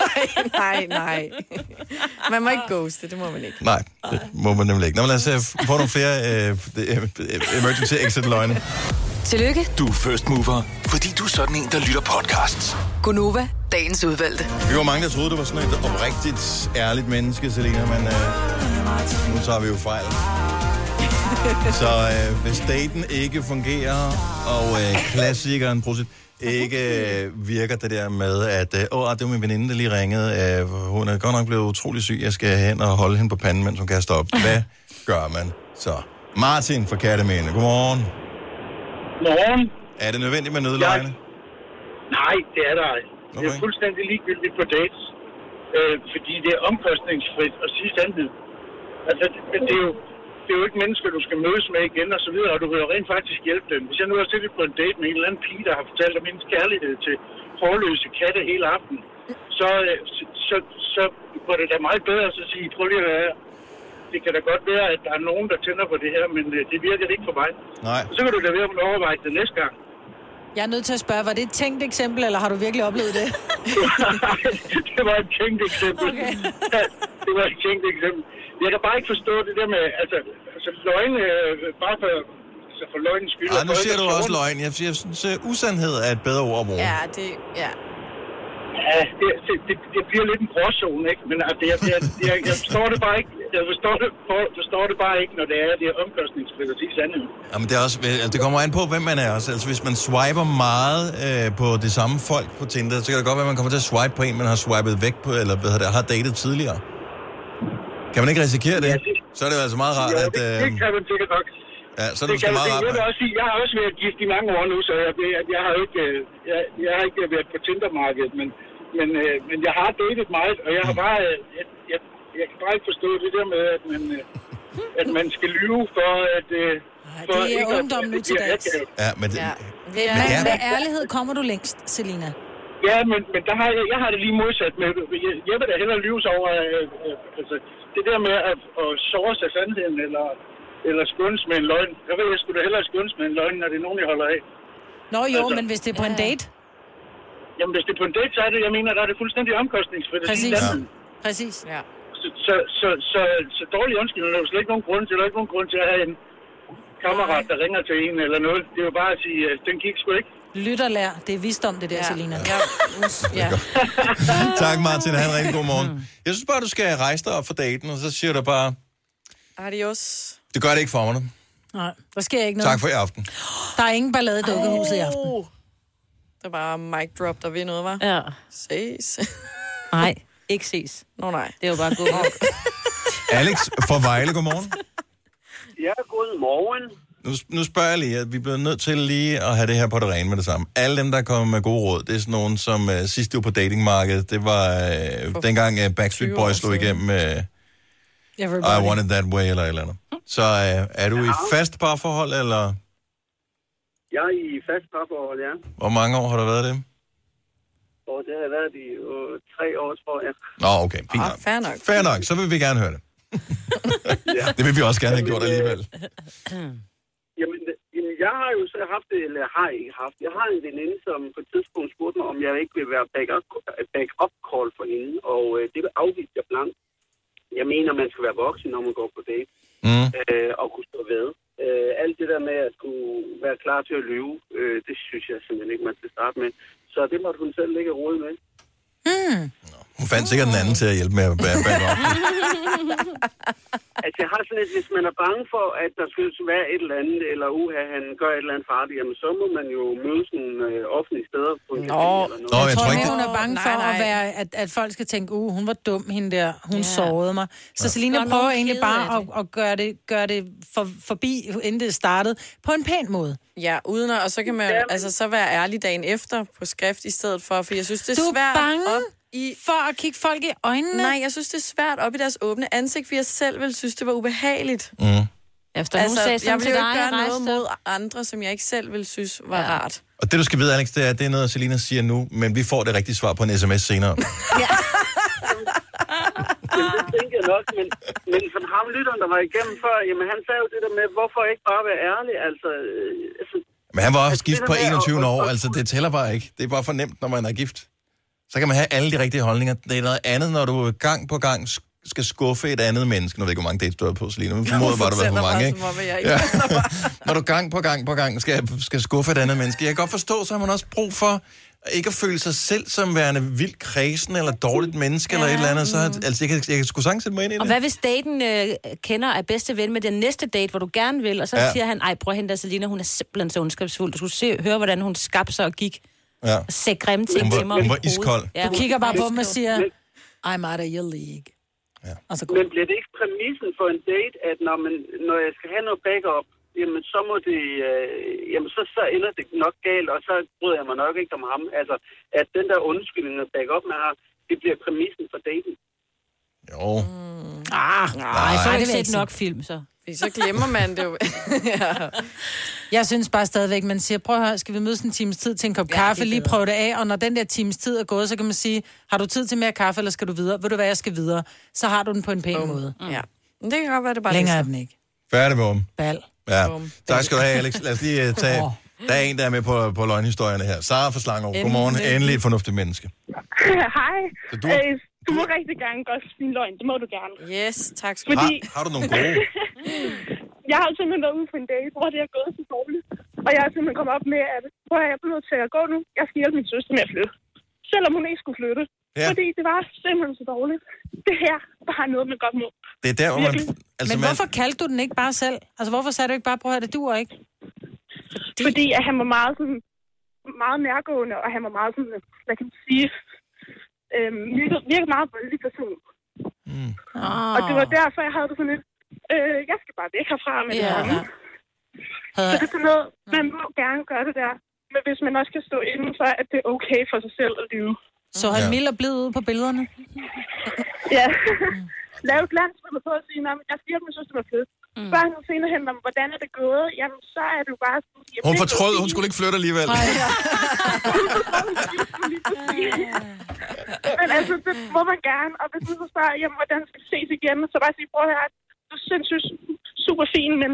[SPEAKER 6] nej, nej. Man må ikke ghoste, det må man ikke.
[SPEAKER 4] Nej, det må man nemlig ikke. Nå, men lad os øh, få nogle flere øh, øh, øh, emergency exit-løgne.
[SPEAKER 10] Tillykke,
[SPEAKER 18] Du er first mover, fordi du er sådan en, der lytter podcasts.
[SPEAKER 10] Gunova, dagens udvalgte.
[SPEAKER 4] Vi var mange, der troede, du var sådan et oprigtigt, ærligt menneske, Selina, men øh, nu tager vi jo fejl. Så øh, hvis daten ikke fungerer, og øh, klassikeren prosit, ikke øh, virker det der med, at øh, åh, det var min veninde, der lige ringede. Øh, hun er godt nok blevet utrolig syg. Jeg skal hen og holde hende på panden, mens hun kaster op. Hvad gør man så? Martin fra Kattemæne, godmorgen.
[SPEAKER 20] Godmorgen.
[SPEAKER 4] Er det nødvendigt med nødløgne?
[SPEAKER 20] Nej, det er der ikke. Okay. Det er fuldstændig ligegyldigt på dates. Øh, fordi det er omkostningsfrit at sige sandhed. Altså, det, det, er jo, det er jo ikke mennesker, du skal mødes med igen og så videre, og du vil jo rent faktisk hjælpe dem. Hvis jeg nu har siddet på en date med en eller anden pige, der har fortalt om hendes kærlighed til forløse katte hele aften, så, øh, så, så, så var det da meget bedre at så sige, prøv lige at høre her. Det kan da godt være, at der er nogen, der tænder på det her, men øh, det virker ikke for mig.
[SPEAKER 4] Nej.
[SPEAKER 20] Så kan du da være med at overveje det næste gang.
[SPEAKER 5] Jeg er nødt til at spørge, var det et tænkt eksempel, eller har du virkelig oplevet det?
[SPEAKER 20] det var et tænkt eksempel. Okay. det var et tænkt eksempel. Jeg kan bare ikke forstå det der med, altså, altså løgne, øh, bare for, altså for løgnens skyld.
[SPEAKER 4] Ej,
[SPEAKER 20] og
[SPEAKER 4] nu
[SPEAKER 20] for
[SPEAKER 4] siger
[SPEAKER 20] ikke
[SPEAKER 4] du
[SPEAKER 20] at
[SPEAKER 4] også
[SPEAKER 20] såre-
[SPEAKER 4] løgn. Jeg, jeg synes, øh, usandhed er et bedre ord at bruge.
[SPEAKER 6] Ja, det... Ja.
[SPEAKER 20] Ja, det, det, det, det, bliver lidt en gråzone, ikke? Men altså, jeg, jeg, jeg, jeg, forstår det bare ikke, jeg forstår det, for, forstår det bare ikke, når det er, det er omkostningsfrit at sige sandheden.
[SPEAKER 4] Jamen, det, er også, altså, det kommer an på, hvem man er også. Altså, hvis man swiper meget øh, på det samme folk på Tinder, så kan det godt være, at man kommer til at swipe på en, man har swipet væk på, eller hvad hedder det, har datet tidligere. Kan man ikke risikere det? Så er det jo altså meget rart,
[SPEAKER 20] Ja,
[SPEAKER 4] at...
[SPEAKER 20] det,
[SPEAKER 4] Øh,
[SPEAKER 20] det kan man sikkert nok.
[SPEAKER 4] ja, så er det
[SPEAKER 20] kan
[SPEAKER 4] måske
[SPEAKER 20] man
[SPEAKER 4] meget
[SPEAKER 20] sikkert.
[SPEAKER 4] rart.
[SPEAKER 20] jeg, vil
[SPEAKER 4] man-
[SPEAKER 20] også sige, jeg har også været gift i mange år nu, så jeg, jeg, jeg, har, ikke, øh, jeg, jeg har ikke været på Tinder-markedet, men, men, øh, men jeg har datet meget, og jeg har
[SPEAKER 4] Mm.
[SPEAKER 20] bare, øh, jeg, jeg, jeg kan bare ikke forstå det der med, at man, øh, at man skal lyve for, at... Øh, for
[SPEAKER 5] det er
[SPEAKER 20] ikke at-
[SPEAKER 5] ungdom nu
[SPEAKER 20] at det
[SPEAKER 5] til
[SPEAKER 20] bliver
[SPEAKER 5] dags.
[SPEAKER 20] akavet.
[SPEAKER 4] Ja, men det,
[SPEAKER 5] Ja. Men med ærlighed kommer du længst, Selina.
[SPEAKER 20] Ja, men, men der har jeg, jeg har det lige modsat med, jeg, jeg vil da hellere lyve sig over, øh, øh, altså, det der med at, at sove sig sandheden, eller, eller skyndes med en løgn. Jeg ved, jeg skulle da hellere skyndes med en løgn, når det er nogen, jeg holder af.
[SPEAKER 5] Nå jo,
[SPEAKER 20] Altså-
[SPEAKER 5] men hvis det er på en date.
[SPEAKER 20] Jamen, hvis det er på en date, så er det, jeg mener, der er det fuldstændig omkostningsfrit. at
[SPEAKER 5] Præcis.
[SPEAKER 20] sige sandheden.
[SPEAKER 5] Præcis.
[SPEAKER 6] Ja.
[SPEAKER 20] Så, så, så, så, så dårlige undskyldninger, der er jo slet ikke nogen grund til, der er ikke nogen grund til at have en kammerat, der ringer til en eller noget. Det er jo bare at sige, at øh, den gik sgu ikke.
[SPEAKER 5] Lytterlær, det er visdom, det der, ja. Selina. Ja. ja.
[SPEAKER 4] tak, Martin. Han en rigtig god morgen. Jeg synes bare, du skal rejse dig op for daten, og så siger du bare,
[SPEAKER 6] Adios.
[SPEAKER 4] det gør det ikke for mig. nu.
[SPEAKER 5] Nej, der sker ikke noget.
[SPEAKER 4] Tak for i aften.
[SPEAKER 5] Der er ingen ballade i dukkehuset i aften.
[SPEAKER 6] Oh. Der var mic drop, der ved noget, var.
[SPEAKER 2] Ja.
[SPEAKER 6] Ses.
[SPEAKER 2] Nej, ikke ses.
[SPEAKER 6] Nå nej.
[SPEAKER 2] Det er jo bare god
[SPEAKER 4] Alex fra Vejle, godmorgen.
[SPEAKER 21] Ja, godmorgen.
[SPEAKER 4] Nu, nu spørger jeg lige, at vi bliver nødt til lige at have det her på det rene med det samme. Alle dem, der kommer med gode råd, det er sådan nogen, som uh, sidst de var på datingmarkedet, det var uh, dengang uh, Backstreet Boys slog igennem uh, I Want It That Way eller et eller andet. Så uh, er du i fast parforhold, eller
[SPEAKER 21] Jeg er i fast parforhold, ja.
[SPEAKER 4] hvor mange år har du været det?
[SPEAKER 21] Og det har jeg været i øh, tre år, tror jeg.
[SPEAKER 4] Nå, okay, fint nok.
[SPEAKER 6] Ah, Fair nok.
[SPEAKER 4] Fair nok, så vil vi gerne høre det. det vil vi også gerne have gjort
[SPEAKER 21] øh,
[SPEAKER 4] alligevel.
[SPEAKER 21] Jamen, det- jamen, jeg har jo så haft, eller har ikke haft, jeg har en veninde, som på et tidspunkt spurgte mig, om jeg ikke ville være back-up back up call for hende, og øh, det afviste jeg blankt. Jeg mener, man skal være voksen, når man går på date,
[SPEAKER 4] mm.
[SPEAKER 21] øh, og kunne stå ved. Øh, alt det der med at kunne være klar til at lyve, øh, det synes jeg simpelthen ikke, man skal starte med. Så det måtte hun selv ligge og rode med.
[SPEAKER 2] Mm.
[SPEAKER 4] Hun fandt sikkert den anden til at hjælpe med at bære bag op.
[SPEAKER 21] Altså, jeg har sådan lidt, hvis man er bange for, at der skal være et eller andet, eller uha, han gør et eller andet farligt, jamen så må man jo mødes nogle øh, offentlige steder på en café eller noget.
[SPEAKER 4] Nå, jeg
[SPEAKER 5] jeg
[SPEAKER 4] tror
[SPEAKER 5] tror
[SPEAKER 4] ikke,
[SPEAKER 5] mere, hun er bange
[SPEAKER 6] Åh,
[SPEAKER 5] for
[SPEAKER 6] nej,
[SPEAKER 5] nej,
[SPEAKER 6] nej.
[SPEAKER 5] at være, at, at folk skal tænke, uh, hun var dum, hende der, hun sårede mig. Så
[SPEAKER 6] Ja.
[SPEAKER 5] ja.
[SPEAKER 6] Der
[SPEAKER 5] Selina
[SPEAKER 6] er
[SPEAKER 5] prøver
[SPEAKER 6] nogen
[SPEAKER 5] egentlig
[SPEAKER 6] kede
[SPEAKER 5] bare
[SPEAKER 6] af
[SPEAKER 5] at, at gøre det, gøre det for, forbi, inden det startede, på en pæn måde.
[SPEAKER 6] Ja, uden at, og så kan man jo, altså så være ærlig dagen efter på skrift i stedet for, for jeg synes, det er
[SPEAKER 5] Du er
[SPEAKER 6] svært
[SPEAKER 5] bange
[SPEAKER 6] op i...
[SPEAKER 5] for at kigge folk i øjnene?
[SPEAKER 6] Nej, jeg synes, det er svært op i deres åbne ansigt, for jeg selv vil synes, det var ubehageligt.
[SPEAKER 4] Mm.
[SPEAKER 2] Efter altså, hun sagde sådan
[SPEAKER 6] jeg vil
[SPEAKER 2] til
[SPEAKER 6] jo
[SPEAKER 2] dig,
[SPEAKER 6] ikke gøre noget
[SPEAKER 2] rejse dig.
[SPEAKER 6] mod andre, som jeg ikke selv vil synes var ja. rart.
[SPEAKER 4] Og det, du skal vide, Alex, det er, at det er noget, Selina siger nu, men vi får det rigtige svar på en sms senere.
[SPEAKER 21] Jamen, det tænker jeg nok, men, men som ham lytteren, der var igennem før, jamen han sagde jo det der med, hvorfor ikke bare være ærlig, altså... Øh, altså
[SPEAKER 4] Men han var også
[SPEAKER 21] Altså,
[SPEAKER 4] gift
[SPEAKER 21] det
[SPEAKER 4] på
[SPEAKER 21] der med at-
[SPEAKER 4] 21 år, altså det tæller bare ikke. Det er bare for nemt, når man er gift. Så kan man have alle de rigtige holdninger. Det er noget andet, når du gang på gang sk- skal skuffe et andet menneske. Nu ved jeg ikke, hvor mange dates du er på, Selina. Men formoder bare, du var på mange, ikke? Ja. Når du gang på gang på gang skal, skal skuffe et andet menneske. Jeg kan godt forstå, så har man også brug for ikke at føle sig selv som værende vildt kredsen eller dårligt menneske ja, eller et eller andet. Så, har- altså, jeg kan, jeg kan sgu sagtens sætte mig ind i det.
[SPEAKER 2] Og hvad hvis daten øh, kender er bedste ven med den næste date, hvor du gerne vil, og så
[SPEAKER 4] Ja.
[SPEAKER 2] ja. siger han, ej, prøv at hente dig, Selina, hun er simpelthen så ondskabsfuld. Du skulle se, høre, hvordan hun skabte sig og gik
[SPEAKER 4] Ja.
[SPEAKER 2] og sagde grimme ting
[SPEAKER 4] Hun var-
[SPEAKER 2] til mig.
[SPEAKER 4] hun
[SPEAKER 2] om
[SPEAKER 4] var
[SPEAKER 2] mit hoved.
[SPEAKER 4] iskold.
[SPEAKER 2] Ja,
[SPEAKER 5] Du
[SPEAKER 2] hun-
[SPEAKER 5] kigger bare på dem og siger, I'm out of your league. Ja. Og så går
[SPEAKER 21] Men bliver det ikke præmissen for en date, at når, man, når jeg skal have noget backup, jamen så må det, øh, jamen så, så ender det nok galt, og så bryder jeg mig nok ikke om ham. Altså, at den der undskyldning og backup, man har, det bliver præmissen for daten.
[SPEAKER 4] Jo.
[SPEAKER 5] Ah,
[SPEAKER 6] nej,
[SPEAKER 5] så er det
[SPEAKER 2] ikke
[SPEAKER 5] vel
[SPEAKER 2] set
[SPEAKER 5] ikke
[SPEAKER 2] nok
[SPEAKER 5] sådan.
[SPEAKER 2] film, så.
[SPEAKER 6] Fordi så glemmer man det jo. ja.
[SPEAKER 5] Jeg synes bare stadigvæk, man siger, prøv at høre, skal vi mødes en times tid til en kop ja, kaffe, lige prøve det af, og når den der times tid er gået, så kan man sige, har du tid til mere kaffe, eller skal du videre? Ved du hvad, jeg skal videre. Så har du den på en pæn måde.
[SPEAKER 6] Mm. Ja. Men det kan godt være, det bare
[SPEAKER 5] Længere
[SPEAKER 6] er
[SPEAKER 5] er den ikke.
[SPEAKER 4] Færdig, bum.
[SPEAKER 5] Bal.
[SPEAKER 4] Ja. Tak skal du have, Alex. Lad os lige uh, tage... Der er en, der er med på, på løgnhistorierne her. Sara fra Slangeå. Godmorgen.
[SPEAKER 13] Endelig.
[SPEAKER 4] Endelig et fornuftigt menneske.
[SPEAKER 13] Hej.
[SPEAKER 4] Så
[SPEAKER 13] du, øh, du må rigtig gerne godt spille løgn. Det må du gerne.
[SPEAKER 6] Yes, tak
[SPEAKER 13] skal du Fordi...
[SPEAKER 4] Har, har du nogle gode?
[SPEAKER 13] jeg har jo simpelthen været ude på en date, hvor det er gået så dårligt. Og jeg er simpelthen kommet op med, at prøv at høre, jeg bliver nødt til at gå nu. Jeg skal hjælpe min søster med at flytte. Selvom hun ikke skulle flytte.
[SPEAKER 4] Ja.
[SPEAKER 13] Ja. Fordi det var simpelthen så dårligt. Det her, der har noget, man godt må.
[SPEAKER 4] Det er der, hvor man...
[SPEAKER 13] Virkelig.
[SPEAKER 5] Altså, Men
[SPEAKER 4] man-
[SPEAKER 5] hvorfor kaldte du den ikke bare selv? Altså, hvorfor sagde du ikke bare, prøv at høre, det duer ikke?
[SPEAKER 13] Fordi, Fordi at han var meget, sådan, meget nærgående, og han var meget sådan, hvad kan man sige, øhm, virkede, virkede meget voldelig person.
[SPEAKER 5] Ah.
[SPEAKER 13] Og det var derfor, jeg havde det sådan lidt, øh, jeg skal bare væk herfra med det
[SPEAKER 5] Ja.
[SPEAKER 13] samme. Så det er sådan noget, man må gerne gøre det der, men hvis man også kan stå inden for, at det er okay for sig selv at lyve.
[SPEAKER 5] Så han ja. mild og blid ud på billederne. Mm.
[SPEAKER 13] Ja. Lav et glans, hvor man prøver at sige, nej, men jeg siger, at min søster var fed. Mm. Spørg hende senere hen om, hvordan er det gået, jamen så er du bare sådan... jamen,
[SPEAKER 4] Hun
[SPEAKER 13] det er
[SPEAKER 4] fortrød,
[SPEAKER 13] gået
[SPEAKER 4] hun
[SPEAKER 13] fint.
[SPEAKER 4] skulle ikke flytte alligevel.
[SPEAKER 13] Men altså, det må man gerne. Og hvis man så spørger, jamen, hvordan skal vi ses igen, så bare sige, prøv at høre, du er sindssygt super fin, men...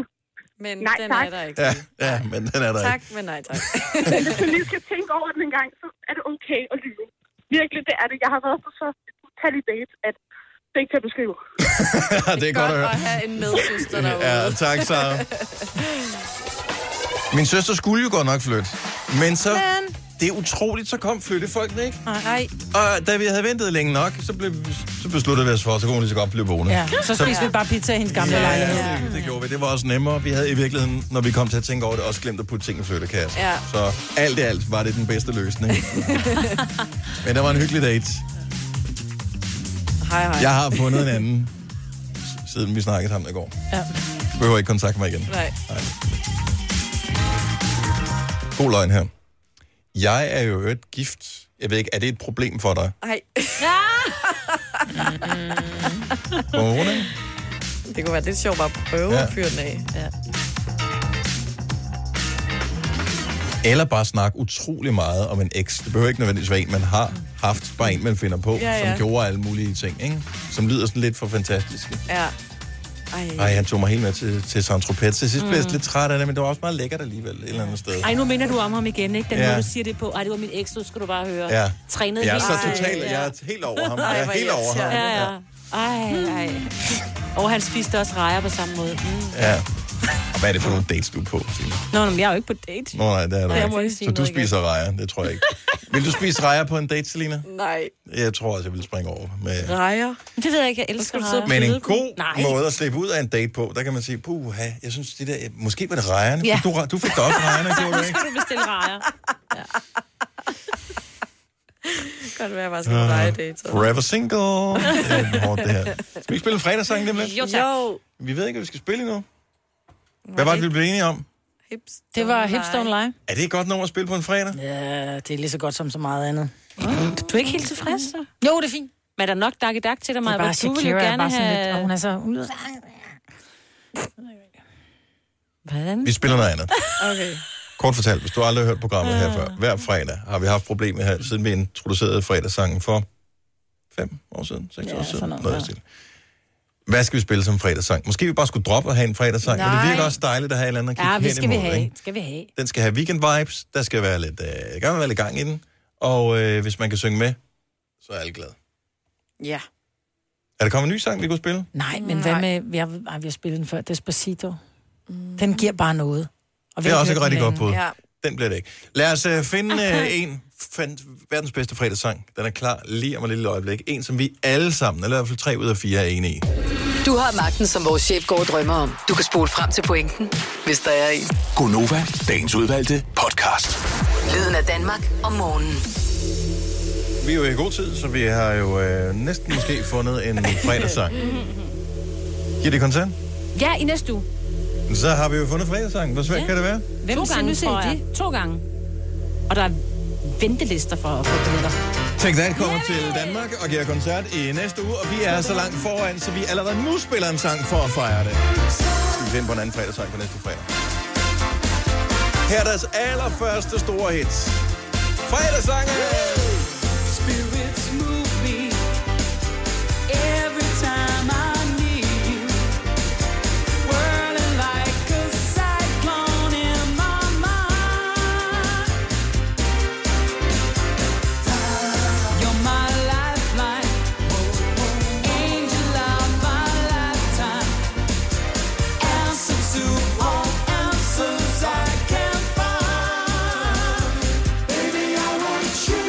[SPEAKER 6] Men
[SPEAKER 13] nej,
[SPEAKER 6] den
[SPEAKER 13] tak.
[SPEAKER 6] er der ikke.
[SPEAKER 4] Ja, ja, men den er der
[SPEAKER 6] Tak,
[SPEAKER 4] ikke.
[SPEAKER 6] men nej tak.
[SPEAKER 13] Men hvis man lige skal tænke over den en gang, så er det okay at lyve. Virkelig, det er det. Jeg har været på så utallige dates, at det ikke kan beskrive.
[SPEAKER 4] det er godt at høre.
[SPEAKER 6] have en medsøster
[SPEAKER 4] Ja, tak, Sara. Min søster skulle jo godt nok flytte. Men så, det er utroligt, så kom flyttefolkene, ikke?
[SPEAKER 5] Nej.
[SPEAKER 4] Og da vi havde ventet længe nok, så, blev, så besluttede vi os for, så kunne hun lige så godt blive boende.
[SPEAKER 5] Ja, så spiste vi bare pizza i hendes gamle
[SPEAKER 4] Ja,
[SPEAKER 5] lejlighed.
[SPEAKER 4] det, det gjorde vi. Det var også nemmere. Vi havde i virkeligheden, når vi kom til at tænke over det, også glemt at putte ting i flyttekassen.
[SPEAKER 5] Ja.
[SPEAKER 4] Så alt i alt var det den bedste løsning. Men det var en hyggelig date.
[SPEAKER 6] Hej, hej.
[SPEAKER 4] Jeg har fundet en anden, s- siden vi snakkede sammen i går.
[SPEAKER 5] Ja.
[SPEAKER 4] Du behøver ikke kontakte mig igen.
[SPEAKER 6] Nej.
[SPEAKER 4] God løgn her. Jeg er jo et gift. Jeg ved ikke, er det et problem for dig?
[SPEAKER 6] Nej.
[SPEAKER 4] Corona?
[SPEAKER 6] det kunne være lidt sjovt bare at prøve
[SPEAKER 4] Ja.
[SPEAKER 6] ja. at fyre den af. Ja.
[SPEAKER 4] Eller bare snakke utrolig meget om en eks. Det behøver ikke nødvendigvis være en, man har haft, bare en, man finder på,
[SPEAKER 6] Ja, ja.
[SPEAKER 4] som gjorde alle mulige ting, ikke? Som lyder sådan lidt for fantastisk.
[SPEAKER 6] ja. Ej.
[SPEAKER 4] Ej, han tog mig helt med til, til Saint-Tropez. Til sidst blev jeg
[SPEAKER 2] Mm.
[SPEAKER 4] lidt træt af det, men det var også meget lækkert alligevel et eller andet sted.
[SPEAKER 2] Ej, nu minder du om ham igen, ikke? Den
[SPEAKER 4] Ja.
[SPEAKER 2] ja. måde, du siger det på. Ej, det var min eks, nu skal du bare høre.
[SPEAKER 4] Ja.
[SPEAKER 2] Trænede
[SPEAKER 4] Jeg er
[SPEAKER 2] helt
[SPEAKER 4] så
[SPEAKER 2] vildt.
[SPEAKER 4] totalt-
[SPEAKER 2] Ej,
[SPEAKER 4] jeg er helt over ham.
[SPEAKER 2] Ej,
[SPEAKER 4] Jeg er
[SPEAKER 2] hvor
[SPEAKER 4] helt over ham.
[SPEAKER 2] irriterende. Ja, ja. Ej, ej. Og han spiste også rejer på samme måde. Mm.
[SPEAKER 4] Ja. Og hvad er det for nogle dates, du er på, Signe?
[SPEAKER 2] Nå, nå, men jeg er jo ikke på date.
[SPEAKER 4] Nå, nej, det er du
[SPEAKER 2] Nej, jeg
[SPEAKER 4] ikke.
[SPEAKER 2] må ikke sige
[SPEAKER 4] Så du
[SPEAKER 2] noget igen.
[SPEAKER 4] spiser rejer, det tror jeg ikke. Vil du spise rejer på en date, Selina?
[SPEAKER 6] Nej.
[SPEAKER 4] Jeg tror også, jeg vil springe over med...
[SPEAKER 6] Rejer.
[SPEAKER 2] Men det ved jeg ikke, jeg elsker rejer.
[SPEAKER 4] Men en god
[SPEAKER 2] Nej.
[SPEAKER 4] måde at slippe ud af en date på, der kan man sige, puha, jeg synes, det der, måske var det rejerne.
[SPEAKER 2] Ja.
[SPEAKER 4] Ja. Du, du fik da også rejerne, gjorde du
[SPEAKER 2] Nu
[SPEAKER 4] ikke?
[SPEAKER 2] skal du bestille rejer.
[SPEAKER 6] Godt være, at jeg bare skal på dig date.
[SPEAKER 2] altså.
[SPEAKER 6] så.
[SPEAKER 4] Forever single. Ah. Det er hårdt, det her. Skal vi ikke spille en fredagssang dem lidt?
[SPEAKER 6] Jo, tak. Jo.
[SPEAKER 4] Vi ved ikke, hvad vi skal spille endnu. Hvad var det, vi blev enige om?
[SPEAKER 5] Det var Hipstone Live.
[SPEAKER 4] Er det et godt nummer at spille på en fredag?
[SPEAKER 5] Ja, det er lige så godt som så meget andet.
[SPEAKER 2] Du er ikke helt tilfreds, så?
[SPEAKER 5] Jo, det er fint.
[SPEAKER 2] Men er der nok dak i dak til dig,
[SPEAKER 5] Det er
[SPEAKER 2] Maja?
[SPEAKER 5] bare
[SPEAKER 2] Du vil jo
[SPEAKER 5] Shakira, er
[SPEAKER 2] gerne
[SPEAKER 5] bare sådan lidt, og
[SPEAKER 2] have...
[SPEAKER 5] hun er så ude.
[SPEAKER 2] Hvordan?
[SPEAKER 4] Vi spiller noget andet.
[SPEAKER 6] Okay.
[SPEAKER 4] Kort fortalt, hvis du aldrig har hørt programmet her før, hver fredag har vi haft problemer her, siden vi introducerede fredagssangen for fem år siden, seks ja, år siden. Noget, noget ja. Hvad skal vi spille som fredagssang? Måske vi bare skulle droppe og have en fredagssang, men det
[SPEAKER 5] Nej.
[SPEAKER 4] virker også dejligt at have et eller andet at kigge
[SPEAKER 5] Ja, vi
[SPEAKER 4] hen
[SPEAKER 5] skal vi
[SPEAKER 4] imod,
[SPEAKER 5] have.
[SPEAKER 4] ikke?
[SPEAKER 5] Skal vi have.
[SPEAKER 4] Den skal have weekend-vibes, der skal være lidt, øh, gerne være lidt gang i den, og øh, hvis man kan synge med, så er alle glade.
[SPEAKER 6] Ja.
[SPEAKER 4] Er der kommet en ny sang, vi kunne spille?
[SPEAKER 5] Nej, men hvad med... Vi har, ej, vi har spillet den før. Despacito. Den giver bare noget.
[SPEAKER 4] Det er
[SPEAKER 5] har
[SPEAKER 4] også
[SPEAKER 5] hørt
[SPEAKER 4] et rigtig
[SPEAKER 5] den
[SPEAKER 4] godt bud.
[SPEAKER 5] længe.
[SPEAKER 4] Den bliver det ikke. Lad os uh, finde uh, en fandt verdens bedste fredagssang. Den er klar lige om et lille øjeblik. En, som vi alle sammen, eller i hvert fald tre ud af fire, er enige i.
[SPEAKER 10] Du har magten, som vores chef går og drømmer om. Du kan spole frem til pointen, hvis der er en.
[SPEAKER 18] Gonova, dagens udvalgte podcast.
[SPEAKER 10] Lyden af Danmark om morgenen.
[SPEAKER 4] Vi er jo i god tid, så vi har jo uh, næsten måske fundet en fredagssang. Giver det konsent?
[SPEAKER 2] Ja, i næste uge.
[SPEAKER 4] Så har vi jo fundet fredagssang. Hvor svært ja. kan det være?
[SPEAKER 2] Hvem to gange, tror jeg. To gange. Og der er ventelister for at få billetter.
[SPEAKER 4] Tænk Dan kommer til Danmark og giver koncert i næste uge, og vi er så langt foran, så vi allerede nu spiller en sang for at fejre det. Så Skal vi finde på en anden fredagssang på næste fredag. Her er deres allerførste store hit. Fredagssange!
[SPEAKER 8] Spirits move me every time I need you. Whirling like a cyclone in my mind. You're my lifeline, angel of my lifetime. Answer to all answers I can find. Baby, I want you.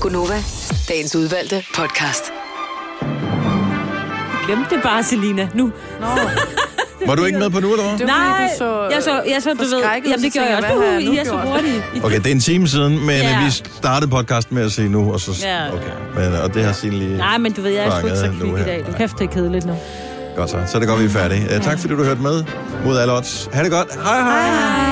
[SPEAKER 10] Gunova, dagens udvalgte podcast.
[SPEAKER 2] Glem det bare, Selina, nu. Nå.
[SPEAKER 4] Var du ikke med på nu, eller hvad?
[SPEAKER 2] Nej, så, jeg så, jeg så, du ved, jamen det gjorde jeg også. Uh, I er så hurtige.
[SPEAKER 4] Okay, det er en time siden, men
[SPEAKER 2] Ja.
[SPEAKER 4] yeah. vi startede podcasten med at sige nu, og så...
[SPEAKER 5] Ja.
[SPEAKER 4] Okay, men, og det har Signe lige...
[SPEAKER 5] Nej, men du ved, jeg er sgu ikke så
[SPEAKER 4] fanget nu
[SPEAKER 5] kvik i
[SPEAKER 4] her.
[SPEAKER 5] dag. Du kæft, det er kedeligt nu.
[SPEAKER 4] Øh, Godt så, så er det godt, vi er færdige. Uh, tak fordi du hørte med mod alle odds. Ha' det godt. Hej hej. hej, hej.